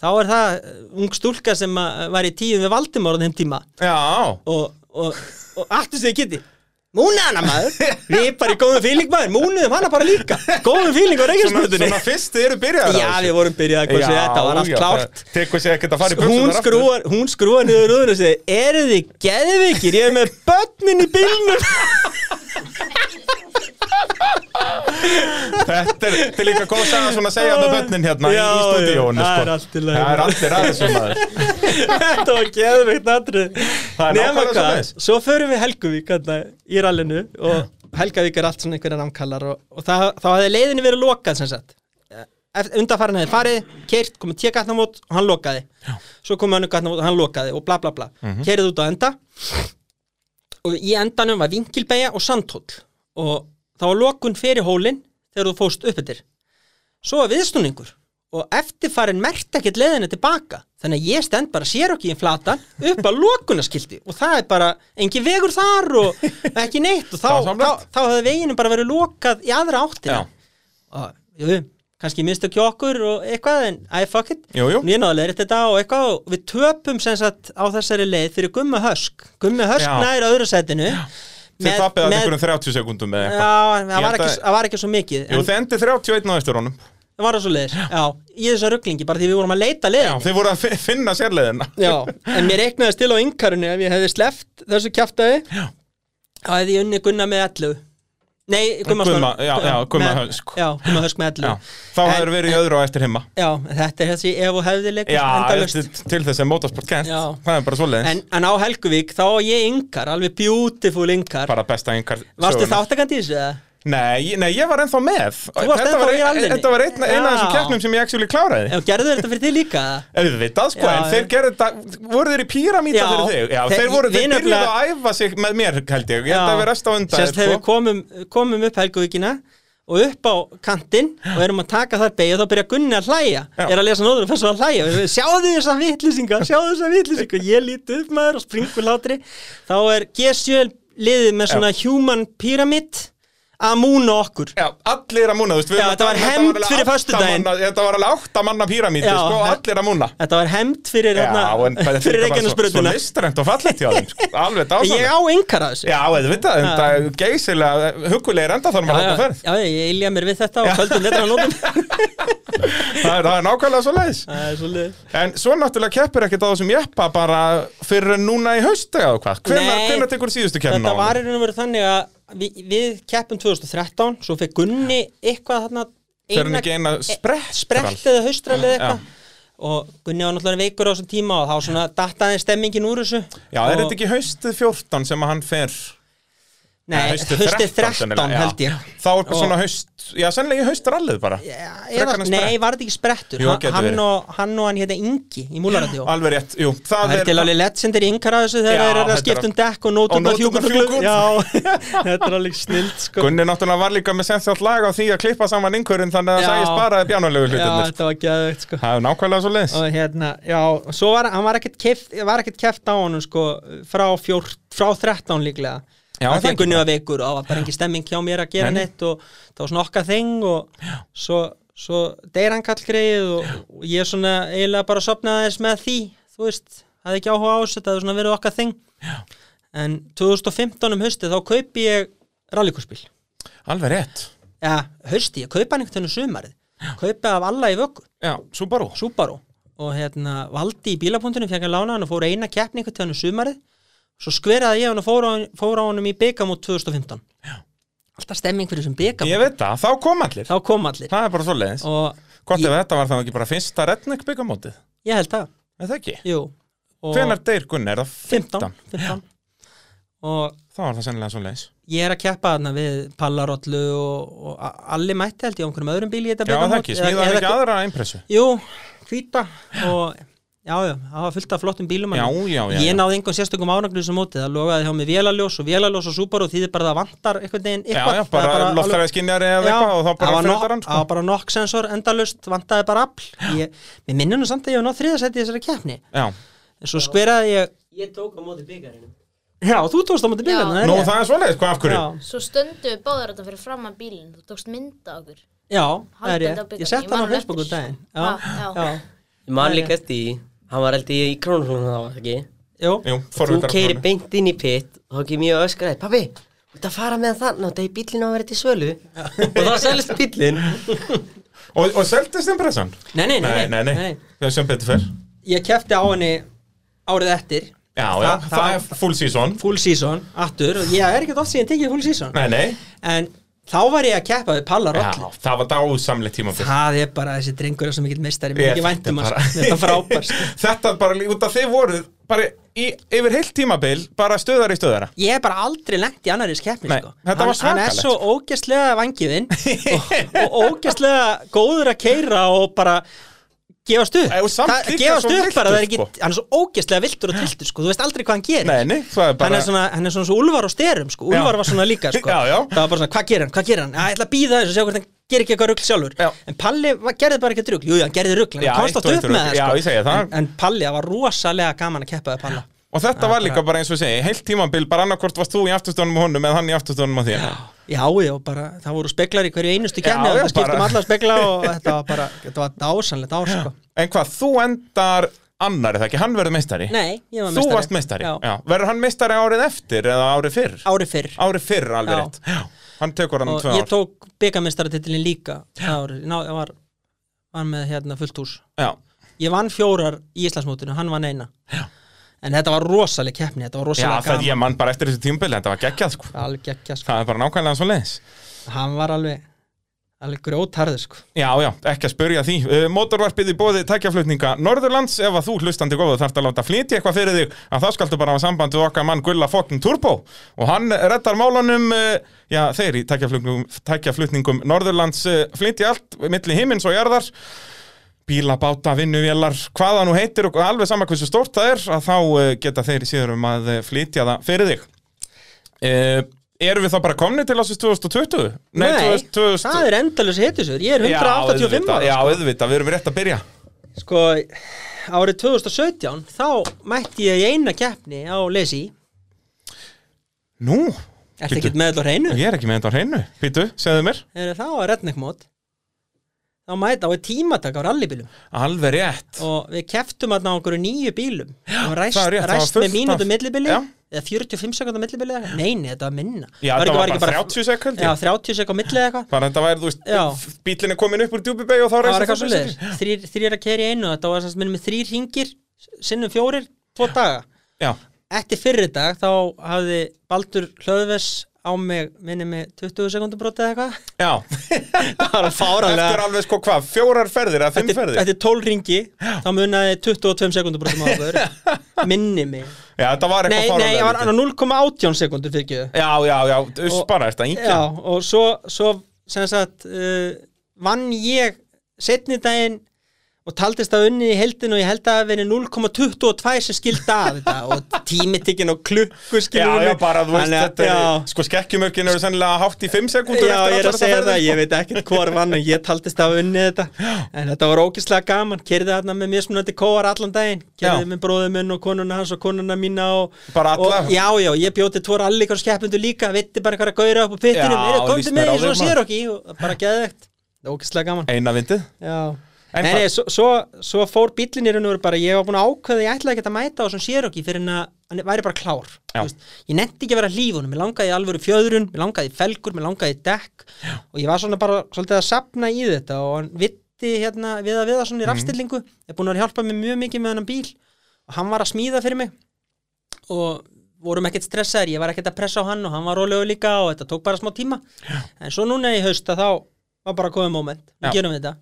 B: þá er það eh, ung stúlka sem að var í tíu við Valdimar á þeim tíma
A: Já,
B: og, og, og aftur sem ég geti múna hana maður, við bara í góðum fíling maður múnuðum hana bara líka, góðum fíling á
A: svona, svona
B: reyngjastmöndunni
A: fyrst eru byrjaðar
B: Já, við vorum byrjað að hversu þetta var allt klárt
A: Tekur sér ekkert að fara í
B: hún
A: buxurnar aftur.
B: skrúar, hún skrúar niður rúðun og segir, eru þið geðvikir ég er með börnin í bílnum
A: Þetta er til líka góð saga svona að segja með börnin hérna í
B: Já, já,
A: stúdíónu
B: það
A: sko.
B: er allt í lagi.
A: Það er allir aðeins um maður
B: þetta var geðvikt atrið
A: Það er
B: nema
A: nákvæmlega
B: hvað,
A: svoleiðis.
B: svo förum við Helguvík þarna, í rallinu og Helgavík er allt svona einhverja námkallar og, og það, þá hafði leiðinni verið lokað sem sagt undanfærin hefði farið, keirt, komið tíu gatnamót og hann lokaði, Já. svo komið hann gatnamót og hann lokaði og bla bla bla, mm út á enda og í endanum var vinkilbeja og sandhóll og þá var lokun fyrir hólinn þegar þú fóst upp yfir svo var viðsnúningur og eftirfarin merkt ekkert leiðinni tilbaka þannig að ég stend bara sér okki í flatan upp að lokunaskildi og það er bara engin vegur þar og ekki neitt og þá, þá,
A: Dásamlegt.
B: þá, hefði veginum bara verið lokað í aðra
A: Já.
B: áttina og jú, kannski mistök hjá okkur og eitthvað en I fuck it
A: Jú, jú.
B: En ég náðu leirið þetta og eitthvað og við töpum sem sagt á þessari leið fyrir Gumma Hösk Gumma Hösk
A: Já.
B: nær öðru sætinu
A: Þið tapið að einhverjum 30 sekundum eða
B: Já,
A: eitthvað.
B: en
A: Ég
B: það var,
A: held
B: ekki,
A: að-
B: það var ekki svo mikið
A: Jú,
B: en
A: þið endið 31 á eftir honum.
B: það var svo leiðis Já, í þessu rugglingi bara því við vorum að leita
A: Já,
B: leiðin
A: þið voru að fi- finna sérleðina.
B: Já, en mér reiknaði til á yngarunni ef ég hefði sleppt þessu kjaftaði
A: Já.
B: þá hefði ég unni Gunna með 11 Nei, Gumma
A: Gumma, já, já, Gumma
B: með-
A: Hösk.
B: Já, Gumma Hösk með 11
A: Já, þá
B: En-
A: hefur verið í öðru á eftir himma.
B: Já, en þetta er þessi ef og hefði leikur
A: Já,
B: endalaust
A: til, til þess að motorsport kent.
B: Já.
A: Það er bara svoleiðis.
B: en, en á Helguvík þá var ég yngar, alveg beautiful yngar
A: Bara besta einhver
B: Varstu þáttakandi í þessu? eða?
A: Nei, ég- nei, ég var ennþá með Þetta
B: varst ennþá
A: var
B: í
A: ein-
B: alvörunni?
A: Þetta var einn ein af
B: Já.
A: þessum keppnum sem ég actually kláraði
B: Já, gerðu þeir þetta fyrir þig líka?
A: Auðvitað sko,
B: Já,
A: en þeir
B: já.
A: gerðu
B: gerðu
A: þetta, voru þeir í píramíta
B: Já.
A: fyrir þig? Já,
B: Þeir-
A: þeir, voru,
B: við
A: þeir byrjuðu
B: nefnilega-
A: að æfa sig með mér, held ég Ég held að við resta á undan sko.
B: Sérst þegar við komum, komum upp Helguvíkina og upp á kantinn og erum að taka þar beigja þá byrja Gunni að hlæja
A: Já.
B: er að lesa nóður og fyrst að hlæja Við- sjáðu þessa vitlýsinga, sjáðu þessa vitlýsinga ég líti upp maður og springur látri þá er G7 liðið með svona human pyramid að múna okkur
A: Já, allir að múna, þú veist við
B: Já,
A: erum að
B: þetta var
A: tala um-
B: hefnd
A: alveg
B: fyrir
A: átta
B: föstudaginn.
A: manna- Þetta var alveg átta manna píramíti,
B: Já,
A: sko, og allir að múna
B: Þetta var hemmt fyrir,
A: Já, en
B: hérna,
A: þetta er bara
B: fyrir
A: svo- Svo
B: reikjarnasbröðuna
A: listrænt og fallegt hjá þeim, sko, alveg
B: Ég
A: dásanlega
B: á yngar að þessu
A: Já, auðvitað, en
B: Já.
A: það er geysilega eh, hugulegir enda þar
B: Já,
A: maður
B: já,
A: halda ferð
B: já, ég ilja mér við þetta og kvöldum þetta á nótum
A: Það er- það er nákvæmlega svo
B: Það er svolítið
A: En svo náttúrulega keppir ekkert á þessum jeppa bara fyrir núna í haust eða hvað? Hvenær,
B: Nei.
A: hvenær tekur síðustu keppin
B: Þetta
A: á
B: var í
A: hann?
B: raun og veru þannig að við, við keppum 2013 svo fekk Gunni eitthvað þarna
A: Fer hann ekki eina sprett?
B: sprett eða haustralið eða
A: Já.
B: eitthvað og Gunni var náttúrulega veikur á þessum tíma og þá svona dattaði stemmingin úr þessu
A: Já,
B: og,
A: er þetta ekki haustið 14 sem að hann fer?
B: Nei,
A: Eða
B: haustið 13,
A: sennilega, já.
B: held ég
A: Þá er bara
B: Og-
A: svona haust, já, sennilega í haustrallið bara.
B: Já,
A: Frekar
B: eða,
A: en sprett.
B: Nei, var þetta ekki sprettur
A: Jú,
B: Hann-
A: getur verið.
B: hann, og, hann og hann hétta Ingi í Múlaradjó
A: Alveg rétt, jú. Það
B: Það er til alveg legendir í yngar að þessu þegar
A: Já,
B: þeir eru
A: þetta
B: að
A: er
B: skipta um
A: að-
B: dekk og
A: og
B: nótum að
A: nóturnar
B: fjúkum
A: fjúka út.
B: Já, þetta er alveg snilt sko
A: Gunni náttúrulega var líka með sensjátt lag á því að klippa saman yngurinn þannig að
B: Já.
A: það sæðist bara bjánulegu
B: Já,
A: hlutirnir.
B: þetta var geðvegt sko
A: Það er nákvæmlega svo leiðis.
B: og hérna, já, og svo var hann var ekkert keft, var ekkert keft á honum sko frá, fjór, frá 13 líklega
A: Já,
B: Af
A: það
B: því að Gunni var veikur og það var bara engin stemming hjá mér að gera
A: Nei, nei.
B: neitt og það var svona okkar þing og svo, svo deyr hann kallgreið og, og ég svona eiginlega bara sopnaði aðeins með því þú veist, hafði ekki áhuga á þessu þetta hafði svona verið okkar þing já. en 2015 um haustið þá kaupi ég rallíkurspil
A: Alveg rétt.
B: eða hausti, ég kaupa hann einhvern veginn um sumarið kaupa af alla í vöku
A: Já, Subaru.
B: Subaru og hérna valdi í bílapunktinu fekk að lána hann og fór eina keppni einhvern tíðan um sumarið svo skveraði ég hann og fór á, fór á honum í byggamót 2015 Já. alltaf stemming fyrir þessum byggamót
A: Ég veit það, þá kom allir.
B: þá kom allir
A: Það er bara svo leiðis.
B: og
A: Gott ef þetta var þá ekki bara fyrsta redneck byggamótið.
B: ég held það
A: Er það ekki?
B: jú og
A: Hvenar deyr Gunni? Er það 15?
B: 15, 15. og
A: Þá var það sennilega svo leiðis.
B: ég er að keppa þarna við Pallarollu og, og a- allir mætti held ég á einhverjum öðrum bíl í þetta
A: Já, er það
B: bikamót.
A: ekki.
B: Eða-
A: Smíðaði
B: eða-
A: ekki aðra impressu.
B: Jú, hvíta og já, já, það var fullt af flottum bílum
A: Já,
B: en
A: já, já, já.
B: Ég náði einhvern sérstökum ánaglu sem móti það logaði hjá mig vélaljós og vélaljós og súpar og því bara það vantar einhvern veginn
A: Já,
B: eitthvað
A: já, bara, bara
B: alveg-
A: loftræði skinjar eða eitthvað og þá
B: það
A: bara
B: var nokk-
A: fredar hann,
B: það
A: sko.
B: var bara nokk sensor endalust, vantaði bara afl ég, Mér minnir nú samt að ég hef náð þriðasæti í þessari keppni
A: Já,
B: en svo skveraði ég
D: Ég tók á móti byggarinu
B: Já, þú tókst á móti bílarna
C: Já.
B: er
A: nú
B: rétt.
A: það er svoleiðis, hvað af hverju?
B: Já,
C: Svo stöndum við báðar þetta fyrir fram að bílinn. Þú tókst mynda okkur.
B: já, það er
C: Haldið á
B: ég
C: bikarnum,
B: Ég sett
C: ég
B: hann á
C: man
B: Facebook um
C: eftir.
B: daginn
C: Ah,
B: Já,
C: já.
B: já,
D: Ég man líka eftir því, hann var held ég í krónuslunum þá, var það ekki?
B: jú
A: Jú,
D: Þú
A: forvitar
D: keiri beint inn í pitt og þá kem ég að öskra þér, pabbi, þú ert að fara með þann og það er bílinn á að vera til sölu og þá selst bílinn.
A: Og, og seldist impressan?
B: Nei, nei, nei,
A: nei, nei,
B: nei.
A: Það er sem betur fyrr.
B: Ég kefti á henni árið eftir
A: Já,
B: Þa-
A: já,
B: það-
A: það er full season.
B: full season, aftur og ég er ekkert oft síðan tekið full season
A: Nei, nei,
B: en þá var ég að keppa við Palla
A: já,
B: Rollu
A: það var dásamlegt tímabill.
B: það er bara þessi drengur er svo mikill meistari mér
A: Ég-
B: er ekki væntum að
A: bara-
B: þetta er frábært sko.
A: Þetta er bara, lí- út af þið voruð, bara í, yfir heilt tímabill, bara stöðar í stöðara.
B: ég er bara aldrei lengt í annari skeppni
A: Nei,
B: sko.
A: þetta var
B: hann er
A: svakalegt,
B: svo ógæstlega vangiðinn og, og ógæstlega góður að keira og bara gefast upp,
A: Eh, og samt
B: Það-
A: líka
B: gefast
A: svo
B: upp bara,
A: villtur,
B: það er ekki,
A: sko.
B: hann er svo ógæstlega viltur og tiltur sko. þú veist aldrei hvað hann gerir
A: Nei, nei, það er bara...
B: hann er svona, hann er svona svo Úlfar og Sterum sko. Úlfar
A: Já.
B: var svona líka sko.
A: Já, já.
B: það var bara svona, hvað gerir hann, hvað gerir hann Já, ég ætla að býða þessu, og sjá hvort hann gerir ekki eitthvað rugl sjálfur
A: Já.
B: en Palli var, gerði bara ekki rugl, jú, jú, hann gerði rugl en
A: Já,
B: hann komst
A: eitt
B: átt
A: og
B: upp
A: eitt
B: með
A: rugl.
B: það sko.
A: Já, ég segi það.
B: en, en Palli, það var rosalega gaman að keppa við Palla
A: Og þetta var líka bara eins og ég segi, heilt tímambil, bara annarkvort varst þú í afturstónum og honum eða hann í afturstónum og þér.
B: Já, já, bara, það voru speklar í hverju einustu
A: Já,
B: kemni og
A: já,
B: það skiptum
A: bara.
B: alla spekla og þetta var bara, þetta var dásanlegt ár, sko.
A: En hvað, þú endar annar, er það ekki? Hann verður meistari?
B: Nei, ég var
A: Þú varst meistari?
B: Já,
A: Verður hann meistari árið eftir eða árið fyrr?
B: ári fyrr.
A: Árið fyrr, alveg
B: Já.
A: rétt. Já. Hann tekur hann
B: og
A: tvö
B: ég
A: ár.
B: tók byggamestaratitlin líka það árið, ná, ég var, var með hérna fullt hús
A: Já.
B: ég vann fjórar í Íslandsmótinu, hann vann eina já. en þetta var rosaleg keppni þetta var
A: Já,
B: rosaleg
A: það
B: gaman
A: ég mann bara eftir þessu tímambil, þetta var geggjað, sko.
B: alveg gekkja, sko.
A: Það er bara nákvæmlega svo leiðis.
B: hann var alveg alveg grjótarður sko.
A: Já, já, ekki að spurja því. Uh, Mótorvarpið í bóði tækjaflutninga Norðurlands, ef að þú hlustandi góðu þarft að láta flytja eitthvað fyrir þig, að þá skaltu bara hafa samband við okkar mann Gulla Fokkin Turbo og hann reddar málunum, uh, já, þeir í tækjaflutningum, tækjaflutningum Norðurlands uh, flytja allt, milli himins og jarðar, bíla, báta, vinnuvélar, hvaða nú heitir og alveg sama hversu stórt það er, að þá uh, geta þeir í síðurum að uh, flytja það fyrir þig. Uh, Erum við þá bara komni til ásins 2020?
B: það er endalus hitusur ég er 185
A: já, auðvitað,
B: ára
A: Já, auðvitað, við erum rétt að byrja
B: sko, árið 2017 þá mætti ég í eina keppni á Lesi
A: Nú,
B: er
A: Bíddu.
B: þetta ekkert með þetta á hreinu?
A: ég er ekki með þetta á hreinu Pítu, segðu mér
B: Heyrðu, þá var retningmót þá mæta á tímatak á rallybílum
A: Alveg rétt
B: og við keftum að ná okkur nýju bílum og ræst,
A: það er rétt, það var
B: ræst
A: fullt
B: með mínútu
A: af-
B: millibili
A: Já.
B: eða 45 sekundar millibili eða eitthvað. nei, nei, þetta var minna
A: Já, þetta var bara 30 sekundi
B: já, 30 sekundar millibili eitthvað
A: Bara þetta væri, þú
B: Já.
A: veist, bílinn er komin upp úr djúbibegi og þá
B: það var
A: reisir
B: eitthvað svo leiðis þrýr að keri einu þetta var sem minnum með þrýr hringir sinnum fjórir, tvo daga
A: Já,
B: eftir fyrri dag þá hafði Baldur Hlöðves á mig minni með 20 sekundar brotið eitthvað
A: já
B: það var
A: Eftir
B: fáralega
A: alveg sko hvað, fjórar ferðir eða fimm
B: eftir,
A: ferðir
B: eftir 12 ringi þá munaði 22 sekundar brotið maður minni mig
A: Já, þetta var
B: Nei,
A: eitthvað
B: nei, ég var
A: fáránlega lítið.
B: annað 0,18 sekundur fyrir ekki
A: Já, já, já, þú veist
B: Og-
A: bara þetta
B: Já,
A: yngja
B: og svo, svo sem sagt, uh, vann ég setni daginn og taldist að unni í heldin og ég held að það hafi verið 0,22 sem skilda af þetta og tímitikinn og klukku
A: Já,
B: skilur
A: já, bara, þú veist, þetta
B: já,
A: er Sko, skekkjumörkin eru sennilega hátt í fimm sekundur
B: já, ég er að segja það,
A: sko.
B: ég veit ekkert hvort vann en ég taldist að unni þetta en þetta var ógislega gaman, kerði þarna með mér smunandi kóar allan daginn,
A: Já.
B: kerði með bróðum minn og konuna hans og konuna mína og
A: Bara alla?
B: og, Já, já, ég bjóti tvo allikar skeppundu líka, vitti bara einhverja gauðra upp á pittinum,
A: Já,
B: er
A: líst
B: það komið
A: mér á
B: með í
A: þig,
B: svona
A: maður.
B: sér okki og bara geðvegt, ógislega gaman
A: Eina vindið
B: Já
A: En
B: En
A: það-
B: nei, nei, svo, svo, svo fór bíllinn í raun og veru bara, ég var búin að ákveða, að ég ætlaði ekki að mæta á svona sér okki fyrir en að hann væri bara klár
A: Já.
B: Þú veist, Ég nefndi ekki að vera hlífunum, ég langaði í alvöru fjöðrun, ég langaði í felgur, ég langaði í dekk Já. og ég var svona bara svolítið að sapna í þetta og hann vitti hérna við að viða svona í rafstillingu, er búin að vera að hjálpa mér mjög mikið með hennan bíl og hann var að smíða fyrir mig og vorum ekkert stressaðir, ég var ekkert að pressa á hann og hann var rólegur líka og þetta tók bara smá tíma Já. en svo núna í haust að þá var bara komið moment, við
A: Já.
B: gerum þetta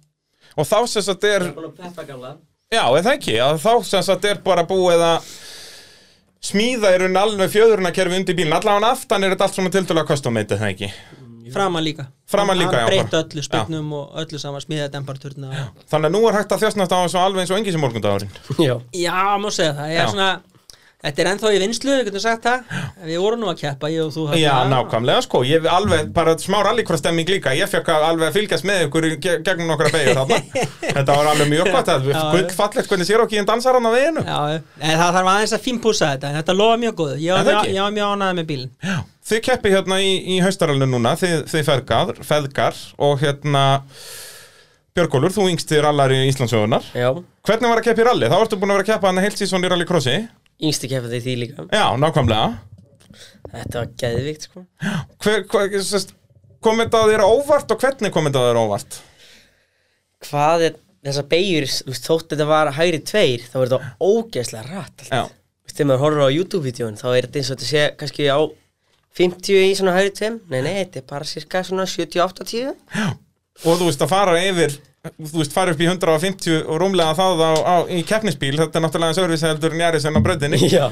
A: Og þá sem sagt er
D: Búin að peppa gamla
A: Já, eða ekki, að þá sem sagt er bara búið að smíða í raunin alveg fjöðurinakerfi undir bílinn allavega aftan er þetta allt svona tildulega custom-made eða ekki
B: Framan líka
A: Framan líka, já,
B: Hann breyta
A: bara.
B: öllu spilnum og öllu saman smíðaði temparaturna Já,
A: þannig að nú er hægt að þjóstnast á þessu alveg eins og engi sem morgundagurinn
D: Já
B: já má segja það Ég
A: Já.
B: er svona Þetta er ennþá í vinslu, við getum sagt það Við vorum nú að keppa, ég og þú þarna.
A: Já, nákvæmlega sko, ég hef alveg bara smá rallycross stemming líka, ég fekk að alveg að fylgjast með ykkur í ge- gegnum nokkra beigja þarna Þetta var alveg mjög gott, það
B: Já,
A: er gullfallegt hvernig sér okkur í en dansar hann á veginu
B: Já, en það þarf aðeins að fínpúsa þetta en Þetta lofa mjög góðu, ég
A: En
B: var
A: það
B: mjög-
A: ekki?
B: ég var mjög ánæði með bílinn
A: Þið keppi hérna í, í haustaralinu núna, þið, þið feðgar, feðgar og hérna Björgólfur, þú yngstir allar í Íslandsögunar
D: Já
A: Hvernig var að keppa í rally? Þá ertu búin að vera að keppa hann heilt síðan í rallycrossi
D: Yngsti keppandi í því líka
A: Já, nákvæmlega
D: Þetta var geðvikt sko
A: hver, hver, sest, Kom þetta þér á óvart og hvernig kom þetta þér á óvart?
D: Hvað er Þessar beigjur Þú veist þótt þetta var hægri tveir Þá var þetta ógeðslega rætt
A: Já,
D: Þú veist þegar maður horfður á YouTube-vídeón Þá er þetta eins og þetta sé Kannski á 50 í svona hægri tveim Nei, nei, þetta er bara cirka svona 70-80
A: og þú veist að fara yfir þú veist fara upp í 150 og rúmlega það á, á, í keppnisbíl, þetta er náttúrulega service heldur en jæri sem á bröðinni
D: Já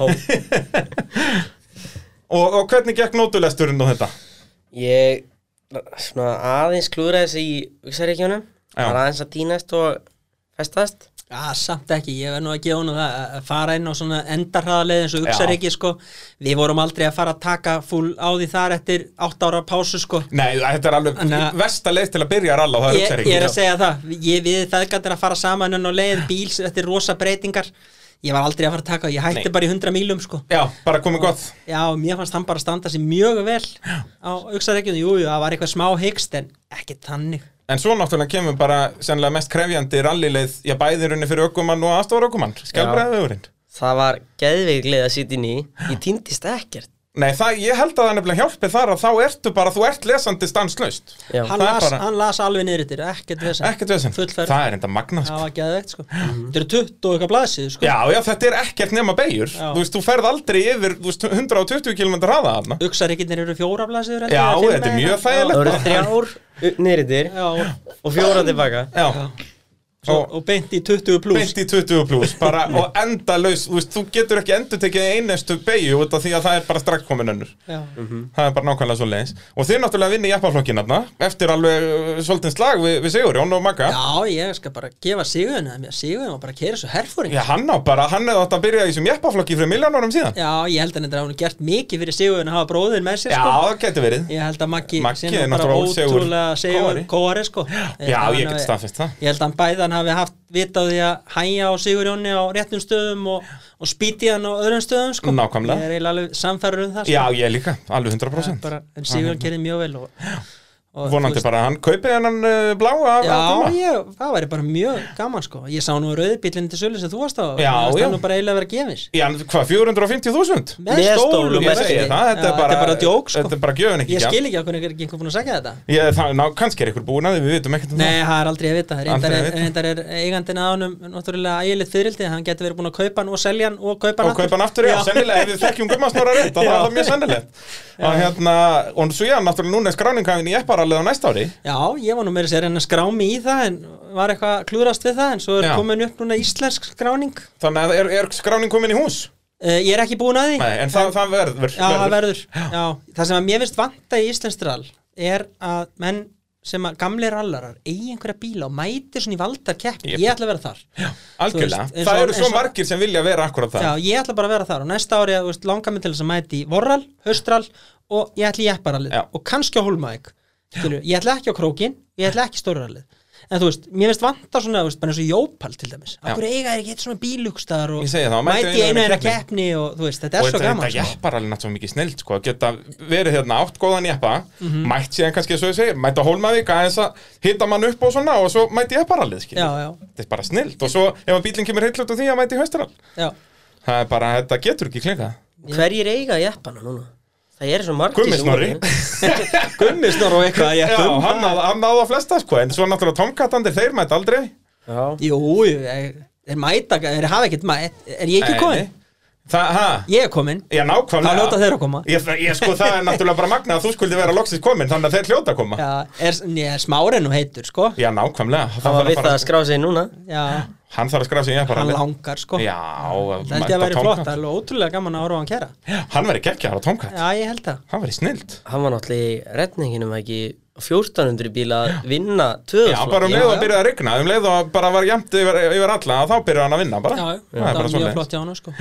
A: og, og hvernig gekk nótulesturinn og þetta?
D: Ég Svona aðeins klúðraði þessi í Uxaríkjónum
A: Já.
D: Það var aðeins að týnast og festast
B: Já, samt ekki, ég verð nú að gefa hún það að- að fara inn á svona endarhraðaleið eins og uksar ekki, sko Við vorum aldrei að fara að taka fúl á því þar eftir 8 ára pásu, sko
A: Nei, þetta er alveg
B: Anna-
A: versta leið til að byrja að ralla og það er
B: ég,
A: uppsæri
B: ég er að segja það, ég við feðgættir að fara saman en á leið bíl, þetta er rosa breytingar ég var aldrei að fara að taka ég hætti
A: Nei.
B: bara í 100 mílum sko
A: Já, bara komið gott
B: já, mér fannst hann bara standa sér mjög vel á auksareikjunum, jú, jú, það var eitthvað smá hyggst en ekki þannig
A: En svo náttúrulega kemur bara sennilega mest krefjandi rallileið Já, bæði runni fyrir ökumann og aðstofar ökumann Skjálbræðið öfurinn
D: Það var geðveiklið að sitja inn í Ég týndist ekkert
A: Nei, það, ég held að það nefnilega hjálpi þar að þá ertu bara, þú ert lesandi stanslaust
D: Já,
B: hann
A: það er
B: las,
A: bara-
B: hann las alveg niður yttir, ekkert vesen
A: Ekkert veginn,
B: Fullferð.
A: það er enda magnað sko.
B: það var geðvegt sko þetta eru 20 og eitthvað blaðsið sko
A: Já, já, þetta er ekkert nema beigur
B: Já.
A: Þú veist, þú ferð aldrei yfir þú veist, 120 km hraða þarna
B: auksareikjunir eru fjóra blaðsið
A: Já, þetta er mjög
D: það
A: þægilegt.
D: voru þrjár neyriðir
B: já,
D: og fjóra tilbaka
A: Já,
B: svo,
A: Og-
B: og beint í 20 pluss
A: beint í 20 pluss bara, og endalaus, þú veist, þú getur ekki endur tekið einestu beigju út af því að það er bara strax komin önnur
B: já,
A: það er bara nákvæmlega svo leiðis og þið náttúrulega vinni jeppaflokkinarna eftir alveg uh, svolítinn slag við, við Sigurjón og Magga
B: já, ég skal bara gefa sigurinn að mér sigurinn var bara að kera svo herfóring
A: Já, hann á bara, hann hefði átt að byrja í þessum jeppaflokki fyrir miljónarum síðan
B: Já, ég held að þetta hafa gert mikið fyrir Sigurinn að hafa bróðin með sér
A: Já,
B: sko.
A: það getur verið
B: Ég held að Maggi,
A: Maggi
B: sé nú
A: er
B: bara
A: náttúrulega Sigur
B: ótrúlega Sigur
A: Kóari.
B: Kóari sko.
A: Já, ég
B: held að hann
A: get
B: hafi-
A: staðfest það.
B: Ég held að hann bæðan hafi haft vit á því að hæja á Sigurjóni á réttum stöðum og, og spýti hann á öðrum stöðum sko.
A: Nákvæmlega.
B: Ég er eiginlega alveg samfærður um það
A: Já, ég líka, alveg 100%
B: bara, En Sigurjón kerði mjög vel og, og,
A: Vonandi
B: þú
A: bara að hann kaupi hennan uh, blá af
B: Já,
A: af Gumma.
B: ég, það væri bara mjög gaman sko Ég sá nú rauðbílinn til sölu sem þú varst á
A: Já,
B: Það
A: já.
B: er nú bara eiginlega að vera gefins
A: Já, en hvað, 450.000?
B: Með
D: Með
B: stólum,
D: stólum,
A: Ég
D: Ég
A: segi
D: veit.
A: það, þetta
B: Já,
A: er bara
B: Þetta er bara djók sko
A: Þetta er bara gjöfun ekki
B: Ég
A: gjald.
B: skil ekki okkur ekki einhver búin að segja þetta
A: Ég, það, ná, kannski er ykkur búin að því, við vitum ekkert um
B: Nei, það er aldrei að vita Reyndar
A: Aldrei að
B: er,
A: vita.
B: reyndar er eigandinn að honum Náttúrulega ægilegt fyrirldi Hann getur verið búin að kaupa hann og selja hann Og kaupa
A: það
B: hann
A: og kaupa hann aftur, já, sennilega ef við þekkjum gummasnóra rétt, þá er
B: Já.
A: það mjög sennilegt og hérna, og svo ég náttúrulega núna er skráningafin í epparallið á næsta ári
B: Já, ég var nú meira að segja að reyna að skrá mig í það En var eitthvað að klúðrast við það En svo er
A: Já.
B: komin upp núna íslensk skráning
A: þannig að er, er skráning komin í hús
B: uh, Ég er ekki búin að því
A: Nei, en það, það verður, verður.
B: Já, það verður Já, það sem að mér finnst vanta í íslenskt rall Er að menn sem að gamli rallarar eigi einhverja bíla og mæti svona í valdar keppni
A: Jep.
B: ég ætla að vera þar já,
A: algjörlega,
B: Þú veist, eins
A: það
B: og-
A: eru svo
B: eins og-
A: margir sem vilja vera akkurat það
B: ég ætla bara að vera þar og næsta ári þú veist, langar mig til þess að mæti í vorral, höstrall og ég ætla í epparallið
A: Já.
B: og kannski á hólmaðik ég ætla ekki á krókin, ég ætla ekki stórarallið en þú veist, mér finnst vanta svona þú veist, bara eins og jópal til dæmis okkur eiga er ekki eitt svona bílugstaðar og
A: Ég segi það, mæti
B: mæti
A: einu
B: einu
A: þeirra
B: þeirra keppni og þú veist, þetta
A: og
B: er svo
A: þetta
B: gaman
A: þetta
B: sko.
A: jepparallið náttúrulega mikið snild sko, að geta verið hérna átt góðan jeppa
B: Mhm.
A: mætt síðan kannski svo ég segir, mæta Hólmavík aðeins að hitta mann upp og svona og svo mæti jepparallið, skilur
B: Já, já.
A: þetta er bara snild og svo ef að bílinn kemur heillut og því að mæti höstarall
B: Já.
A: það er bara, þetta getur ekki klingað
D: Hverjir eiga jeppana núna? Það er svo margir
A: Gummi
D: sem
A: Snorri.
D: voru. hérna.
B: gummisnor og eitthvað
A: Já,
B: jeppum.
A: hann náði hann náði að flesta sko, en svo náttúrulega tomkatandir, þeir mæta aldrei
D: Já,
B: jú, jú, er, er mæta er, hafa ekkert mætt, er ég ekki
A: Nei,
B: komin?
A: Það, hæ?
B: ég er komin,
A: Já, nákvæmlega
B: Þá hljóta þeir að koma.
A: Ég, ég sko, það er náttúrulega bara magnað að þú skuldi vera loksins komin, þannig að þeir hljóta að koma Já,
B: já, er, ég er smárinn og heitur sko
A: nákvæmlega
D: það var
A: þarf
D: við það að
A: bara-
D: skrá sig núna
B: já,
A: Hann þarf að skrafa sig í
B: hann
A: epparallið
B: langar sko
A: Já,
B: Það held ég að væri flott, það er alveg ótrúlega gaman að horfa á hann kæra
A: flott Hann verið geggjaðar á Tomcat
B: Já, ég held það
A: Hann verið snild
D: Hann var náttúrulega í retninginum ekki á 1400 bíla að
A: Já,
D: vinna
A: bara um leið
D: tvöðusflokk
A: og
B: sko, já.
A: að byrja að rigna Um leið og bara var jæmt yfir, yfir alla Þá byrjar hann að vinna bara
B: Já, já,
A: Það er bara
B: það var mjög
A: svoleiðis.
B: flott hjá hann sko.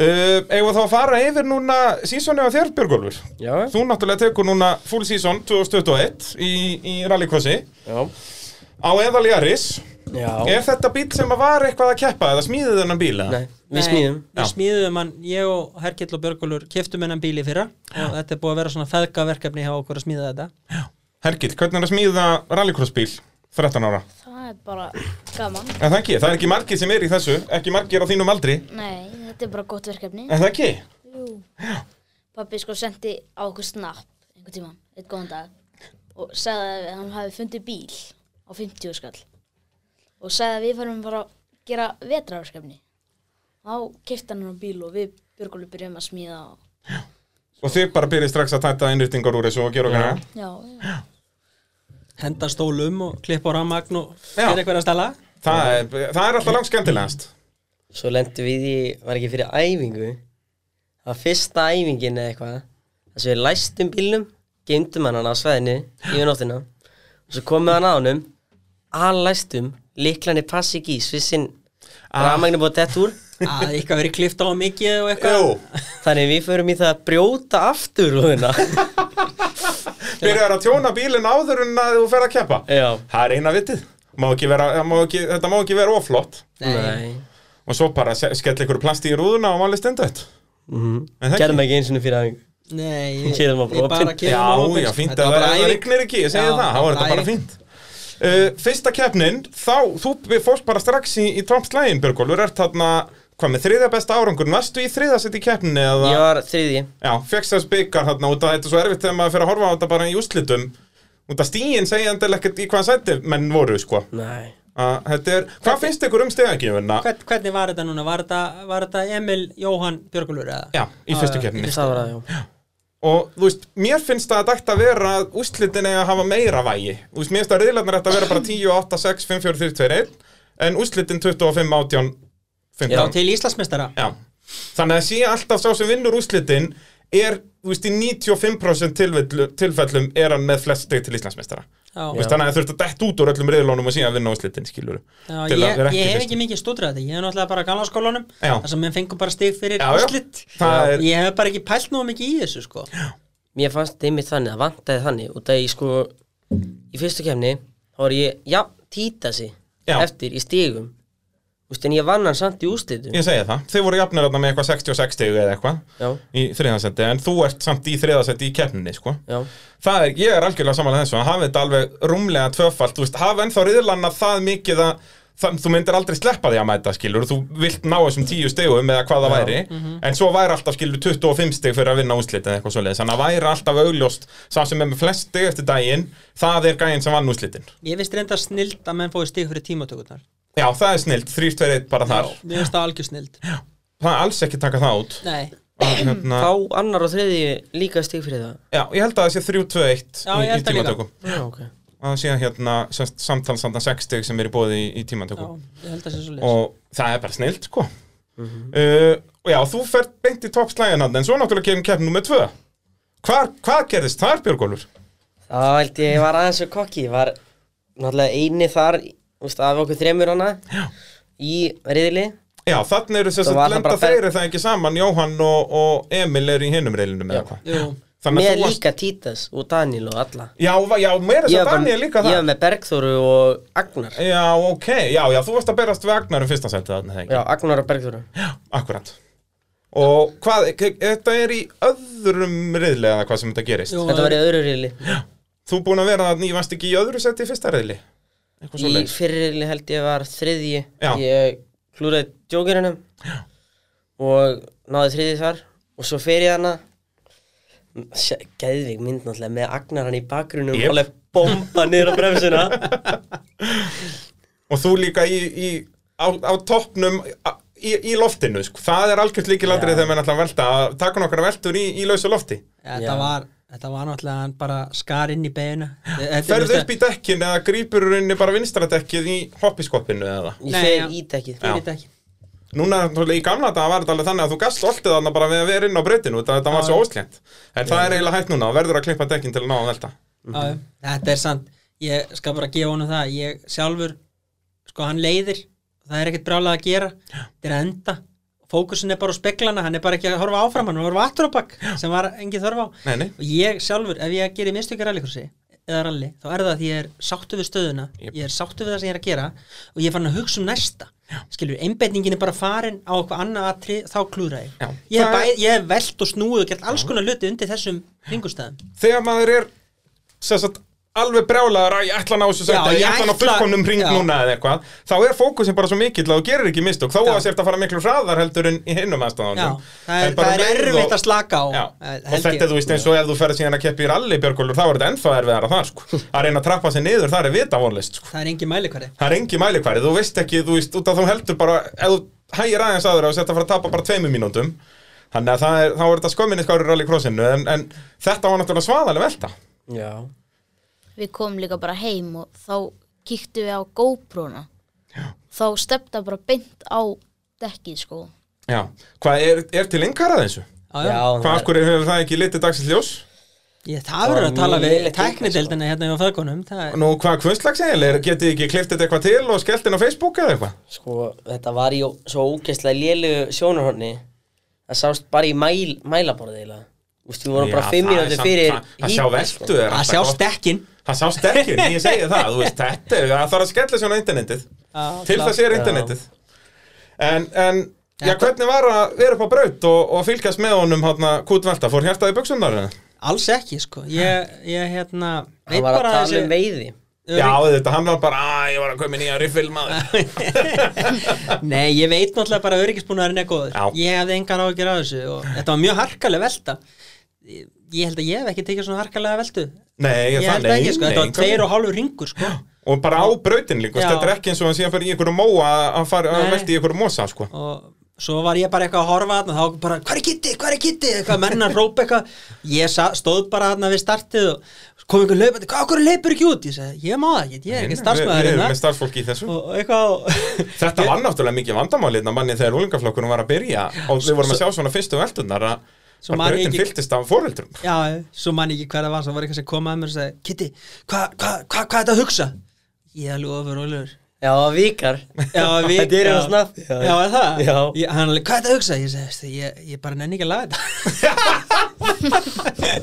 A: Uh, Eigum við þá að fara yfir núna sísoni á þér, Björgólfur
D: Já.
A: Þú náttúrulega tekur núna full season 2021 í, í rallycrossi
D: Já,
A: á eðal Jaris
D: já
A: Er þetta bíl sem að var eitthvað að keppa eða smíðið þennan bíl? eða?
D: Nei, við smíðum
A: Já.
B: Við smíðum hann, ég og Herkill og Björgólur keftum hennan bíl í fyrra og þetta er búið að vera svona feðgaverkefni hjá okkur að smíða þetta
A: Hergill, hvernig er að smíða rallycrossbíl 13 ára?
C: Það er bara gaman.
A: En það ekki, það er ekki margir sem er í þessu, ekki margir á þínum aldri
C: Nei, þetta er bara gott verkefni.
A: En það ekki?
C: Jú. Pappi sko sendi á okkur snapp einhvern tíma, eitt góðan dag og sagði að hann hafi fundið bíl á 50 skall og sagði að við færum bara að gera vetrarverkefni. Þá kefti hann hann bíl og við björgólu byrjum að smíða og
A: Og þið bara byrjið strax að tæta innrýtingar úr þessu og gera okkar það
C: já, já.
B: Henda stólum og klippa á rammagn og
A: Já.
B: gera eitthvað að stala
A: Það er, það er alltaf langt skemmtilegast
D: Svo lendi við í, var ekki fyrir æfingu Það var fyrsta æfingin eða eitthvað Þess að við læstum bílnum Geimdum hann hann á sveðinu Í nóttina Og svo komum við hann á honum Allæstum, líklanir passi ekki í Svissin,
A: Ah.
D: rafmagni búið dett úr
B: að eitthvað verið klift á mikið og eitthvað
A: Jú,
D: Þannig við förum í það að brjóta aftur lúðina
A: byrjar að tjóna bílinn áður en að þú fer að keppa
D: Já
A: Það er eina vitið má ekki vera, má ekki, Þetta má ekki vera oflott
D: Nei
A: og svo bara se- skella ykkur plasti í rúðuna og máli stendött En það ekki?
D: Gerðum ekki eins og fyrir æfingu
B: Nei, ég,
D: Keyrðum á
B: ég bara
D: opinn.
A: Já,
B: keyrðum á opinn,
A: já,
B: sko.
A: fínt
B: Þetta
A: að
B: var bara
A: það
B: æfing.
A: regnir ekki, ég segi
B: Já,
A: það, þá er þetta bara
B: æfing.
A: fínt uh, Fyrsta keppnin, þá, þú við fórst bara strax í, í toppslægin, Björgólfur, ert þarna, hvað með þriðja besta árangur, varstu í þriðja sett í keppninni eða,
D: Ég var þriði
A: já, fegst þess byggar þarna, út að þetta er svo erfitt þegar maður fyrir að horfa á þetta bara í úslitum, út að stíin segja endilega ekkert í hvaða sæti menn voru, sko,
D: Nei
A: að þetta er, hvað finnst ykkur um stegagjöfuna,
B: Hvern- Hvernig var þetta núna? Var þetta, var þetta Emil Jóhann Björgulfur eða?
A: já, í fyrstu keppninni?
D: Það var það, já
A: og þú veist, mér finnst það að þetta vera að úslitin eiga að hafa meira vægi þú veist, mér finnst að reyðlarnar þetta vera bara 10, 8, 6, 5, 4, 3, 2, 1 en úslitin 25, 18, 15
B: Já, til Íslandsmeistara
A: Já. þannig að sé alltaf sá sem vinnur úslitin er, þú veist, í 95% tilfellu- tilfellum er hann með flest steg til Íslandsmeistara Þú
B: Já,
A: veist, þannig að þurft að dett út úr öllum reyðlónum og síðan vinna úslitin, skilur
B: já ég, ég hef ekki mikið stúdrað þetta Ég hef náttúrulega bara gamla skólanum
A: Já.
B: þar sem við fengum bara stig fyrir
A: Já, já.
B: úrslit
A: Það er-
B: Ég hef bara ekki pælt nú mikið í þessu sko
D: Mér fannst einmitt þannig, það vantaði þannig Út að ég sko Í fyrstu kemni Þá var ég, já, títa sig
A: Já.
D: Eftir í stigum Þú veist, en ég vann hann samt í úrslitum
A: ég segi það, þið voru jafnir þarna með eitthvað 66 stegu eða eitthvað
D: Já,
A: í þriðasetti, en þú ert samt í þriðasetti í keppninni, sko
D: já
A: Það er, ég er algjörlega samanlega þessu, hann hafi þetta alveg rúmlega tvöfalt, þú veist, hafi ennþá riðlanna það mikið að það, þú myndir aldrei sleppa því að mæta, skilur, þú vilt ná þessum tíu stegum eða hvað það væri,
B: Mhm.
A: en svo væri alltaf, skilur, 25 steg fyrir að vinna úslit eða eitthvað svoleiðis, þannig að væri alltaf augljóst, sá sem er með flest steg eftir daginn, það er gæinn sem vann úslitin.
B: Ég veist reynda snild að menn fóði stig fyrir tímatökurnar
A: Já, það er snilt, 3-2-1 bara þar,
B: Mér finnst það algjör snild
A: það er alls ekki taka það út.
B: Nei,
A: Að, hérna,
D: Þá annar og þriði líka stig fyrir það
A: já, ég held að það sé 3-2-1
B: Já,
A: í,
B: ég
A: í
B: held það líka.
A: tímatökum.
D: Já, ok
A: Að það sé hérna samtalsandan 6 steg sem er í bóði í, í
B: já,
A: tímatökum.
B: ég held að sé svo leys
A: og það er bara snilt sko uh, og já, þú ferð beint í toppslægin hann en svo náttúrulega kemur keppn nummer 2 Hvar, hvað gerðist þar Björgólfur?
D: Þá held ég var aðeins og kokki Ég var náttúrulega eini þar þú veist, Af okkur þremur hana Já Í riðli
A: Já, þannig eru þess
D: Svo
A: að
D: var það
A: blenda
D: bara fer-
A: þeir er það ekki saman Jóhann og, og Emil er í hinum reilinu með eitthvað
B: Jú,
A: Þannig
D: Með
A: að þú varst
D: líka Títas og Daniel og alla
A: Já, va- já, meira þess
D: Ég
A: að
D: var bara-
A: Daniel líka
D: Ég
A: það
D: var með Bergþóru og Agnar
A: Já, ok, já, já, þú varst að berast við Agnar um fyrsta setið þarna, þegar ekki
D: Já, Agnar og Bergþóru
A: Akkurat Og hvað, k- þetta er í öðrum riðli eða hvað sem þetta gerist
B: Jú.
D: Þetta var í öðru riðli
A: Þú búin að vera þarna, ég varst ekki í öðru seti í fyrsta riðli Eitthvað svo
D: Í fyrri riðli held ég var þriðji
A: Já.
D: Ég klúraði djókirinnum Og náði þriðji þar Og svo fer ég hana Geðvig mynd náttúrulega með Agnar hann í bakgrunum
A: Jep.
D: yep. Alveg bomba niður á bremsuna
A: og þú líka í, í, á, á toppnum a- í, í loftinu, sko. það er algjört líkilandrið
D: Já.
A: þegar menn ætla að velta, að taka nokkra veltur í, í lausu lofti,
B: þetta
D: Já.
B: var, þetta var náttúrulega hann bara skar inn í beina
A: ferðu upp í dekkin eða grípur rauninni bara vinstra dekkið í hoppiskoppinu eða
D: Ég
B: Nei, já.
D: fer í dekkið
A: Já.
B: þetta ekki
A: núna náttúrulega, í gamla þetta var þetta alveg þannig að þú gast oltið þarna bara við að vera inn á breytinu þetta var svo óslent, en það er eiginlega hægt núna og verður að klippa dekkin til að ná að velta
B: Já, Þetta er sant, ég skal bara gefa honum það ég sjálfur, sko hann leiðir það er ekkert brálað að gera þetta er að enda, fókusin er bara á speglana hann er bara ekki að horfa áfram, hann er að horfa aftur á bakk sem var engin þörf á
A: nei, nei,
B: og ég sjálfur, ef ég gerir mistökja rallycrossi eða rally, þá er það að ég er sáttu við stöðuna
A: Jep.
B: ég er sáttu við það sem ég er að gera og ég er farin að hugsa um næsta skilur, einbetningin er bara farin á eitthvað annað atri, þá klúðra ég
A: Já.
B: ég hef,
A: Það er-
B: bæ, ég hef velt og snúið og gert alls konar hluti undir þessum hringustæðum
A: þegar maður er sem sagt, alveg brjálaður að ég ætla að ná þessu
B: Já,
A: sæti, ég
B: ég
A: ætla að ná
B: ætla-
A: fullkomnum ring
B: Já.
A: núna eða eitthvað, þá er fókusin bara svo mikill að þú gerir ekki mistök, þá
B: Já.
A: að sért að fara miklu hraðar heldur en í hinnum
B: Já,
A: aðstæðanum
B: það
A: En
B: er,
A: bara
B: það er
A: um leið
B: erfitt að slaka á
A: Já,
B: eh,
A: og
B: held
A: þetta
B: ég.
A: þú veist eins og ef þú ferð síðan að keppi í rally Björgólfur, þá er þetta ennþá erfiðar að það sko. að reyna að trappa sig niður, það er vita vonlist sko.
B: það er engin mælikværi
A: það er engi mælikværi, þú veist ekki þú veist, út að þú heldur bara, ef þú hægir aðeins aður og setja að fara að tapa bara tveimur mínútum þannig að það er, þá er þetta skömminni skári rally crossinu, en, en þetta var náttúrulega svaðalega velta
D: Já
C: Við komum líka bara heim og þá kíktum við á GoPro-na. Þá stefna bara beint á dekkið, sko.
A: Já, hvað er, er til yngar að þessu?
B: Já, já.
D: Já,
A: Hvað
D: það
A: af hverju hefur það ekki litið dagsins ljós?
B: Ég, það verður að tala við
D: Mjög-
B: teknideldina hérna hjá föðgunum það er,
A: sko. Nú, hvað kvöldslags eiginlega? er? Getið þið ekki kliftið eitthvað til og skellt inn á Facebook eða eitthvað?
D: Sko, þetta var í ó- svo ógeðslega lélugu sjónarhorni Það sást bara í mæl, mælaborðið eiginlega Þú veist, við vorum bara
A: Já,
D: fimm
A: það er
D: mínútur
A: samt-
D: fyrir sko.
A: það- Það sjá veldu er
B: að
A: alltaf
B: sjá
A: gott.
B: stekkin
A: Það sjá stekkin, ég segi það, þú veist, þetta er, það þarf að skella svona internetið
B: Já,
A: Til
B: klart.
A: þess er internetið En, en já,
B: Þetta-
A: hvernig var að vera upp á braut og, og fylgjast með honum hátna kútvelta? Fór hjartað í buksundar?
B: Alls ekki, sko Ég, ég hérna
D: Hann var að tala um veiði
A: Já, þetta, hann var bara, að ég var að koma í nýja riffil maður.
B: Nei, ég veit náttúrulega bara að öryggisbúnaðurinn er góður
A: Já.
B: Ég hefði engan ágjör á þessu og þetta var mjög harkalega velta Ég ég held að ég hef ekki tekið svona harkalega veltu
A: Nei,
B: Ég held
A: nei,
B: ekki, sko,
A: nei,
B: þetta var
A: hvernig-
B: tveir og hálfur ringur, sko
A: Og bara á brautin líka,
B: Já.
A: þetta er ekki eins og hann síðan fyrir í einhverju móa að fara að
B: Nei.
A: velta í einhverju mosa, sko.
B: og svo var ég bara eitthvað að horfa þarna og þá bara, hvað er kitti, hvað er kitti eitthvað menn að rópa eitthvað ég sa, stóð bara þarna við startið og kom einhver laupandi, hvað okkur leipur ekki út ég sagði, ég má það ekki, ég er ekki
A: Við-
B: starfsmæður
A: Við erum
B: hérna
A: með starfsfólki í þessu.
B: og og eitthvað og-
A: Þetta var náttúrulega mikið vandamálið að manni þegar úlingaflokkurinn var að byrja og við vorum að sjá svona fyrstu veldunar að
B: Svo
A: bara
B: man ég
A: brautin
B: ekki-
A: fylltist af foreldrum
B: já, svo mann ekki hver það var, svo var eitthvað sem kom að mér og sagði, kitti, hvað hva, hva, hva er þetta að hugsa ég er alveg ofur ólegur
D: Já, vikar
B: Já, við,
D: Þetta er hérna
B: já.
D: á snappi
B: Já, er það?
D: Já,
B: Ég, hann alveg, hvað er þetta að hugsa? Ég segi, "Veistu, ég, ég bara nenni ekki að laga þetta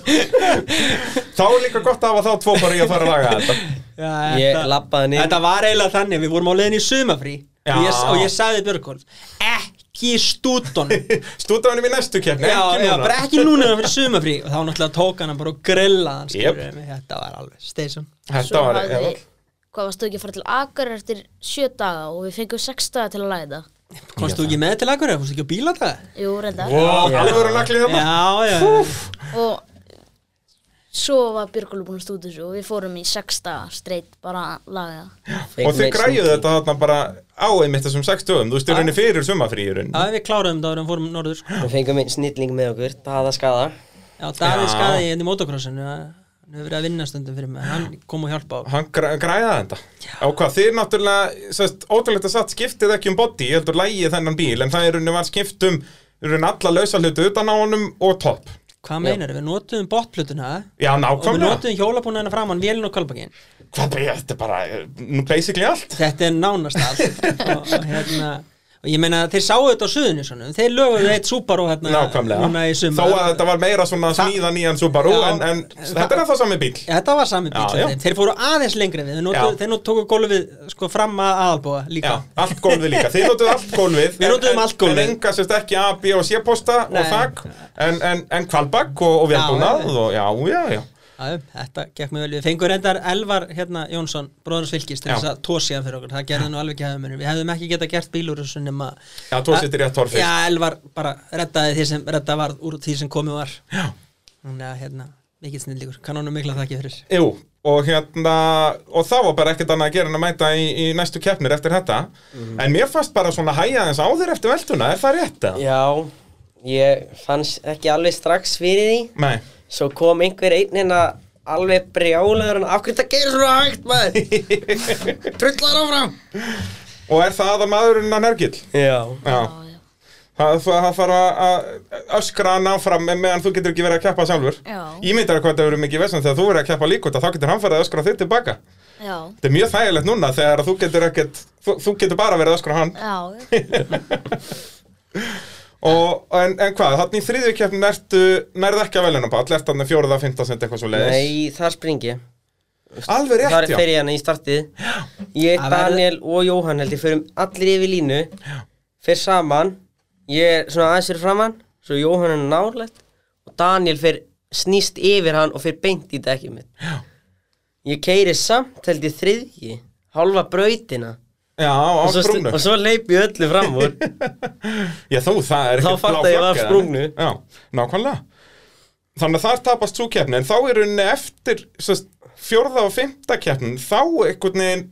A: Þá er líka gott að hafa þá tvo bara í að fara að laga þetta
B: Já,
D: Ég
B: þetta-
D: labbaði niður.
B: Þetta var eiginlega þannig, við vorum á leiðin í sumafrí
A: Já.
B: og ég, og ég sagði Björgólf ekki stúton Já,
A: Stúdánum í næstu keppni, ekki
B: já,
A: núna
B: bara ekki núna fyrir sumafrí og þá náttúrulega tók hann bara og grilla hann
A: Jep.
B: yep. Þetta var alveg steysun
A: Þetta var eða,
C: hvað varstu ekki að fara til Akar eftir sjö daga og við fengum sex daga til að læða
B: Komst þú ekki með til akkur, komst þú ekki á bíla það?
C: Jú, reynda
A: Wow, alveg verið naglið hérna.
B: Já,
A: þarna
B: já,
C: og svo var Björgólu búin að stúta þessu og við fórum í sex daga streitt bara að laga það
A: Og þið græjuðu þetta þarna bara á einmitt þessum sex dögum Þú styrir henni fyrir sumafríðurinn
B: já, við kláruðum það og fórum norður sko.
D: Við fengum einn snilling með okkur, Dada Skada
B: Já, Davíð
A: Já.
B: skaði hérna í motocrossinu hann hefur verið að vinna stundum fyrir mig hann kom og hjálpa á
A: Hann græ- græjaði þetta Á hvað, þið náttúrulega, sérst, ótrúlegt að satt skiptið ekki um body, ég heldur lægið þennan bíl en það er henni var skipt um, í rauninni alla lausa utan á honum og topp
B: Hvað meinar, við notuðum botplötuna
A: Já,
B: og við
A: nákvæmlega
B: notuðum hjólabúnaðina framann, vélinn og kalbakinn
A: Hvað bara, þetta er bara, eh, nú basically allt
B: þetta er nánast allt og, og, hérna, og ég meina þeir sáu þetta á suðinu svona. þeir löguðu eitt Subaru hérna,
A: Nákvæmlega,
B: núna í
A: þó
B: sumar
A: að þetta var meira svona að
B: Það-
A: smíða nýjan Subaru
B: Já.
A: en, en þetta er ennþá sami bíl
B: Þetta var sami bíl
A: Já,
B: hjá
A: já.
B: þeim. þeir fóru aðeins lengri við þeir, notu,
A: Já.
B: þeir nú tóku gólfið sko, fram að aðalbúa
A: Já,
B: líka
A: allt gólfið líka, þið notuðu allt gólfið
B: Við notuðum
A: en-
B: allt gólfið.
A: En enga sérst ekki A, B og C posta og
B: Nei.
A: þak En, en, en kvalbakk og, og
B: Já,
A: velbúnað
B: já, já.
A: og já, já, já
B: Já, þetta gekk mjög vel við fengur reyndar Elvar hérna, Jónsson bróðars fylgist til
A: Já.
B: þess að tósiðan fyrir okkur það gerði nú alveg ekki hefðum við hefðum ekki geta gert bíl úr þessu nema
A: Já, tósið til rétt torfist
B: Já, Elvar bara reddaði því sem redda var úr því sem komið var Já Þannig að hérna, mikill snillíkur, kanónu mikla þakki fyrir
A: Jú, og hérna og það var bara ekkert annað að gera en að mæta í, í næstu keppnir eftir þetta
B: Mhm.
A: en mér fannst bara svona hæja þess á þér eftir veltuna, er það rétt? eða?
D: Já, ég fannst ekki alveg strax fyrir því
A: Nei,
D: Svo kom einhver einn hérna alveg brjálaður hann, af hverju þetta gerir svona hægt maður? Trullar áfram!
A: og er það að maðurinn að nergill?
D: Já.
A: Já,
C: já,
A: það, það það þarf að- að öskra hann áfram en meðan þú getur ekki verið að keppa sjálfur
C: Já.
A: Ímyndar hvað það verður mikið vesum þegar þú verður að keppa líka út að þá getur hann farið að öskra þig tilbaka
C: já,
A: Þetta er mjög þægilegt núna þegar þú getur ekkert þú, þú getur bara verið að öskra hann
C: já,
A: og, en, en hvað, þannig í þriðju keppnin ertu nærð ekki að velunapall, ert þannig fjóruða, fimmtasend eitthvað svo leiðis
D: Nei, þar springi ég.
A: Alveg rétt,
D: Þar
A: já.
D: fer ég hann í startið. Ég,
B: Það verður-
D: Daniel og Jóhann held ég förum allir yfir línu. Fer saman. Ég er svona aðeins fyrir framann. Svo Jóhann er nálægt. Og Daniel fer snýst yfir hann og fer beint í dekkið mitt. Já. Ég keiri samt held ég þriðji. Hálfa brautina.
A: Já, á
D: og, svo stu-
A: sprungnu
D: og svo leip ég öllu fram úr.
A: Já, þú, það er
D: Þá
A: ekkert
D: fattaði
A: blá
D: ég var
A: flagg, eða?
D: sprungnu.
A: Já, nákvæmlega Þannig að þar tapast svo keppni En þá er rauninni eftir sest, Fjórða og fimmta keppnin Þá einhvern veginn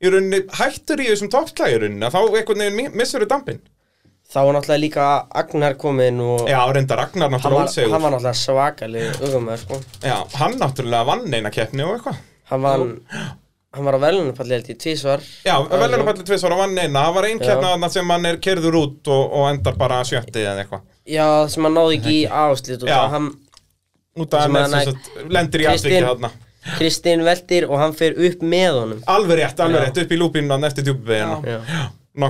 A: Í rauninni hættur í þessum toppslagi í rauninni að Þá einhvern veginn mi- missur við dampin
D: Þá var náttúrulega líka Agnar kominn og
A: Já, reyndar Ragnar
D: hann,
A: náttúrulega
D: var,
A: ósegur
D: hann var náttúrulega svakaleg ögumæður sko.
A: Já, hann náttúrulega vann eina keppni og eitthvað
D: Hann var, hann var á velunarpalli held ég tvísvar.
A: Já, velunapallið tvisvar og vann eina Það var ein
D: Já.
A: keppna þarna sem hann er kerður út og, og endar bara sjötti eða eitthvað
D: Já, það sem hann náði ekki í áslit og
A: Já.
D: það hann
A: Út af
D: Sem
A: hann
D: að
A: er,
D: hann-
A: sest, lendir í
D: Kristinn.
A: aðvikið þarna
D: Kristinn veldir og hann fer upp með honum
A: Alveg rétt, alveg
D: Já.
A: rétt, upp í lúpinu eftir djúbvegina
D: Já.
B: Var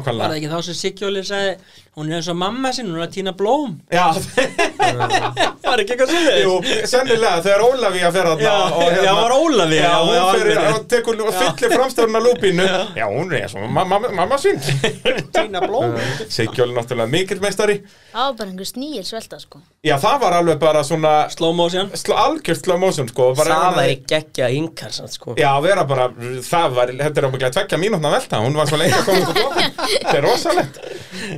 B: það
A: Nákvæmlega
B: ekki þá sem Sigjóli sagði Hún er eins og mamma sinn, hún er að týna blóm
A: Já,
B: Var ekki eitthvað svolítið?
A: jú, sennilega þegar Ólafía fer þarna
B: Já,
A: og hérna-
B: já, var Ólafía,
A: Já,
B: já, já,
A: hún fer
B: alveg.
A: og tekur og fyllir framstörna lúpínu já. hún er svona mamma, mamma sín
B: Týna blóm
A: Siggjól er náttúrulega mikill meistari
C: Það var bara einhver snýjil svelta sko
A: Já, það var alveg bara svona
B: Slow motion
A: sl- algjört slow motion sko bara
D: Það væri geggja yngar samt sko
A: Já, vera bara, það var, þetta er ábygglega tvekja mínútna velta, hún var svo lengi að koma út á blóðin, þetta er rosalegt.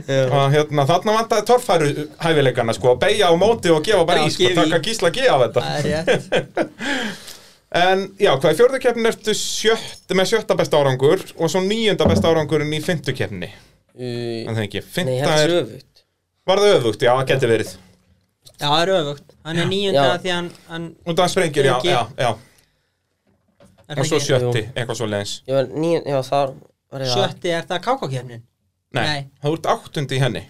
A: Og hérna, þarna vantaði torfæru hæfileikana, sko, að beigja á móti og gefa bara
B: Já,
A: í, sko,
B: gefa í.
A: taka gísla G af þetta.
B: Það er rétt
A: En já, hvað í fjörðu keppnin ertu sjött, með sjötta besta árangur og svo nýjunda besta árangurinn í fymtu keppni,
D: Nei,
A: en það ekki,
D: ég
A: fymta
D: held
A: er,
D: sögut
A: var það öfugt, já, það geti verið.
B: Já, það er öfugt Hann er nýjunda
D: Já.
B: því hann, hann
A: Og það sprengir, já,
B: Ekki.
A: já, já, og
B: er það
A: svo
B: ekki-
A: sjötti, eitthvað svo leins.
D: Ég var nýjan, já það var ég það
B: Sjötti er það kákókefnin
A: Nei,
B: Nei.
A: þú ert áttundi í henni,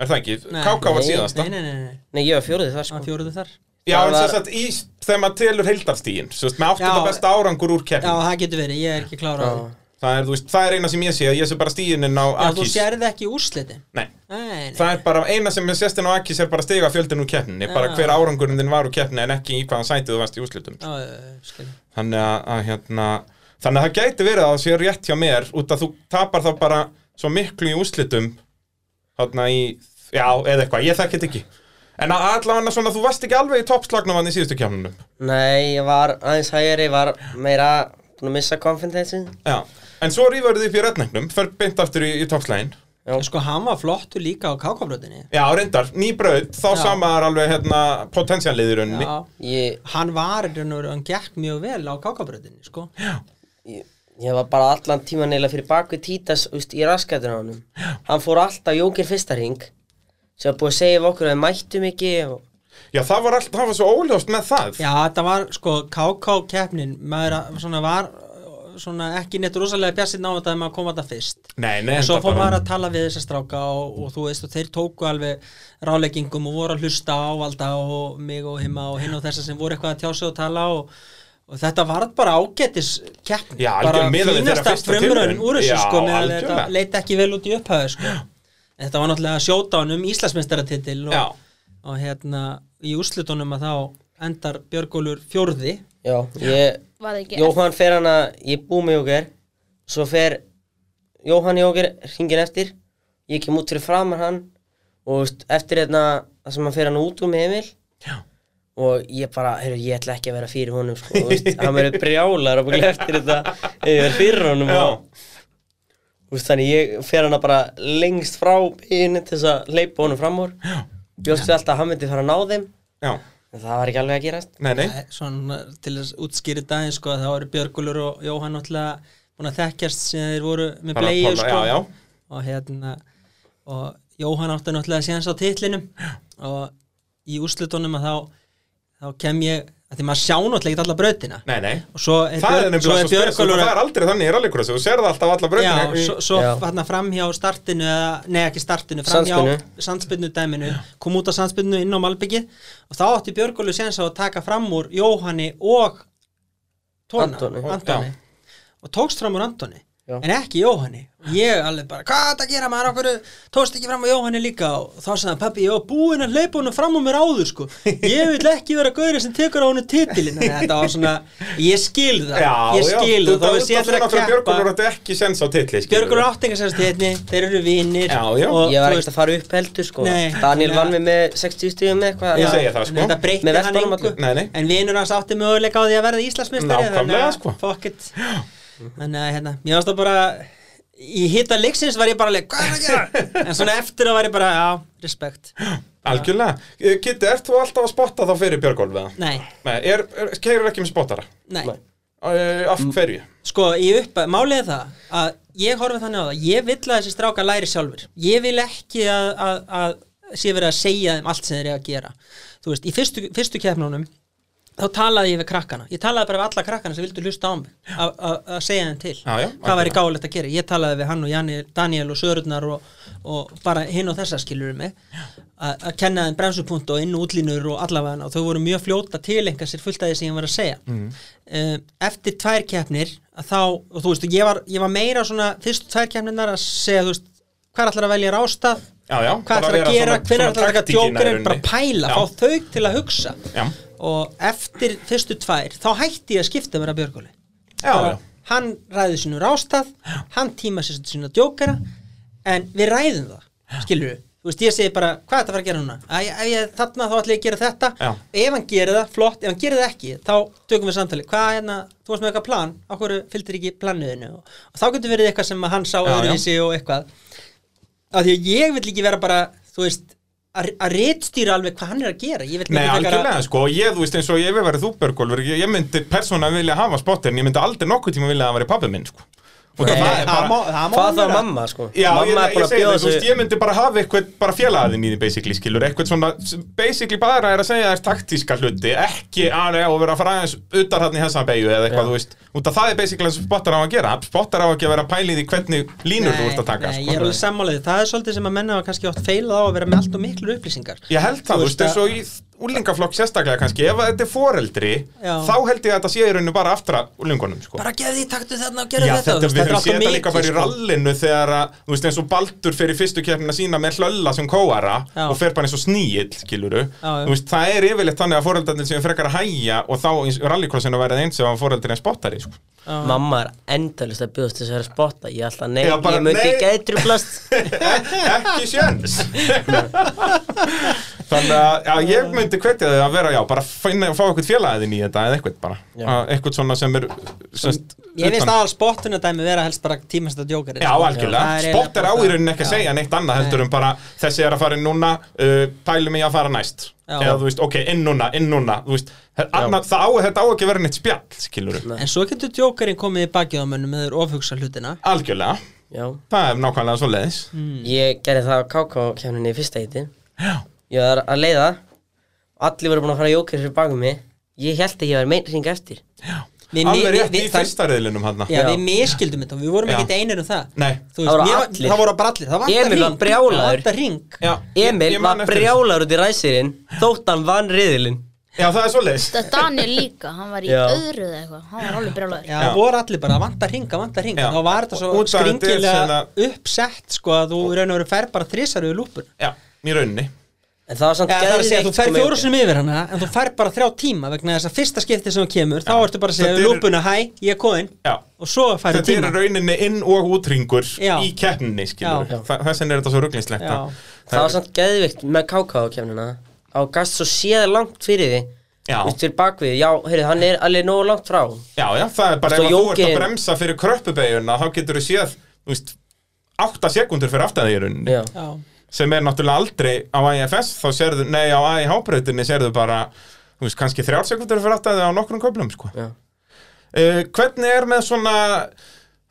A: er það ekki,
B: Nei.
A: káka var
D: Nei.
A: síðasta.
B: Nei, nei, nei, nei,
D: Nei, ég var fjórði þar
B: hann
D: sko
B: fjóruðu þar
A: Já,
D: Það
A: en
D: var-
A: sem sagt, í, þegar maður telur heildarstígin, sem sagt, með áttunda
B: Já.
A: besta árangur úr
B: Já,
A: keppin.
B: það getur verið, ég er ekki klára á því
D: Já.
A: Það er, þú veist, það er eina sem ég sé, að ég sé bara stígininn á
B: Já, þú
A: Akis.
B: sérði ekki úrslitin
A: Nei,
B: Nei, nei,
A: það er bara, eina sem ég sést inn á Akis er bara stiga fjöldin úr keppninni, bara
B: Já.
A: hver árangurinn þinn var úr keppninni en ekki í hvaðan sætið þú varst í úrslitum.
B: Já, já, já, skil.
A: Þannig að, að hérna, þannig að það gæti verið að það sé rétt hjá mér, út að þú tapar þá bara svo miklu í úrslitum, þarna í, já, eða eitthvað, ég þekkit ekki. En að- allavega svona, þú varst ekki alveg í toppslagnum hann í síðustu keppnunum.
D: Nei, ég var aðeins hægari, var meira búin að missa konfidensið
A: Já, en svo rýfur þið upp í redneknum, fer beint aftur í, í toppslægin.
D: Já.
B: Sko, hann var flottur líka á kákábröðinni
A: Já, reyndar, ný braut, þá
B: Já.
A: sama er alveg hérna potensialið í rauninni.
B: Já,
D: Ég,
B: hann var, í raun og veru- hann gekk mjög vel á kákábröðinni, sko
D: ég, ég var bara allan tíman eila fyrir bakvið Títas úst, í raskættinu á honum Hann fór alltaf jókir fyrsta ring sem var búið að segja við okkur að við mættum ekki og
A: Já, það var alltaf, það var svo óljóst með það.
B: Já, þetta var, sko, kákákeppnin maður að- svona var uh, svona ekki neitt rosalega bjassinn á þetta ef maður kom að þetta fyrst
A: Nei, nei,
B: En svo
A: þetta
B: fór
A: bara-
B: maður að tala við þessar stráka og, og þú veist og þeir tóku alveg ráleggingum og voru að hlusta á valda og mig og himma og hinn og þessar sem voru eitthvað að tjá sig og tala og, og þetta var bara ágætis keppn
A: Já,
B: bara
A: algjör miðað við þeirra
B: fínasta
A: fyrstu
B: frumröðin
A: tilraun.
B: úr þessu
A: Já,
B: sko meðan
A: algjörlega.
B: þetta leit ekki vel út í upphæðu sko En þetta var náttúrulega sjótán um Íslandsmeistaratitil
A: Já.
B: og, og hérna í úrslitunum að þá endar Björgólfur fjórði
D: Já, ég,
C: Var það ekki
D: Jóhann fer hann að, ég er búið með jókir Svo fer Jóhann jókir ringin eftir Ég kem út fyrir framan hann og veist, eftir þetta það sem hann fer hann út úr með Emil
A: Já.
D: og ég bara, heyrðu, ég ætla ekki að vera fyrir honum sko, þú veist, hann verður brjálar og eftir þetta, ef ég verður fyrir honum
A: Já.
D: og Þú veist, þannig ég fer hana bara lengst frá inn til þess að leipa honum fram úr bjóstu alltaf að hann myndi fara að ná þeim
A: Já,
D: en það var ekki alveg að gerast
A: nei, nei.
B: Nei, svona til að útskýri daginn sko þá eru Björgulur og Jóhann náttúrulega búin að þekkjast síðan þeir voru með
A: Bara að
B: bleiðu
A: tala-
B: sko
A: já, já.
B: og hérna og Jóhann átti náttúrulega síðan svo titlinum og í úrslutunum að þá þá kem ég, að því maður sjá náttúrulega ekki alla brautina
A: Nei, nei.
B: og svo er,
A: Það er
B: Björg- svo
A: nefnilega svo spes,
B: er
A: og
B: Björgulur
A: það er aldrei þannig í rallycrossi, þú serð alltaf alla bröndina.
B: Já, svo, svo
D: Já.
B: hérna framhjá startinu eða- Nei, ekki startinu, framhjá
D: Sandspyrnu.
B: sandspinnu dæminu kom út á sandspinnu inn á Malbyggið og þá átti Björgólu séns á að taka fram úr Jóhanni og Tóna,
D: Antoni.
B: Antoni. og tókst fram úr Antoni
D: Já.
B: en ekki Jóhanni ég alveg bara, hvað er þetta að gera maður okkur tókst ekki fram úr Jóhanni líka og þá sagði hann, pappi, ég var búinn að hlaupa honum fram úr mér áður sko. ég vil ekki vera gaurið sem tekur á honum titilin en þetta var svona, ég skil það ég skil
A: þú
B: það, þá veist ég ætla að keppa
A: Björgulur átti ekki sens á titli, skilur.
B: Björgur áttingarsæðstíðni, þeir eru vinnir
A: Já, já.
D: ég var ekkert að fara upp heldur sko
B: Nei.
D: Daniel
B: Nei.
D: vann mig með 60 stíðum með eitthvað
A: Ég
D: þannig að-
A: segi það, sko.
B: Þetta breytti
D: Með
B: hann
D: verkbánum
B: engu
A: allir. Nei, nei.
B: En vinnur hans átti möguleika á því að verða Íslandsmeistari
A: Nákvæmlega, sko.
B: Fuck it Þannig að hérna, mér varst það bara Í hitta leiksins var ég bara leik, hvað er að gera? en svona eftir að var ég bara, já, respekt
A: Algjörlega. Eh, Kiddi, ert þú alltaf að spotta þá fyrir Björgólf, eða?
B: Nei,
A: Nei, er, er, keirir ekki með spottara?
B: nei,
D: Nei.
A: Eh, Af hverju?
B: Sko, ég upp, málið er það að ég horfi þannig á það, ég vill að þessi stráka læri sjálfur. Ég vil ekki að, að, að sé verið að segja þeim allt sem þeir eru að gera. Þú veist, í fyrstu, fyrstu keppnunum þá talaði ég við krakkana ég talaði bara við alla krakkana sem vildu hlusta á mig að- að að segja þeim til
A: Já, já,
B: hvað væri
A: algjörlega.
B: gáðilegt að gera, ég talaði við hann og Jani, Daniel og Sörurnar og, og bara hinn og þessa skilur mig að að kenna þeim bremsupunkt og inn og útlínur og allavega og þau voru mjög fljóta tilenga sér fullt af því sem ég var að segja
A: Mhm.
B: mm. eftir tvær keppnir að þá, og þú veist, ég var, ég var meira svona fyrst tvær keppnirnar að segja þú veist, hvað ætlar að velja rástað
A: Já, já, bara
B: hvað ætlar
A: vera
B: að gera,
A: svona-
B: hvernig
A: svona
B: ætlar að taka
A: taktíkin í
B: djókurinn bara
A: rauninni.
B: pæla,
A: Já.
B: fá þau til að hugsa
A: Já.
B: og eftir fyrstu tvær þá hætti ég að skipta mér að Björgóli
A: Já, já.
B: hann ræði sinu rástað hann tíma sér sinu djókara en við ræðum það skilur við, þú veist ég segi bara hvað er þetta að fara að gera núna, Æ, ef ég þarna þá ætla ég að gera þetta
A: Já.
B: ef hann gerir það, flott, ef hann gerir það ekki þá tökum við samtali, hvað hérna þú varst með eitthvað plan, á hverju fylgdir ekki planuðinu og, og þá getur verið eitthvað sem að hann sá
A: Já, já.
B: öðruvísi og eitthvað að því að ég vil ekki vera bara, þú veist að að ritstýra alveg hvað hann er að gera ég vil
A: Nei,
B: ekki frekar að-
A: algjörlega, sko, og ég, þú veist, eins og ég við verið þú, Björgólfur, ég, ég myndi persóna vilja hafa spotterinn, ég myndi aldrei nokkuð tíma vilja að hann væri pappi minn, sko. Og
D: Nei,
A: það er
B: það má,
A: bara,
B: það má
D: Hvað þá
B: vera.
D: mamma, sko?
A: já,
D: mamma
A: ég,
D: er
A: ég,
D: búin
A: ég
D: að
A: segi
D: bjóða
A: það, þú veist,
D: þessu
A: ég myndi bara hafa eitthvað, bara félagðin í því, basically, skilur, eitthvað svona, basically bara er að segja þér taktíska hluti, ekki að og vera að fara aðeins utar hann í þessa beigju eða eitthvað,
D: Já.
A: þú veist, út af það er basically eins og spottar á að gera, spotter á ekki að vera að pæli því hvernig línur þú ert að taka,
B: nei,
A: sko.
B: ég er alveg sammálaðið, það er svolítið sem að menna hafa kannski oft feilað á að vera með allt og miklu upplýsingar
A: Ég held það, þú veist, eins og í úlingaflokk sérstaklega kannski, ef að þetta er foreldri,
B: Já.
A: þá held ég að þetta sé í rauninu bara aftra úlingunum, sko.
B: bara gefði því taktu þarna og gerðu
A: Já,
B: þetta,
A: þetta,
B: þú veist,
A: við höfum
B: allt
A: séð
B: of
A: þetta líka bara í
B: sko.
A: rallinu þegar að, þú veist, eins og Baldur fyrir fyrstu keppnina sína með hlölla sem kóara
B: Já.
A: og fer bara eins og sníill, skiluru
B: já.
A: þú veist, það er yfirleitt þannig að foreldrarnir séu frekar að hæja og þá eins- rallycrossinu verið eins og að foreldrarnir spottari, sko
D: Mamma er endalist að bjóðast þess að vera spotta Ég ætla að nei,
A: Já, bara
D: ég myndi
A: nei.
D: ekki eittrublast
A: ekki sjens þannig að já, ég myndi hvetja þau að vera já, bara finna fá eitthvað félagin í þetta eða eitthvað bara,
D: Já.
A: Að eitthvað svona sem er semst,
B: ég finnst aðal spottuna dæmi vera helst bara tímasta djókari
A: Já,
B: sko. Það
A: algjörlega,
B: eiginlega
A: spott er á
B: bara
A: í
B: það.
A: rauninni ekki að
B: Já.
A: segja neitt annað heldur um bara þessi er að fara inn núna, uh, pælum ég að fara næst
B: Já.
A: eða þú veist, ok, inn núna, inn núna þú veist, annað, það á, þetta á ekki að vera neitt spjall skilur
D: Nei.
B: en svo getur djókarinn komið í bakið á mönnum með þeir ofhugsa hlutina
A: algjörlega,
D: Já,
A: það er nákvæmlega svo leiðis
B: Mm.
D: ég gerði það á KK-kjæmninni í fyrsta heiti
A: Já,
D: Ég var að leiða Allir voru búin að fara jókir fyrir bakum mig Ég held að ég var meinn hring eftir
A: já,
B: Við-
A: alveg
B: við-
A: rétt
B: við-
A: í
B: það-
A: fyrsta reyðlinum hann
B: já,
D: Já.
B: við miskildum þetta, við vorum
A: Já.
B: ekkert einir um það
A: Nei.
B: Þú
D: Það voru
B: mér var-
D: allir.
B: það voru bara allir, það vantar
D: Emil var
B: hring.
D: brjálaður.
B: Það vantar hring
A: Já,
D: Emil
A: ég man
D: var
A: eftir þessu.
D: brjálar út í ræsirinn Þótt hann vann riðilinn
A: Já, það er svo leiðis
C: Þetta Daniel líka, hann var í
D: Já.
C: öðru eða eitthvað, hann var alveg brjálæður.
B: Já,
A: Já.
B: voru allir bara, vantar hringa, vantar hringa
A: Já.
B: þá var þetta svo
A: Út af hérna- þetta er
B: skringilega
A: svona-
B: uppsett sko að þú í raun og veru fer bara þrísar við lúpun
A: Já, í rauninni
D: En það var samt
B: Já, það er að segja, þú
D: geðveikt,
B: fær
D: sko, með
B: fjóru
D: jóker.
B: sinum yfir hana en þú fær bara þrjá tíma vegna þess að fyrsta skipti sem þú kemur þá ertu bara að segja
A: Þetta
B: við
A: eru-
B: lúpuna, hæ, ég er kóin
A: Já.
B: og svo færðu
A: þetta er
B: tíma
A: í rauninni inn og útringur
B: Já.
A: í keppninni, skilur
B: Já.
A: þess vegna er þetta svo rugglingslegt
B: Já.
D: Það var samt geðvikt með KK-kjæmnina Á gast svo séð langt fyrir því
A: Já.
D: Út fyrir bakvið, já, heyrðu, hann er alveg nógu langt frá
A: Já, já, það er bara ef
D: Þú veist,
A: að
D: og
A: þú ert að
D: jókin-
A: bremsa fyrir kröppubegjuna þá getur þú séð, þú veist, 8 sekundur fyrir aftan því í rauninni
D: Já,
B: Já.
A: sem er náttúrulega aldrei á IFS þá sérðu, nei á IH-brautinni sérðu bara, þú veist, kannski 3 sekundur fyrir aftan því á nokkrum köflum, sko
D: já
A: uh, Hvernig er með svona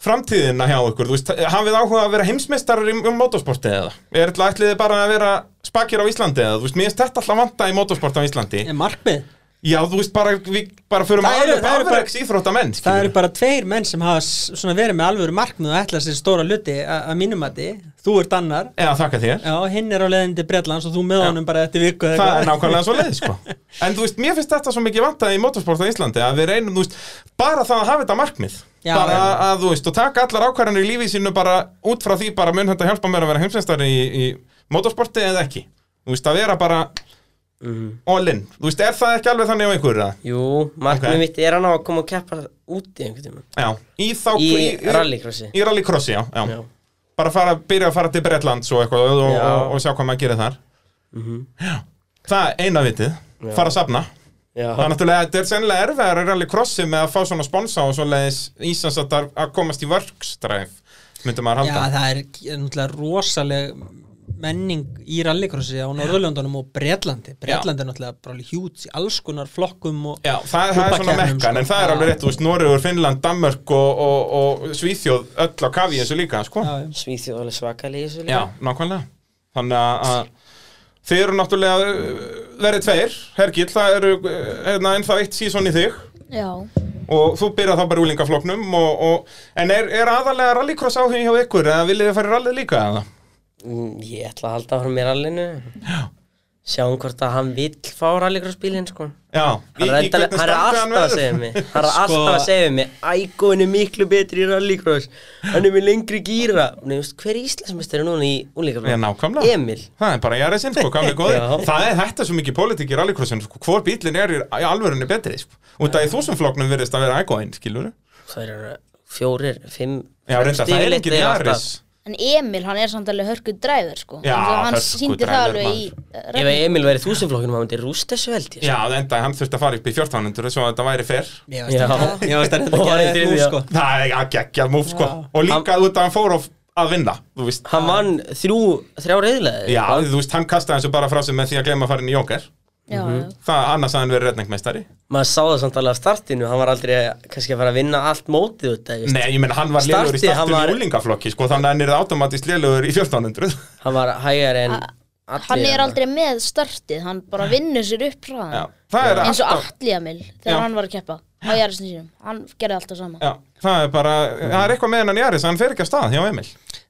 A: framtíðina hjá ykkur, þú veist, hafið áhuga að vera heimsmeistarar í um motorsporti eða? Er ætla ætliði bara að vera spakir á Íslandi eða, þú veist, mér er þetta alltaf vanta í motorsport á Íslandi
B: En markmið,
A: Já, þú veist, bara, við bara förum
B: Það eru-
A: alveg
B: það eru bara-
A: afreks íþrótta menn,
B: það eru bara tveir menn sem hafa s- svona verið með alvöru markmið og ætla sér stóra hluti a- að mínumati, þú ert annar
A: Eða þakka þér
B: Já, hinn er á leiðin til Bretlands og þú með honum bara eftir viku eða
A: Það
B: eitthvað.
A: er nákvæmlega svo leið, sko En þú veist, mér finnst þetta svo mikið vantaði í motorsport á Íslandi að við reynum, þú veist, bara það að hafa þetta markmið
B: Já,
A: bara
B: já.
A: að, að, þú veist, og taka allar ákvarðanir í lífi sínu bara út frá því bara mun þetta hjálpa mér að vera heimsveistari í, í motorsporti eða ekki Þú veist, að vera bara all in Þú veist, er það ekki alveg þannig á einhverju, eða?
D: Mhm. Jú, markmið
A: Ok.
D: mitt er hann á að koma og keppa úti einhvern tímann
A: Já, í þá
D: Í rallycrossi.
A: Í rallycrossi, já, já.
D: Já.
A: Bara fara, byrja að fara til Bretlands og eitthvað og, og,
D: Já.
A: og, og sjá hvað maður gerir þar
D: Mhm.
A: Já, það er eina vitið, fara að safna
D: Já,
A: Það er náttúrulega, þetta er sennilega erfiðar að rally crossi með að fá svona sponsa og svoleiðis Íslands að, það- að komast í vörkstræf myndum maður
B: Já,
A: halda
B: það er er náttúrulega rosaleg menning í rallycrossi á Norðurlöndunum og Bretlandi Bretlandi er náttúrulega bara hjúts í alls konar flokkum og
A: Já, það, það er svona
B: klúbbakeppnum,
A: mekkan,
B: sko.
A: en það er
B: Já.
A: alveg rétt, þú veist, Noregur, Finnland, Danmörk og, og, og Svíþjóð, öll á kafi eins og líka, sko
B: Já, já.
D: Svíþjóð er alveg svakalega í þessu líka
A: Já, nákvæmlega Þannig að- að Þið eru náttúrulega uh, verið tveir, Hergill, það eru uh, hérna, ennþá eitt sísón í þig
C: Já,
A: og þú byrjað þá bara í úlingafloknum og, og, en er, er aðalega rallycross áhugin hjá ykkur eða viljið þið fara í rallið líka eða?
D: Mm, Ég ætla að halda áfram í rallinu Sjáum hvort að hann vill fá rallycrossbílinn sko
A: Já,
D: Hann er reyndar- hann er alltaf að segja mig
A: Sko-
D: Hann er alltaf að segja mig Ægóin er miklu betri í rallycross Hann er með lengri gíra Nei, veist, Hver er Íslandsmeistari núna í
A: Já,
D: úlíkaflokk?
A: nákvæmlega
D: Emil
A: Það er bara jarðið sinn, sko, gamli góði
D: Já.
A: Það er þetta er svo mikið pólitík í rallycrossinu, sko Hvor bílinn er í, í alvörunni betri, sko Og það í þúsumfloknum virðist að vera ægóin, skilur
D: Það eru fjórir, fimm
A: Já, reynda, það er
D: yfirleitt
A: engin
D: eru alltaf-
A: jarðis
C: en Emil, hann er samt alveg hörku dræður sko
A: Já,
C: Þannig að hann
A: hörku
C: sýndi það
A: driver,
C: alveg
A: maður.
C: í eh,
D: Ef að
C: rallinu.
D: Emil væri í þúsundflokkunum, hann myndi rúst þessu sko. held ég
A: Já, enda, hann þurfti að fara upp í 1400 svo að þetta væri fer
B: Mér
D: Já.
B: varst að reynda
D: Og
B: að
D: hann
B: gera
D: er
B: þetta nú
D: þriðja.
B: sko
A: Það er ekki ekki að múf, sko Og líka út að hann fór of- að vinna, þú veist
D: Hann vann þrjú, þrjá reyðlega
A: Já, þú veist, hann kastaði þessu bara frá sig með því að glema að fara inn í jóker
C: Já, já.
A: Það annars að hann verið redningmeistari
D: Maður sá það samt alveg að startinu Hann var aldrei kannski að fara að vinna allt mótið út af,
A: Nei, ég menn hann var
D: Startið,
A: lélugur í startinu
D: hann var-
A: í úlingaflokki sko, þannig að hann er automatist lélugur í 1400
D: Hann var hægar en allir hérna.
C: Hann er aldrei með startið, hann bara vinnur sér upp
A: Já,
C: hraðan
A: það er
C: eins og
A: alltaf
C: Atli Emil þegar
A: Já.
C: hann var að keppa á Jarlsson sínum, hann gerði alltaf sama
A: Já, það er bara, það er eitthvað með hennan Jaris hann fer ekki af stað hjá Emil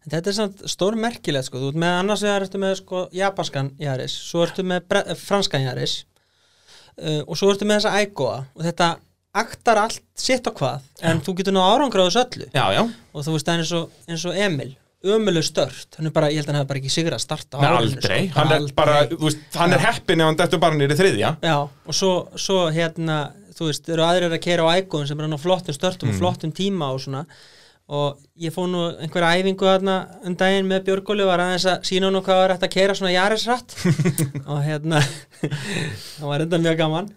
B: En Þetta er samt stór merkilegt sko, þú ert með annars vegar ertu með sko japanskan jaris, svo ertu með bre- eh, franskan jaris uh, og svo ertu með þessa ægóa og þetta aktar allt sitt á hvað en þú getur náðu árangur á þessu öllu
A: Já, já,
B: og þú veist það er eins og, eins og Emil ömuleg stört, hann er bara, ég held að hann hefði bara ekki sigur að starta á
A: með
B: árinu,
A: aldrei
B: sko,
A: Hann er
B: aldrei.
A: bara, þú veist, hann er heppin ef hann dettur bara nýri þriðja
B: Já, og svo, svo hérna, þú veist, eru aðrir að keira á ægóðum sem er hann á flottum störtum
A: Mm.
B: og flottum tíma og svona og ég fóð nú einhverja æfingu þarna um daginn með Björgóli var aðeins að sína hann hvað var hægt að keira svona jarisrætt og hérna það var enda mjög gaman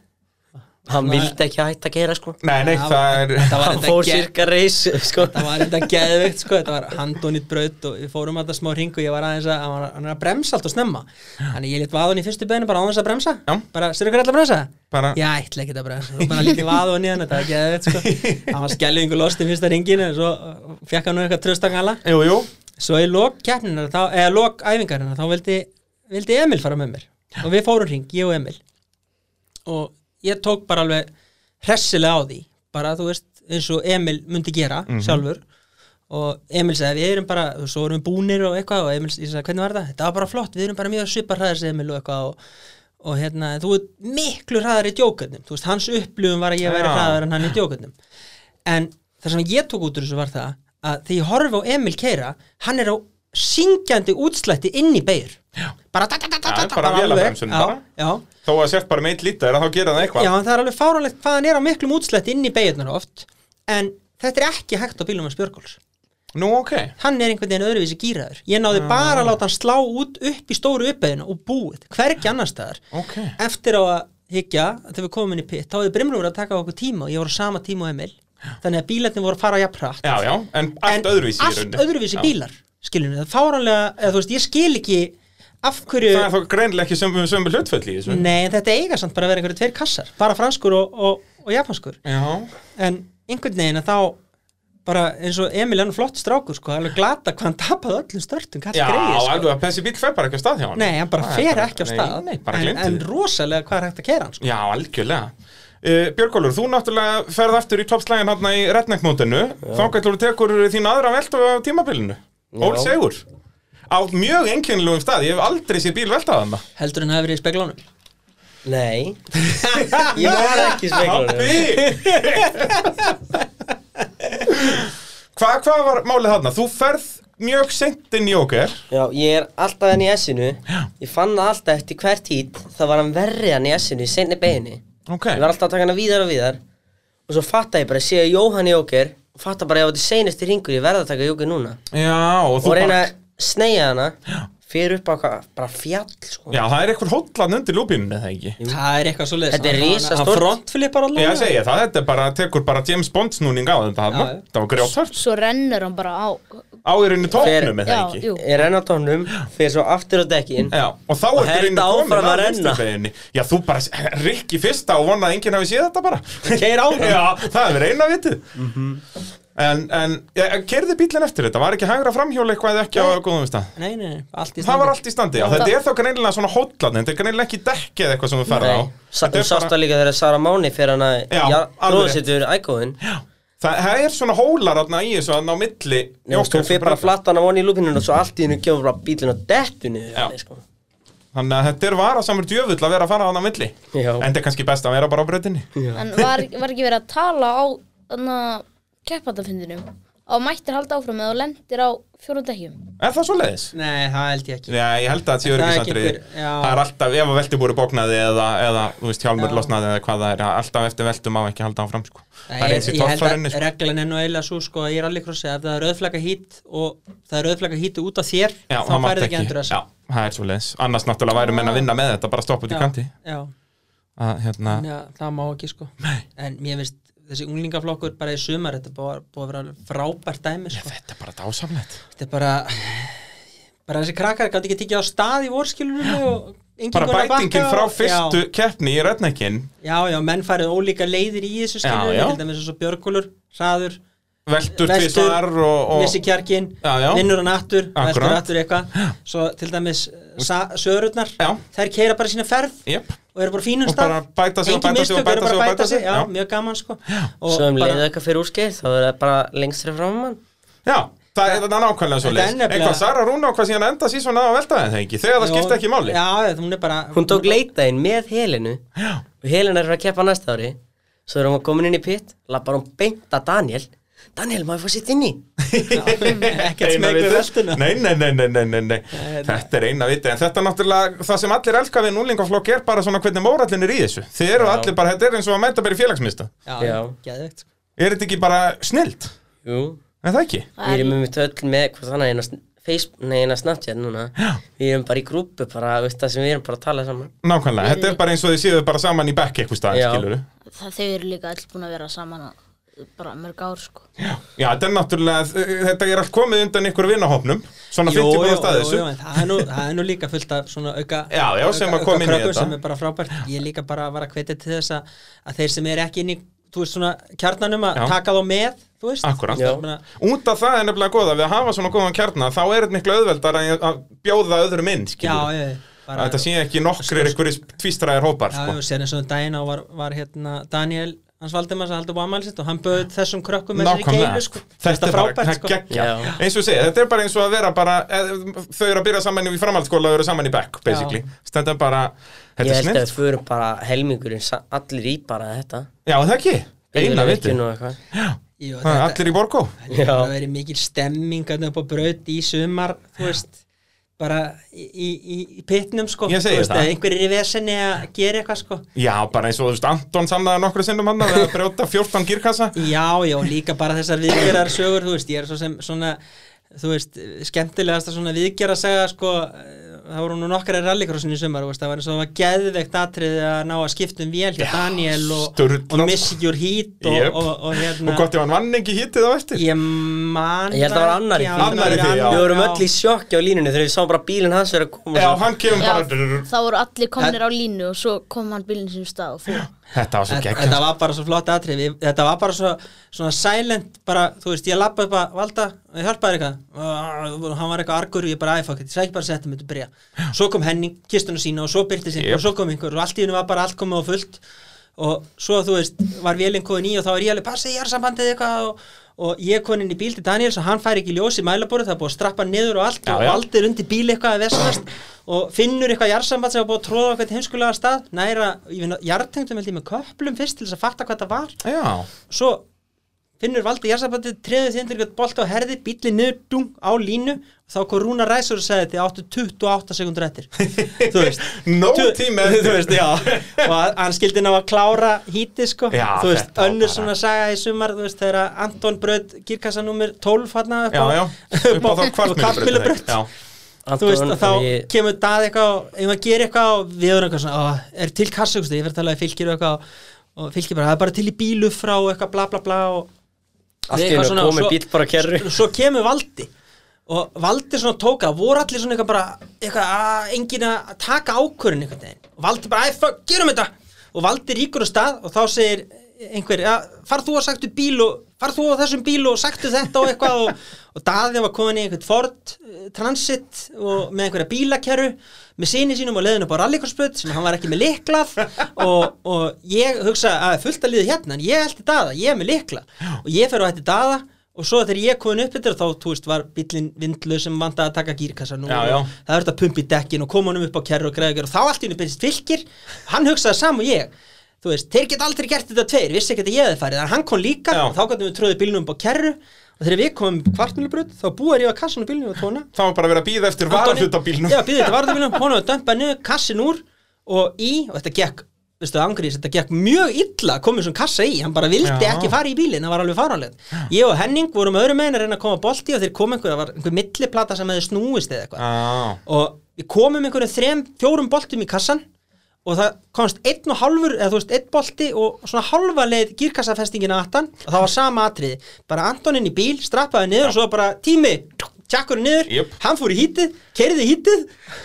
D: Hann vildi ekki hætta að gera sko
A: Nei, nei,
B: Já,
A: það er
B: það var
D: Hann
B: enda
D: fór
B: ge-
D: cirka reis sko
B: það var enda geðvikt sko, þetta var handónýtt braut og við fórum alltaf smá hring og ég var aðeins að hann var- hann er að bremsa allt og snemma þannig ég lít vaðan í fyrstu beinu bara áðans að bremsa
A: Já.
B: bara, sér ykkur alltaf að bremsa?
A: Bara-
B: ég ætla ekki að bremsa, og bara lítið vaðan í hann þetta var geðvikt sko, hann var skellingu lost í fyrsta hringinu, svo uh, fekk hann nú eitthvað tröstangala,
A: Jú, jú,
B: svo í lok keppninar, þá- eða lok æfingarinnar, þá vildi, vildi Emil fara með mér og við fórum hring, ég og Emil og ég tók bara alveg hressilega á því bara þú veist eins og Emil myndi gera
A: Mhm.
B: sjálfur og Emil sagði við erum bara, og svo erum við búnir og eitthvað og Emil ég sagði hvernig var þetta, þetta var bara flott við erum bara mjög svipar hraðis Emil og eitthvað og, og hérna en þú ert miklu hraðar í djókarnum, þú veist hans upplifum var að ég væri
A: Já.
B: hraðar en hann í djókarnum en það sem ég tók út úr þessu var það að þegar ég horfi á Emil keira hann er á syngjandi útslætti inn í beir bara, da, da, da, da,
A: Já,
B: da,
A: bara vélabremsun
B: já,
A: bara.
B: já,
A: þó að sért bara meitt lítið þá gerir það
B: Já,
A: eitthvað
B: en það er alveg fáránlegt hvað hann er á miklum útslætt inn í beigjarnar oft en þetta er ekki hægt á bílum hans Björgóls
A: Nú, ok
B: hann er einhvern veginn öðruvísi gýraður ég náði
A: Ah.
B: bara að láta hann slá út upp í stóru uppbeiginu og búið, hvergi annar staðar
A: Ok.
B: eftir á að higgja þegar við komum inn í pitt, þá hefði Brimlur verið að taka á okkur tíma og ég voru á sama tíma og Emil þannig að bílarnir voru að fara jafnrætt
A: Já, já, en allt öðruvísi í
B: allt
A: rauninni.
B: öðruvísi
A: Já.
B: bílar skiljum við, það er fáránlega eða, þú veist, ég skil ekki af hverju
A: Það er þá greinlega ekki sömu, sömu hlutfell í þessu
B: Nei, en þetta eiga samt bara að vera einhverju tveir kassar bara franskur og, og, og japanskur
A: Já,
B: en einhvern veginn að þá bara eins og Emil er nú flott strákur sko, alveg glata hvað hann tapaði öllum störtum hvað
A: já
B: það greið sko.
A: alveg að þessi bíl fer bara ekki af stað hjá hann
B: nei, hann bara
A: Það er
B: fer ekki á stað
A: Nei, nei bara
B: en, en
A: glimtið
B: rosalega hvað er hægt að kera hann sko.
A: Já, algjörlega Uh, Björgólfur, þú náttúrulega ferð aftur í toppslægin hérna í redneckmótinu þá gætlur þú tekur þín aðra veltu á tímabilinu Ól Segur á mjög einkennilegum stað, ég hef aldrei sér bíl veltað hann
B: heldur hann hafi verið í speglunum
D: Nei Ég var ekki í speglanum
A: Hvað hva var málið þarna? Þú ferð mjög seint inn í okkur
D: Já, ég er alltaf enn í S-inu Ég fann það alltaf eftir hvert hít þá var hann verri hann í S-inu í seinni beginni
A: Ok,
D: Ég var alltaf að taka hana víðar og víðar Og svo fatta ég bara, sé að Jóhann Jóker og Fatta bara, ég var til seinasti ringur, ég verða að taka Jóker núna
A: já og þú
D: Og reyna
A: bara
D: að sneia hana Fyrir upp á hvað, bara fjall sko.
A: Já, það er eitthvað hótlan undir lúpinu, eða ekki?
B: það er eitthvað svo leiðis
D: Þetta er risastórt.
B: hann frontflippar
A: Já,
B: allavega
A: ég segi það, þetta er bara, tekur bara James Bond snúning á þetta hann
B: Já, já.
A: Það var grjótart
C: Svo rennur hann bara á
A: á í rauninni tóknum
D: Fer-
A: eða
C: Já,
A: ekki
C: jú.
D: Ég renna á tónum, fyrir svo aftur á dekkin
A: Já, og þá
D: Og
A: ertu í rauninni
D: held áfram
A: komin
D: að
A: að
D: renna.
A: vinstribeginni Já, þú bara rikki fyrsta og vona að enginn hafi séð þetta bara
D: Keyra áfram.
A: Já, það er eina vitið En, en kerði bílinn eftir þetta? Var ekki hægra framhjóla eitthvað eða ekki á góðum stað?
B: Nei, nei, nei, allt í
A: Það var
B: standi.
A: allt í standi, já. Þetta er þá greinilega svona hótlarni, þetta er greinilega ekki dekkið eða eitthvað sem þú ferð á.
D: Nei, Sa-
A: Þetta
D: þú
A: er
D: sást
A: bara-
D: það líka þegar Sara Máni fyrir hana
A: Já, alveg
D: Róðsettur ægóðin
A: Það það er svona hólar þarna í þessu þarna á milli.
D: Þú fyrir sko, bara flatan á voni í lúpinun og svo allt í hennu gefur bara bílinn og dettu niður
A: Já.
D: þannig, sko.
A: Þannig að þetta er varasamur djöfull að vera að fara þarna á milli.
D: Já.
A: En þetta er kannski best að vera bara á breytinni.
C: En var, var ekki verið að tala á keppandafundinum á mættir halda áfram eða þú lendir á fjórum dekkjum
A: Er það svo leiðis?
B: Nei, það held ég ekki.
A: Já, ég held að það sé
B: Það er ekki
A: öryggisandrið
B: einhver- já.
A: Það er alltaf, ef að veltum voru bóknaði eða, eða þú veist, hjálmur
B: Já.
A: losnaði eða hvað það er alltaf eftir veltum má ekki halda áfram sko.
B: Nei,
A: Það er eins í
B: ég- ég held
A: torfarinni
B: að
A: sko.
B: reglan er nú eiginlega svo sko að ég er allir krossi ef það er rauðflagga hít og það er rauðflagga hít út af þér
A: Já,
B: þá
A: það mátt
B: færðu ekki
A: ekki
B: endur þess
A: Já, það er svo leiðis Annars náttúrulega væri menn að vinna með þetta bara stoppa út í kanti
B: já,
A: að, hérna,
B: þannig að það má ekki sko Nei. en mér finnst þessi unglingaflokkur bara í sumar þetta er búið, búið að vera alveg frábært dæmi sko.
A: Þetta er bara dásamlegt
B: þetta er bara bara þessi krakkar gæti ekki tekið á stað í vorskilunum og engin
A: Bara
B: konar bakka
A: bætingin
B: og-
A: frá fyrstu
B: já,
A: keppni í Redneckin
B: já, já, menn farið ólíka leiðir í þessu
A: Já, já.
B: skilunum til dæmis eins og Björgúlur, Hraður
A: Veltur tvisvar og, og
B: missi kjarkin,
A: Já, já.
B: vinnur hann aftur
A: Akkurat.
B: veltur aftur eitthvað svo til dæmis eh, sa- sörurnar
A: Já.
B: þær keira bara sína ferð
A: Jep,
B: og eru bara á fínum
A: Og
B: stað
A: bara bæta sig og
B: Engin
A: bæta sig og
B: mistök,
A: bæta
B: eru bara
A: sig og
B: að
A: bæta sig,
B: já,
A: já.
B: mjög gaman sko og
D: Svo um
B: bara-
D: leiðið eitthvað fyrir úrskeið þá er það bara lengst fyrir fram mann
A: já Það er þetta nákvæmlega svo leiðis
B: Þetta er nefnilega-
A: Eitthvað Sara Rúna og hvað síðan enda síðan að velta þeim ekki Þegar það
B: Já,
A: skipta ekki máli
B: já, já, hún er bara
D: Hún tók leitaðinn með Helenu og Helena er að keppa næsta ári svo er hún komin inn í pitt lappar hún beint að Daniel Daniel, má ég fá sitt inn í?
B: ekkert
A: Eina
B: smeg við
A: vitið.
B: veltuna
A: nei, nei, nei, nei, nei, nei, nei. Þetta er eina viti En þetta er náttúrulega, það sem allir elska við núlingaflokk er bara svona hvernig mórallin er í þessu Þið eru allir bara, þetta er eins og að mæta bara í félagsmista
D: Já.
B: geðvegt sko
A: Er þetta ekki bara snilt?
D: Jú
A: Er það ekki?
C: Það
D: Við
C: er-
D: erum með öll með hvort þannig eina sn- Facebook, nei, eina Snapchat núna Við erum bara í grúpu bara, veist það sem við erum bara að tala saman
A: Nákvæmlega, þetta er bara eins og þið séu bara saman í bekk eitthvað staðar,
D: Já.
A: skilur
C: það þau eru líka alls búin að vera saman að- bara mörg ár sko
A: Já, þetta er náttúrulega, þetta er allt komið undan ykkur vinahopnum Svona 50
B: Jú, jú,
A: búið stað
B: jú,
A: þessu
B: jú, en það er nú- það er nú líka fullt af svona auka
A: Já, já, sem að
B: auka-
A: koma inn í
B: aukakrökkum
A: þetta.
B: sem er bara frábært, ég er líka bara var að hvetja til þess að, að þeir sem er ekki inn í þú veist svona kjarnanum að
A: Já.
B: taka þá með þú veist
A: Akkúrat.
B: Það
D: Já.
B: er bara-
A: Út af það er nefnilega góða, við að hafa svona góðan kjarnar Þá er þetta miklu auðveldar að bjóða öðrum inn,
B: já,
A: skilur
B: já, já, bara Sko,
A: Þetta sé ekki nokkrir ykkur tvistræðir hópar,
B: já,
A: sko
B: já, sér eins og um daginn á var, var hérna Daniel hans Valdimars að halda búið ammæli sitt og hann bauð þessum krökkum með sér í
A: Nákvæmlega,
B: keilu sko.
A: þetta er bara
B: sko.
A: geggja
D: Já.
A: eins og ég segja, þetta er bara eins og að vera bara eð, þau eru að byrja saman í framhaldsskóla og eru saman í bekk, basically, þetta er bara þetta
D: Ég
A: er
D: held að
A: snill,
D: við förum bara helmingurinn sa- allir í bara þetta
A: já það ekki eina viti,
D: Bílvirkjun og eitthvað.
B: Jú,
A: það er allir í borgó
B: Það er
D: Já.
B: verið mikil stemming að upp á braut í sumar þú veist, bara í, í, í pitnum sko,
A: Ég segi
B: Þú veist,
A: það.
B: að einhverjir í vesenni að gera eitthvað sko
A: já, bara eins og þú veist, Anton sannaði nokkru sinnum hann að brjóta 14 girkassa
B: Já, já, líka bara þessar viðgerðar sögur, þú veist, ég er svo sem svona, þú veist, skemmtilegasta svona viðgerð að segja, sko, eh, það voru nú nokkar í rallycrossinu í sumar, þú veist, það var eins og það var geðveikt atriði að ná að skipta um vél hjá Daniel og,
A: sturlað,
B: og Miss Your Heat og,
A: Jöp.
B: og, og, hérna,
A: og gott ef hann vann ekki hítið á eftir
B: ég man
D: Ég held að það var annar í
B: ekki, já,
D: því.
B: það
A: Annar í
B: var
A: því, já.
B: annar,
D: Við vorum öll í sjokki á línunni þegar við sáum bara bílinn hans vera að koma
A: já, hann kemur
C: Já,
A: bara
C: þá voru allir komnir á línu og svo kom hann bílinn sinni stað og fór
A: þetta var svo
B: Þetta
A: geggjað
B: þetta var bara svo flott atrið Þetta var bara svo, svona silent bara, þú veist, ég lappa upp að valda ég hjálpaði þér eitthvað og hann var eitthvað argur, ég bara aðeins ég sæk bara að setja mig til bregja svo kom Henning, kistuna sína og svo byrti sín
A: Jep.
B: og svo kom einhver og allt í hennu var bara allt komið á fullt og svo þú veist, var vélinn komin í og þá er ég alveg, passi, ég er sambandið eitthvað og, og ég komin inn í bíl til Daniels og hann fær ekki ljós í mælaboru, það er búið að strappa hann niður og allt
A: Já,
B: og
A: já.
B: allt er undir bíl eitthvað að vesnast og finnur eitthvað jarðsamband sem var búið að tróða okkur heimskulega stað næra, ég finn að jarðtengdum held ég með köplum fyrst til þess að fatta hvað það var
A: já,
B: svo finnur valdi jarðsambandið treður því undir eitthvað bolt á herði bíli niður dung á línu og þá kom Rúna Ræsur og sagði þið áttu 28 sekundur eftir þú veist
A: no
B: tu-
A: tími
B: þú
A: eftir
B: veist, já og að- hann skildi ná að klára híti sko
A: Já,
B: þú veist,
A: þetta var
B: önnur
A: bara-
B: svona saga í sumar þú veist, þegar að Anton bröð girkassanúmer 12 hann upp
A: já, já, upp á þá
B: kvartmjölubraut
A: kvartmjölubraut já,
B: þú veist, og þá
D: ég,
B: kemur dað eitthvað og ef maður gerir eitthvað og við erum eitthvað svona, "Ó, er til kassa, ég fyrir að tala við fylgir og eitthvað og- og fylgir bara, það er bara til í bílu frá og eitthvað bla bla bla og
D: Allt í
B: eitthvað
D: einu
B: svona,
D: komið
B: svo-
D: bíll bara á kerru.
B: svo kemur valdi og valdi svona tóka, voru allir svona eitthvað bara eitthvað, að, engin að taka ákvörun einhvern veginn, og valdi bara, æ, fuck, gerum þetta og valdi ríkur á stað og þá segir einhver, ja, far þú að sagtu bíl og far þú á þessum bíl og sagtu þetta og eitthvað og, og daði var komin í einhvern Ford eh, Transit og með einhverja bílakerru með sinni sínum og leiðin upp á rallikorsböld sem hann var ekki með liklað og, og ég hugsa að fullt að liði hérna en ég held í daða, ég er með liklað og ég fer á þetta daða og svo þegar ég komin upp þetta þá, þú veist, var bíllinn vindlu sem vantaði að taka gírkassan og
A: Já, já.
B: það verður að pumpa í dekkin og koma honum upp á kerru og greiðagjör og þá allt í henni byrjast fylgir hann hugsaði saman og ég þú veist, þeir geta aldrei gert þetta tveir, vissi ekki að ég hefði farið en hann kom líka
A: Já.
B: og þá gætum við tröðið bílnum upp á kerru og þegar við komum upp kvartmjölubröð þá búið ég að kassan og bílnum og tóna
A: Það var bara að vera að býða eftir varaflutabílnum
B: Já, býðið þetta varðabílnum, hún var að dömpa niður kassin úr og í, og þetta gekk veistu, ángrís, þetta gekk mjög illa að koma þessum kassa í, hann bara vildi
A: Já.
B: ekki fara í bílinn, það var alveg faranlegt ég og Henning vorum öðrum megin að reyna að koma að bolti og þeir kom einhver, það var einhver milliplata sem hefði snúist eða eitthvað
A: Já,
B: og við komum einhverjum þrem, fjórum boltum í kassan og það komst einn og hálfur, eða þú veist, einn bolti og svona halva leið gírkassafestingin að atan og það var sama atriði, bara Anton inn í bíl strappaði niður og svo bara tími tjakkur niður,
A: Jöp.
B: hann fór í hítið keiriði í hítið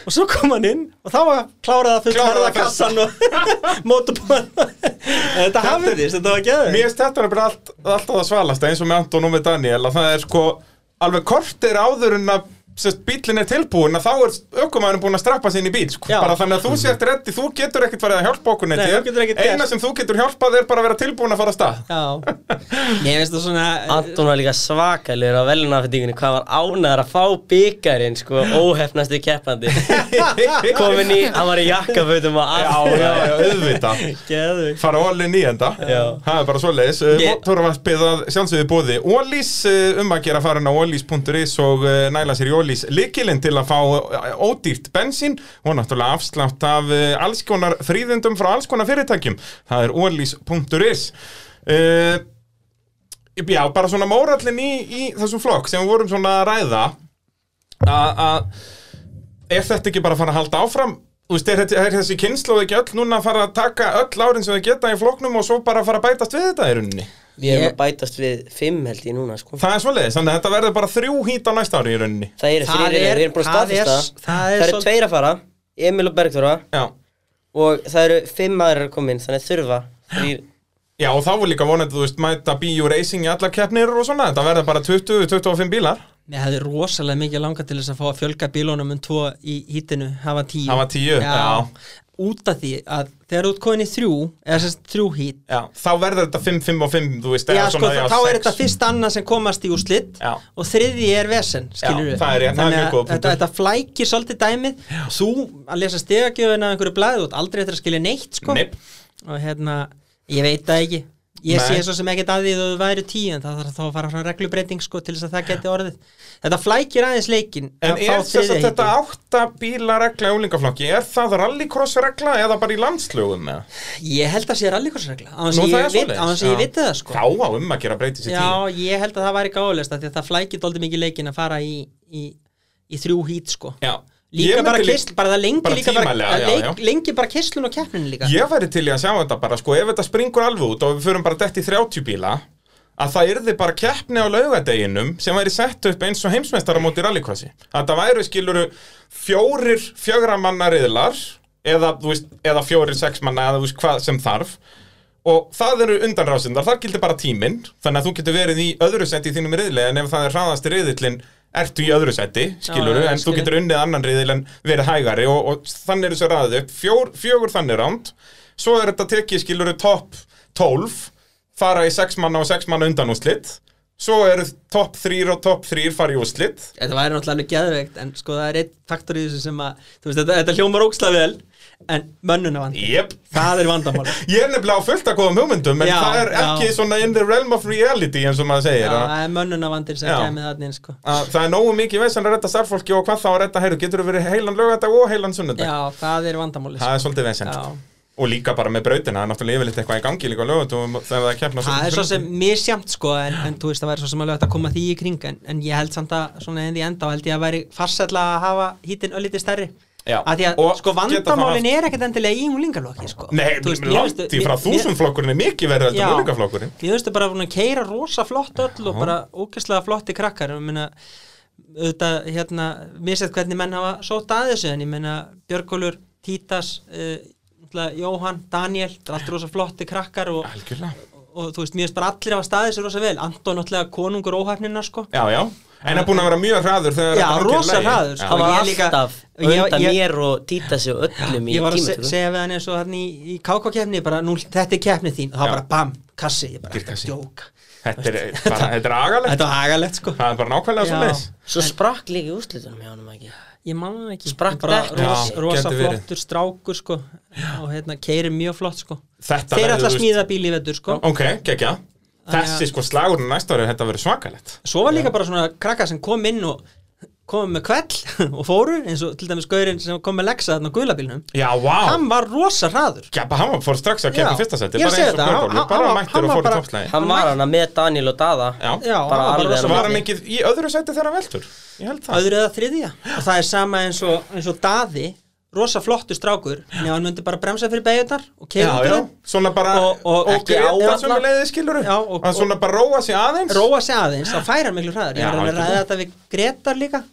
B: og svo kom hann inn og þá var kláraða fullt
A: Kláraði
B: harða
A: að festa.
B: kassan og mótubóðan þetta hafiðist, þetta var gæður
A: Mér finnst þetta er bara allt, alltaf að svalast eins og með Anton og með Daniel að það er sko alveg kortir áður en að sérst, bílinn er tilbúin að þá er ökumæðurinn búin að strappa sér inn í bíl sko.
B: Já. Mm-hmm.
A: bara þannig að þú sért reddi, þú getur ekkert farið að hjálpa okkur neitt
B: Nei,
A: hér.
B: þú getur ekkert
A: eina
B: gert.
A: sem þú getur hjálpað er bara að vera tilbúin að fara að stað
B: Já, mér finnst það svona
D: Anton var líka svakalur á velunafendingunni hvað var ánæður að fá byggarinn sko, óhefnasti keppandi komin í, hann var í jakkafötum og
A: Já,
D: allt
A: já, já, auðvitað
B: Geðug
A: fara ólinn í enda
D: Já.
A: það er bara svoleiðis Eh,
D: Ég-
A: motorvarpið að sjálfsögðu bóði Ólís eh, um að gera farin á ólís.is og eh, næla sér í Ólís likilinn til að fá eh, ódýrt bensín og náttúrulega afslátt af eh, alls konar fríðundum frá alls konar fyrirtækjum það er ólís.is uh, já, bara svona mórallin í, í þessum flokk sem við vorum svona að ræða að að- er þetta ekki bara að fara að halda áfram Þú veist, er, þetta- er þessi kynnslóð ekki öll núna að fara að taka öll árin sem þau geta í flokknum og svo bara að fara að bætast við þetta í rauninni
D: Við erum að bætast við fimm held ég núna sko.
A: Það er svoleiðis, þannig að þetta verður bara þrjú hít á næsta ári í rauninni
D: Það eru
B: Það
D: þrýr,
B: er-
D: við erum búin að
B: það er-
D: staðfesta
B: það er
D: Það eru
B: svol-
D: tveir að fara, Emil og Bergþóra
A: Já,
D: og það eru fimm aðrir að koma inn, þannig þurfa þrýr
A: Já og þá er líka vonandi, þú veist, mæta bíu racing í allar keppnir og svona Þetta verður bara 20-25 bílar
B: Mér hefði rosalega mikið langað til þess að fá að fjölga bílónum um tvo í hítinu, hafa tíu.
A: Hafa tíu, já.
B: Út af því að þegar þú ert komin í þrjú, eða sérst þrjú hít,
A: Já, þá verður þetta 5-5-5, þú veist
B: já,
A: eða
B: sko,
A: já,
B: þá er
A: sex.
B: þetta fyrst annað sem komast í úrslit
A: Já.
B: og þriði er vesen, skilur
A: Já, það er rétt, það er mjög góð punktur.
B: þetta, þetta flækir svolítið dæmið, já. þú að lesa stegagjöfina af einhverju blæðu, þú ert aldrei eftir að skilja neitt, sko.
A: Nei.
B: Og hérna, ég veit það ekki. Ég
A: Nei.
B: sé svo sem ekkert að því þú væri tíu en það þarf þá að fara frá reglubreiting sko til þess að það geti orðið. Þetta flækir aðeins leikin
A: En
B: að fá
A: er þess
B: þriðja
A: að þetta
B: hítið.
A: átta bíla regla í úlingaflokki, er það rallycross regla eða bara í landslögum eða?
B: Ég held að sé rallikorsregla á þess
A: Nú,
B: að
A: það
B: ég
A: er
B: vit-
A: svoleiðis.
B: á þess að ég
A: Já.
B: viti það sko
A: Þá á um að gera breytið sér
B: Já,
A: tíu
B: ég held að það væri gáðulegst því að það flækir doldið mikið leikin að fara í, í, í þrjú hít sko
A: Já,
B: Líka
A: Ég
B: bara
A: myndi lí-
B: kistl, bara það lengi
A: bara
B: líka bara,
A: tímalega,
B: að
A: já,
B: leik,
A: já.
B: lengi bara kistlun og keppnin líka
A: Ég væri til í að sjá þetta bara sko, ef þetta springur alveg út og við förum bara dett í 30 bíla að það yrði bara keppni á laugadeginum sem væri sett upp eins og heimsmeistara móti rallycrossi að það væri skiluru fjórir fjögra manna riðlar eða, þú veist, eða fjórir sex manna eða þú veist hvað sem þarf og það eru undanrásindar, þar gildi bara tíminn þannig að þú getur verið í öðru seti í þínum riðli en ef það er hraðasti riðillin ertu í öðru seti, skiluru,
B: Já, já,
A: en þú
B: skil ég.
A: getur unnið annan riðil en verið hægari og, og þannig er þessu ræðið upp, Fjór, fjögur þannig ránd svo er þetta tekið skiluru topp 12, fara í 6 manna og 6 manna undan úrslit svo eru topp 3 og topp 3 fara í úrslit
B: Þetta væri náttúrulega alveg geðveikt en sko það er einn faktor í þessu sem að þú veist, þetta, þetta hljómar óksla vel en mönnuna vandi,
A: Jep,
B: það er vandamál
A: ég er nefnilega á fullt að góðum hugmyndum en
B: Já,
A: það er ekki
B: já.
A: svona in the realm of reality eins og maður segir
B: Já,
A: að-
B: það er mönnuna vandir sem
A: Já.
B: kemur þarna inn sko
A: að það er nógu mikið vesen að redda starffólki og hvað þá að redda heyru, getur þú verið heilan lögadag og heilan sunnudag
B: Já, það er vandamáli
A: það er svolítið vesen
B: Já.
A: sko. og líka bara með brautina, það er náttúrulega yfirleitt eitthvað í gangi líka á lögatum þegar það keppna
B: Það er svo sem misjamt sko en, en þú veist það væri svo sem alveg hægt að koma því í kring en, en ég held samt að svona enn því enda held ég að væri farsætla að hafa hítin öllítið stærri
A: Já,
B: að því að
A: og
B: sko
A: geta þá
B: vandamálin
A: haft-
B: er ekkert endilega í unglingarlokki sko
A: Nei,
B: Þú veist, mér
A: langt
B: finnst-
A: í frá
B: mér-
A: þúsundflokkurinn er mikið verið heldur
B: Já.
A: en úlingaflokkurinn
B: Mér finnst þau bara búin að keira rosa flott öll og bara ógæslega flotti krakkar og minna auðvitað hérna misett hvernig menn hafa sótt að þessu en ég meina Björgólfur, eh, Títas uh, náttúrulega Jóhann, Daniel, þetta er allt rosa flotti krakkar og
A: Algjörlega,
B: og þú veist, mér finnst bara allir hafa staðið sér rosa vel Anton náttúrulega konungur óhæfnina sko
A: Já, já, en er búin að vera mjög hraður þegar að
B: Já,
A: gangi er í
B: rosa
A: lagi.
B: hraður,
A: Já.
B: sko.
D: Hann
B: Og
D: var
B: ég líka-
D: alltaf
B: og ég-
D: undan
B: ég-
D: mér og týta sig og öllum í
B: Ég var að se
D: tímatöku
B: segja við hann eins og hann í, í kákakeppni bara, nú, þetta er keppnið þín og það
A: Já.
B: var bara bam, kassi, ég bara,
A: Gír
B: þetta er
A: kassi.
B: djók
A: Þetta er bara, þetta er agalegt
B: Þetta var hagalegt sko
A: Það er bara nákvæmlega svo leis
D: Svo sprakk líka í úrslitunum hjá honum ekki
B: Ég man það ekki
D: Sprakk
B: Bara
D: dekk.
B: ros,
A: Já,
B: Rosa
A: gæti verið.
B: flottur strákur sko og hérna, keiri mjög flott sko
A: Þetta
B: Þeir
A: verður,
B: ætla að
A: þú veist-
B: smíða bíl í vettur sko
A: Ok, gekkja Þessi sko slagurinn næsta árið, þetta verður svakalegt
B: Svo var líka bara svona krakka sem kom inn og kom með kvell og fóru eins og til dæmis gaurinn sem kom með lexa þarna á guðlabílnum
A: Já, vá
B: Hann var rosa hraður
A: Já, bara hann fór strax að kemja
B: Já,
A: fyrsta seti Bara
B: ég er að
A: eins
B: segja
A: og
B: þetta, hann-
A: Björgólfur,
B: hann-
A: bara
B: hann var-
A: mættur
B: hann
A: og
B: var
A: fór í
B: bara-
A: toppslægi
D: Hann var hana með Daniel og Dada
A: Já,
B: Já, hann
D: Bara
B: var bara
D: alveg
B: rosa
A: svo var
B: flottur
A: hann ekki í öðru seti þegar hann veltur Ég held það
B: öðru eða þriðja og það er sama eins og, eins og daði rosa flottu strákur en ef hann myndi bara bremsa fyrir beigjöndar og
A: Já,
B: keira út
A: já,
B: í þeim
A: svona bara
B: Og- og-
A: ekki
D: ekki á
A: áallan
D: alla.
A: sem við leiðið skilur
B: Já, og-
A: að svona bara róa sig aðeins
B: róa sig aðeins, þá færa hann miklu hraðar
A: Já,
B: ég var alveg að ræða
A: algjörlega.
B: þetta við Gretar líka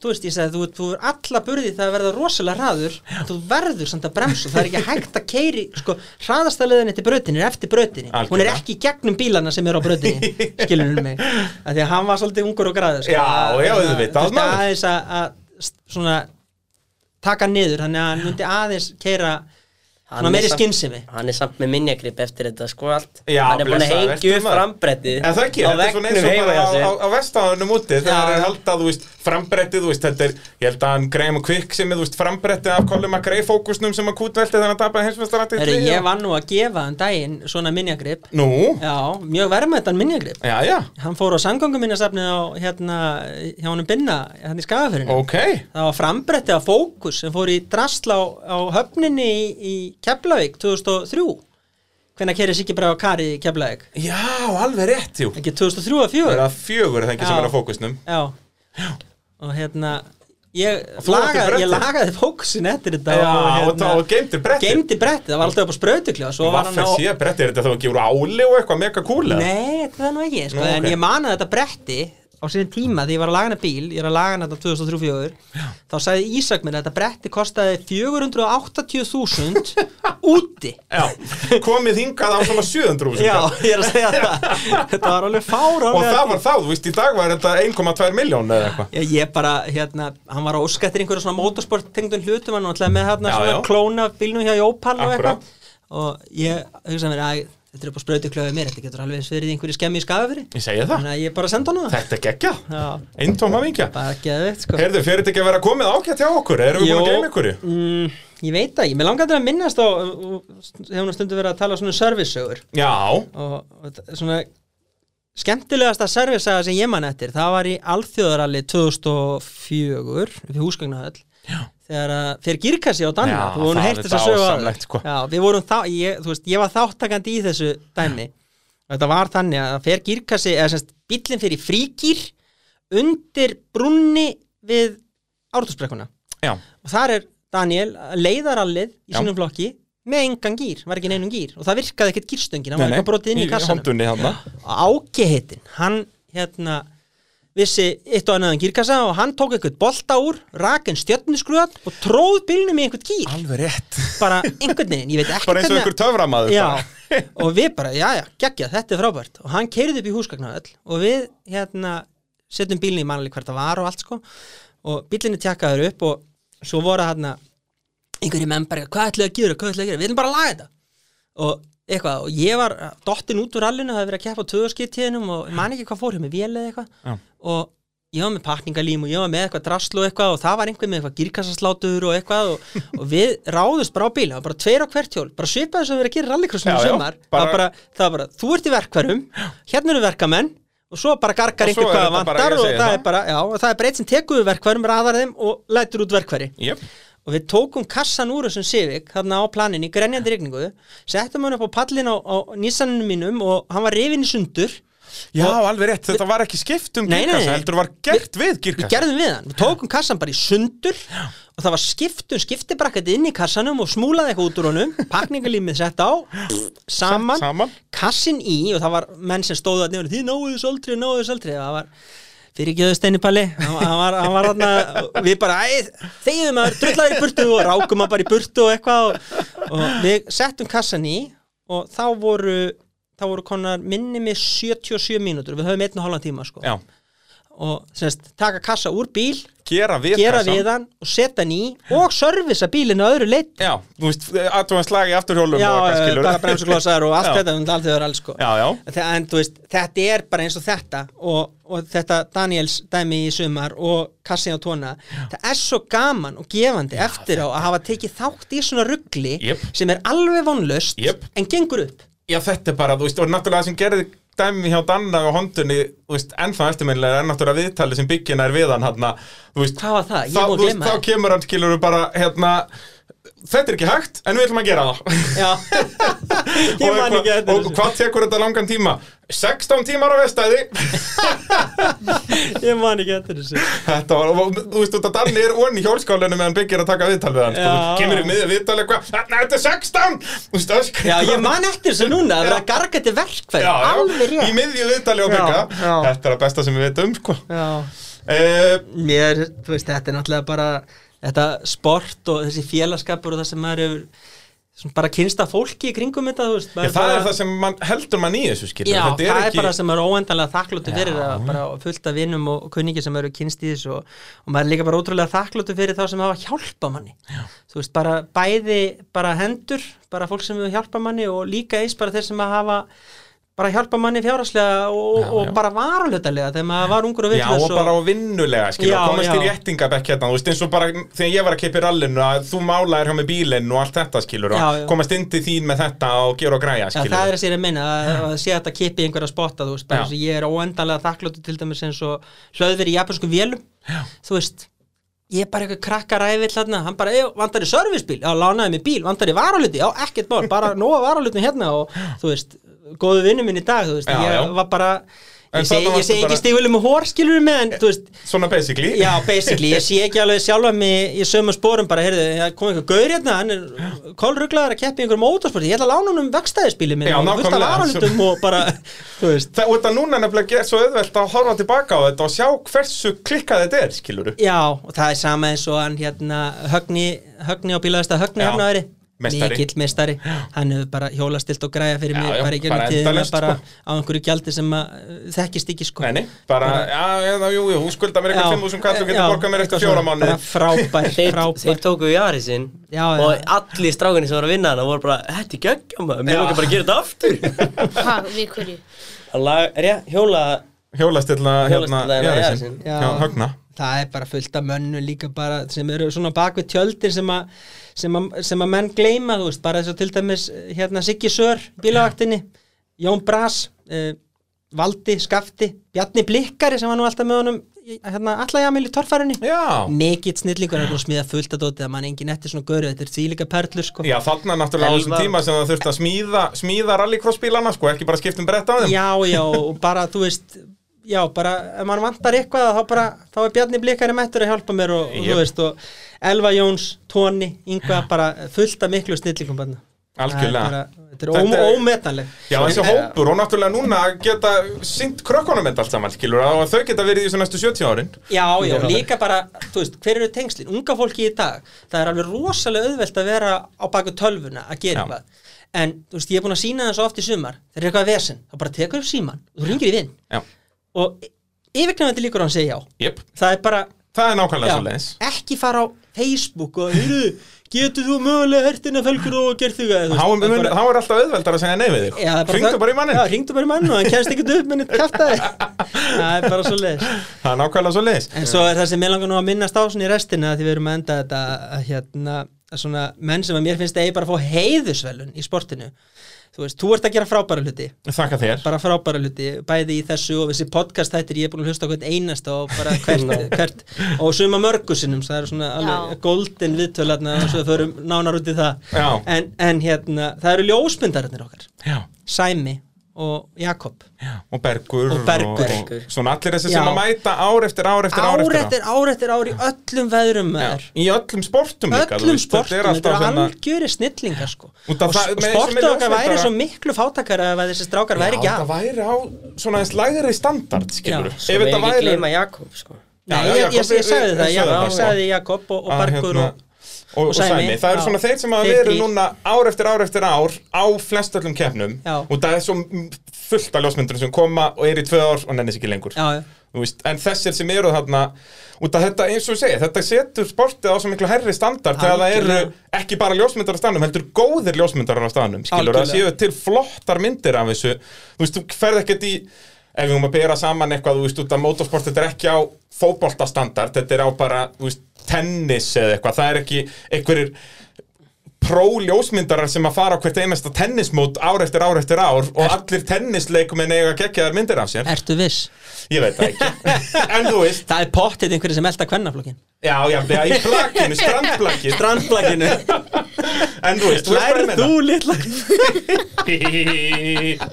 B: þú veist, ég sagði, þú, þú er alla burði það að verða rosalega hraður þú verður samt að bremsa, það er ekki hægt að keiri sko, hraðastæliðinni til brautinni er eftir brautinni, hún er
A: Algjörlega.
B: ekki í gegnum bílana sem er á brautinni, skilurinn mig af því að hann var svolítið ungur og græður sko.
A: Já, já, auðvitað,
B: þú veist,
A: maður.
B: aðeins að, að svona taka hann niður, þannig að hann myndi aðeins keira svona meiri skynsemi
D: Hann er samt með minjagrip eftir þetta sko allt
A: Já,
D: Hann er búin að
A: blessaður,
D: hengja
A: vertu
D: upp
A: maður.
D: frambrettið
A: En það ekki,
D: á
A: þetta er svona eins
D: veggnum
A: og
D: heima
A: bara
D: hjá
A: á, á,
D: sér
A: á vestaðunum úti þegar
B: Já,
A: það er
B: já.
A: haldað, þú veist, frambrettið, þú veist, þetta er, ég held að hann Graham Quick sem er, þú veist, frambrettið af Colin McRae fókusnum sem að kútvelti þannig að tapaði heimsmestarættið.
B: Heru, ég var nú að gefa hann daginn svona minjagrip
A: Nú,
B: Já, mjög verðmættan minjagrip
A: já, já,
B: Hann fór á sanganguminnasafnið á hérna, hjá honum Binna, hérna í skagafyrinu
A: ok,
B: Það var frambretti af fókus sem fór í drasla á, á höfninni í, í Keflavík 2003 Hvenær kerið Siggi Braga Kari í Keflavík?
A: já, alveg rétt, jú.
B: Ekki 2003 að
A: Það er
B: 4
A: að fjögur er það ekki sem
B: Já.
A: er á fókusnum.
B: Já Og hérna Ég
A: þú áttir
B: lagaði, ég
A: brettið?
B: lagaði fókusin eftir þetta
A: Já, og þá og geymdir brettið.
B: Geimdi brettið, það var alltaf upp á sprautukljóð Svo var hann
A: Vaffel
B: á
A: sé brettið, er þetta þá ekki úr áli og eitthvað mega kúla?
B: Nei, þetta er það nú ekki, sko,
A: Nú, ok.
B: en ég man að þetta bretti á sinni tíma þegar ég var að laga hana bíl, ég er að laga hana þetta 2003-04, þá sagði Ísak mér að þetta bretti kostaði 480.000 úti.
A: Já, komið hingað á svona 700
B: Já, ég er að segja það. þetta var alveg fára.
A: Og það var þá, þú veist, í dag var þetta 1,2 miljón eða eitthvað.
B: Já, ég bara, hérna, hann var að óska eftir einhverju svona motorsporttengdun hlutum, hann var alltaf með hérna
A: Já,
B: svona
A: já.
B: klóna af bílnum hjá Jópal og
A: Akkúrat.
B: eitthvað. Og ég hugsaði mér að þetta er upp á sprautuklöfið mér, þetta getur alveg eins verið í einhverju skemmi í skafafyrir.
A: Ég segi það,
B: Þannig að ég bara sendi hann það.
A: þetta er geggjað.
B: Já.
A: Eintóma vingja.
B: Bara geðveikt sko
A: Heyrðu, fyrir þetta ekki að vera komið ágætt hjá okkur? Erum við
B: Jó.
A: búin að gleyma ykkur?
B: mm, Ég veit það, ég með langar til að minnast á hefur nú stundu verið að tala um svona servicesögur
A: Já,
B: og, og t- svona skemmtilegasta servicesaga sem ég man eftir það var í Alþjóðaralli 2004 við húsgagnahöll þegar að, fyrir girkassi á Danna
A: Já,
B: þú vorum
A: það
B: heyrt
A: er
B: þess að sögu
A: dásamlegt, sko.
B: Já, við vorum þá, ég, þú veist, ég var þáttakandi í þessu dæmi þetta var þannig að fyrir girkassi eða semst bíllinn fyrir fríkir undir brunni við ártúsbrekkuna
A: já,
B: og þar er Daniel að leiða rallið í
A: Já.
B: sínum flokki með engan gýr, var ekki neinum gýr og það virkaði ekkert gýrstöngin,
A: Nei,
B: hann var
A: nei,
B: eitthvað brotið inn í,
A: í
B: kassanum
A: hondunni þarna.
B: áki heitin, hann hérna vissi eitt og annaðan gýrkassa og hann tók eitthvað bolta úr rakinn stjörnusgröð og tróð bílnum í einhvern gýr
A: alveg rétt
B: bara einhvern veginn, ég veit ekki
A: Bara eins og
B: hvernig-
A: einhver töframaður
B: Já,
A: bara.
B: og við bara, já, já, geggja, þetta er frábært og hann keirði upp í húsgagnahöll og við, hérna, setjum bílinn í mannlega hvert það var og allt, sko og bílinni tjekkaður upp og svo voru hérna einhverjum menn bara, hvað ætlaðu að gera, hvað ætlaðu að gera við ætlum bara að laga þetta og eitthvað, og ég var dottin út úr rallinu það hefði verið að keppa á töðarskiptíðinum og ég man ekki hvað fór hjá mig vél eða eitthvað
A: Já.
B: og ég var með pakningalím og ég var með eitthvað drasl og eitthvað og það var einhver með eitthvað girkassaslátur og eitthvað og, og við ráðust bara á bíl það var bara tveir á hvert hjól, bara svipaði sem við verið að gera rallycrossinu
A: Já, já,
B: sumar, það
A: bara-
B: var bara, það var bara þú ert í verkvarum, hérna eru verkamenn og svo bara gargar
A: Og svo
B: einhver
A: er
B: hvað
A: þetta bara,
B: vantar
A: ég
B: og
A: segi
B: það
A: það.
B: er bara, já, og það er bara eitt sem tekur við verkvarum, raðar þeim og lætur út verkvari
A: Jep.
B: og við tókum kassan úr þessum Civic þarna á planinu í grenjandi rigningu settum hann upp á pallin á, á Nissaninu mínum og hann var rifin í sundur
A: Já, alveg rétt, þetta var ekki skipt um
B: Nei, nei,
A: girkassa
B: nei.
A: heldur var gert við
B: við
A: girkassa
B: gerðum við hann, við tókum kassan bara í sundur og það var skiptun, skiptibrakkandi inn í kassanum og smúlaði eitthvað út úr honum pakningalímið sett á saman,
A: saman.
B: kassin í og það var menn sem stóðu að nefnir þið náðu þessu aldrei, náðu þessu aldrei það var fyrir ekki öðu steinipalli hann hann var, hann var hann við bara æ, þegiðum að drullaði í burtu og rákum að bara í burtu og eitthvað og, og við settum kassan í og þá voru þá voru konar minni með 77 mínútur við höfum einn og halvan tíma sko.
A: já,
B: og semst, taka kassa úr bíl
A: gera við
B: gera
A: kassann.
B: við hann og setja hann í og servisa bílinn á öðru leitt
A: Já, þú veist, aðtúan slagi í afturhjólum
B: já,
A: og eitthvað,
B: eh,
A: skilurðu.
B: bara bremsuglósar og allt
A: Já.
B: þetta um allt þegar alls sko
A: Já, já,
B: Þe- en þú veist, þetta er bara eins og þetta og, og þetta Daniels dæmi í sumar og kassin á tóna það er svo gaman og gefandi eftir á að hafa tekið þátt í svona ruggli
A: Jep.
B: sem er alveg vonlust
A: Jep.
B: en gengur upp
A: Já, þetta er bara, þú veist, og náttúrulega það sem gerði dæmi hjá Danna og Hondunni, þú veist, ennþá eftirminnilega er náttúrulega viðtalið sem byggjina er við hann, hérna, þú veist,
B: Hvað var það? Ég
A: þá,
B: er búin að
A: þú veist,
B: gleyma
A: þá
B: það.
A: kemur hann, skilur við bara, hérna, þetta er ekki hægt, en við ætlum að gera það.
B: já,
A: Og
B: ég man
A: eitthvað-
B: ekki eftir
A: Og hvað tekur þetta langan tíma? 16 tímar á vestæði.
B: þessu ég man ekki eftir þessu
A: Þetta var, og, þú veist, þetta Danni er onni í hjólskálinu meðan byggir að taka viðtal við hann, sko,
B: Já.
A: þú kemur í miðið viðtal eitthvað, "Þarna, þetta er 16! Þú veist, öskar.
B: já, ég man eftir þessu núna að vera að garga þetta verkfæri
A: Já, já,
B: alveg
A: Í
B: rétt
A: miðju viðtali og
B: Já,
A: bygga
B: já.
A: Þetta er að besta sem við veitum sko.
B: já
A: uh,
B: mér, þú veist, þetta er náttúrulega bara þetta sport og þessi félagskapur og það sem maður hefur svona bara kynsta fólki í kringum þetta, þú veist
A: ég, Það er það sem man, heldur mann í þessu skilur
B: Já,
A: Þetta
B: það er
A: ekki,
B: bara sem maður er óendanlega þakklótu fyrir það, bara fullt af vinnum og og kunningi sem eru kynst í þessu og, og maður er líka bara ótrúlega þakklótu fyrir þá sem hafa hjálpa manni Já. þú veist, bara bæði bara hendur, bara fólk sem hefur hjálpa manni og líka eins bara þeir sem að hafa bara hjálpa manni fjárhagslega og,
A: Já, já.
B: og bara varalötalega þegar maður var ungur og
A: Já,
B: vitlaus
A: og bara á vinnulega skilur
B: Já,
A: já, Komast
B: já.
A: í réttingabekk hérna Þú veist, eins og bara þegar ég var að keipi rallinu að þú málaðir hjá með bílinn og allt þetta skilur og
B: Já, já.
A: Komast inn til þín með þetta og gera og græja
B: Já,
A: skilur
B: það er að sér að minna að, að sé þetta kipi í einhverja spotta, þú veist,
A: Já.
B: bara þess að ég er óendanlega þakkláttu til dæmis eins og hlöðveri í japanskum vélum, Já. þú veist ég er bara eitthvað krakkaræfill hérna hann bara, "Ey, vantar í servicebíl, já, lánaði mér bíl vantar í varaluti, já, ekkert mál, bara nóga varalutin hérna og, þú veist, góðu vinnu minn í dag, þú veist,
A: Já,
B: ég
A: já.
B: var bara
A: En
B: ég segi
A: þarna
B: ég
A: varstu
B: segi
A: bara-
B: ekki stígulum og hór, skilur mig en, þú veist,
A: Svona basically
B: Já, basically, ég sé ekki alveg sjálfa mig í sömu spórum bara, heyrðu, það kom einhver gaur hérna, hann er kolruglaður að keppa í einhverjum mótorsporti, ég ætla að lána honum vegstæðispíli minn
A: Já,
B: og fullt af
A: nákvæmlega.
B: varalutum og bara, þú veist,
A: Það, og þetta núna er nefnilega gert svo auðvelt að horfa tilbaka á þetta og sjá hversu klikkað þetta er, skilur
B: já, og það er sama eins og hann hérna, högni, högni og bílaðasta högni
A: Já,
B: hérna aðri.
A: meistari.
B: Mikill mestari, hann hefur bara hjólastilt og græja fyrir
A: Já,
B: mig
A: já,
B: bara
A: bara
B: í gegnum tíðina
A: endalaust,
B: bara
A: sko.
B: á einhverju gjaldi sem að, uh, þekkist ekki sko
A: Nei, nei, bara, já, já, jú, jú, þú skulda mér eitthvað 5.000 kall og getur
B: já,
A: borgað mér
B: eitthvað
A: eftir fjóra
B: svona,
A: mánuði
B: bara Frábær,
D: þeir, þeir
B: frábær
D: tóku Jari sinn
B: Já, já.
D: og allir strákunni sem voru að vinna hana voru bara, þetta er geggjum maður, mér
A: Já.
D: langar bara að gera þetta aftur
C: Ha, við hverju?
D: Að lag- rétt, hjóla
A: hjólastilla hérna
D: Hjólastilla hérna,
A: Jarðarsinn.
B: já.
A: já, högna
B: það er bara fullt af mönnu líka bara sem eru svona bak við tjöldin sem að sem að, sem að menn gleyma þú veist bara þess að til dæmis eh, hérna Siggi Sör bílavaktinni, Jón Brás eh, Valdi Skafti Bjarni Blikkari sem var nú alltaf með honum í- hérna allajamil í torfærinni
A: já,
B: mikill snillingur er nú smíða fullt að dóti að mann engin eftir svona göru, þetta er þvílíka perlur sko
A: já þarna náttúrulega á þessum
D: Elvar.
A: tíma sem það þurfti að smíða smíða rallycrossbílana, sko, ekki bara skiptum brett á þeim
B: já, já, og bara þú veist já, bara, ef mann vantar eitthvað þá, bara, þá er Bjarni Blikari mættur að hjálpa mér og, og
A: Jep.
B: þú veist, og Elva Jóns Tóni, Inga, bara fullt af miklu snillingum bara
A: Algjörlega.
B: þetta er, bara- þetta
A: Þetta
B: er
A: er-
B: óm, ómetanleg eh,
A: Já, þessi hópur og náttúrulega núna að geta sint krökkunum þetta allt saman, skilur og þau geta verið í þessu næstu 70 árin
B: já, já, líka bara, þú veist, hver eru tengslin unga fólki í dag, það er alveg rosalega auðvelt að vera á baku tölvuna að
A: Já.
B: gera eitthvað, en þú veist, ég er búin að sína það svo oft í sumar, það er eitthvað vesen þá bara tekur upp síman, þú ringir í vinn
A: Já,
B: og yfirknæfandi líkur á hann segja já
A: jöp,
B: það er bara,
A: það er nákvæmlega
B: Já,
A: svo leins
B: ekki fara á Facebook og heyru, getur þú mögulega hertina felgur og gerð þig að þú
A: Há er
B: veist, það er bara-
A: alltaf auðveldar að segja nei við
B: Já, það er
A: þig Hringdu
B: það-
A: bara í mannin
B: Já, ringdu bara í mannin og hann kemst ekkert upp minnit kæftæði Það er bara svo leiðis
A: Það er nákvæmlega svo leins
B: En svo er það sem ég langar nú að minnast á svona í restina því við erum að enda þetta að, hérna, að svona menn sem að mér finnst að ég bara að fá heiðusvelun í sportinu Þú veist, þú ert að gera frábæra hluti
A: Þakka þér
B: bara frábæra hluti, bæði í þessu og þessi podcast þættir, ég er búin að hlusta á hvern einasta og bara hvert, hvert og suma mörgusinum, það eru svona
C: Já.
B: alveg golden viðtölarna og svo förum nánar út í það
A: Já.
B: en, en hérna, það eru ljósmyndararnir okkar
A: Já,
B: Sæmi og Jakob
A: já, og Bergur
B: Og Bergur.
A: og, og svona allir þessi sem
B: Já.
A: að mæta ár eftir ár eftir ár
B: ár
A: eftir ár
B: eftir ár eftir ár í öllum veðrum
A: Já,
B: maður
A: í öllum sportum líka þú
B: öllum
A: veist, þetta
B: sportum, þetta
A: alltaf hérna-
B: eru
A: svona-
B: algjöri snillingar sko
A: Út
B: og,
A: af
B: og
A: það- með- með
B: sportið okkar væri
A: ljósmyndara-
B: svo miklu fátakar að þessi strákar væri ekki
A: Já,
B: af
A: það væri á svona eins lægri standard, skilur
B: Já.
A: Ef
D: svo
A: þetta
D: megum ekki
A: væri
D: gleyma Jakob sko
A: Já,
B: Nei,
A: já,
B: ég, ég,
A: Jakob,
B: ég,
A: við-
B: sagði
A: við-
B: það,
A: við
B: já,
A: sögðum
B: ég
A: það, já.
B: sagði Jakob og, og
A: að,
B: Bergur
A: hérna,
B: og
A: og, og Sæmi, það eru
B: já.
A: svona þeir sem hafa
B: Þeir
A: verið
B: þrír.
A: núna ár eftir ár eftir ár á flestallum keppnum
B: Já.
A: og það er svo fullt af ljósmyndurum sem koma og er í tvö ár og nennis ekki lengur
B: já, já,
A: Þú veist, en þessir sem eru þarna út af þetta eins og ég segi, þetta setur sportið á svo miklu herri standard þegar það eru
B: Algjörlega.
A: ekki bara ljósmyndarar á staðnum, heldur góðir ljósmyndarar á staðnum, skilur það séu
B: Algjörlega.
A: til flottar myndir af þessu, þú veist, þú ferð ekkert í ef við um að bera saman eitthvað, þú veist, út af motorsport, þetta er ekki á fótboltastandard, þetta er á bara, þú veist, tennis eða eitthvað, það er ekki einhverjir pró-ljósmyndarar sem að fara á hvert einasta tennismót ár eftir ár eftir ár og allir tennisleikumenn eiga geggjaðar myndir af sér
B: ertu viss
A: Ég veit það ekki En þú veist,
B: það er pottið einhverju sem elda kvennaflokkin
A: já, já, já, í plakinu, strandplakinu
B: strandflagginu,
A: En þú veist, þú veist
B: lærðu þú litla
A: meina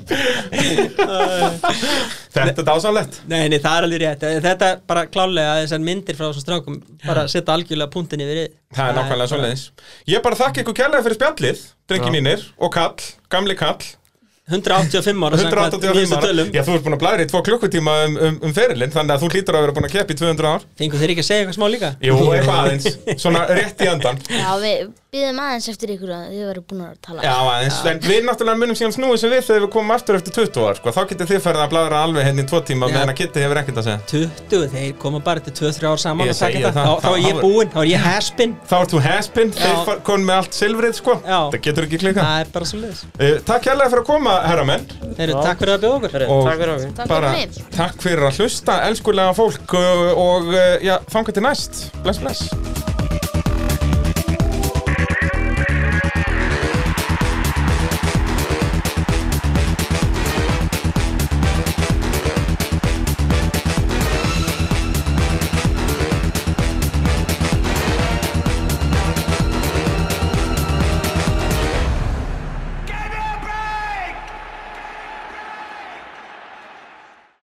A: Þetta er dásanlegt
B: nei, nei, það er alveg rétt Eh, þetta er bara klálega að þessar myndir frá þessum strákum bara setja algjörlega punktin yfir Eh, þið.
A: Það er nákvæmlega
B: bara
A: svoleiðis Ég bara þakka ykkur kærlega fyrir spjallið Drengi
D: Já.
A: mínir og kall, gamli kall
B: 185 ára samkvæmt
A: 185
B: nýjustu
A: ára
B: tölum.
A: Já, þú ert búin að blæðra í tvo klukkutíma um, um, um ferilinn Þannig að þú hlýtur að vera búin að keppa í 200 ár
B: Fengu þeir ekki að segja eitthvað smá líka?
A: Jú, eitthvað aðeins Svona rétt í andan
C: Já, við býðum aðeins eftir ykkur að þið verður búin að tala
A: Já, aðeins, en við náttúrulega munum síðan snúið sem við þegar við komum aftur eftir 20 ár, sko, þá getið þið færið að bladra alveg henni í tvo tíma
B: Já.
A: meðan að Kitty hefur ekkert að segja.
B: 20, þeir koma bara til 2-3 ár saman
A: Ég
B: og taka
A: segi
B: þetta.
A: það.
B: Þá, þá er ég
A: Þá-
B: búinn, þá er ég haspin
A: Þá ert þú haspin, þeir far- konum með allt silfrið sko
B: Já.
A: Það getur ekki klika
B: Það er bara svo leiðis
A: uh, Takk hérlega fyrir að koma, herramenn
B: Þeir eru takk fyrir að bjóða okkur
D: Herru,
A: Og-
D: Takk fyrir okkur
C: Takk
A: Bara
C: fyrir mig.
A: eh, Takk fyrir að hlusta, elskulega fólk uh, og uh, já, þangar til næst Bless, bless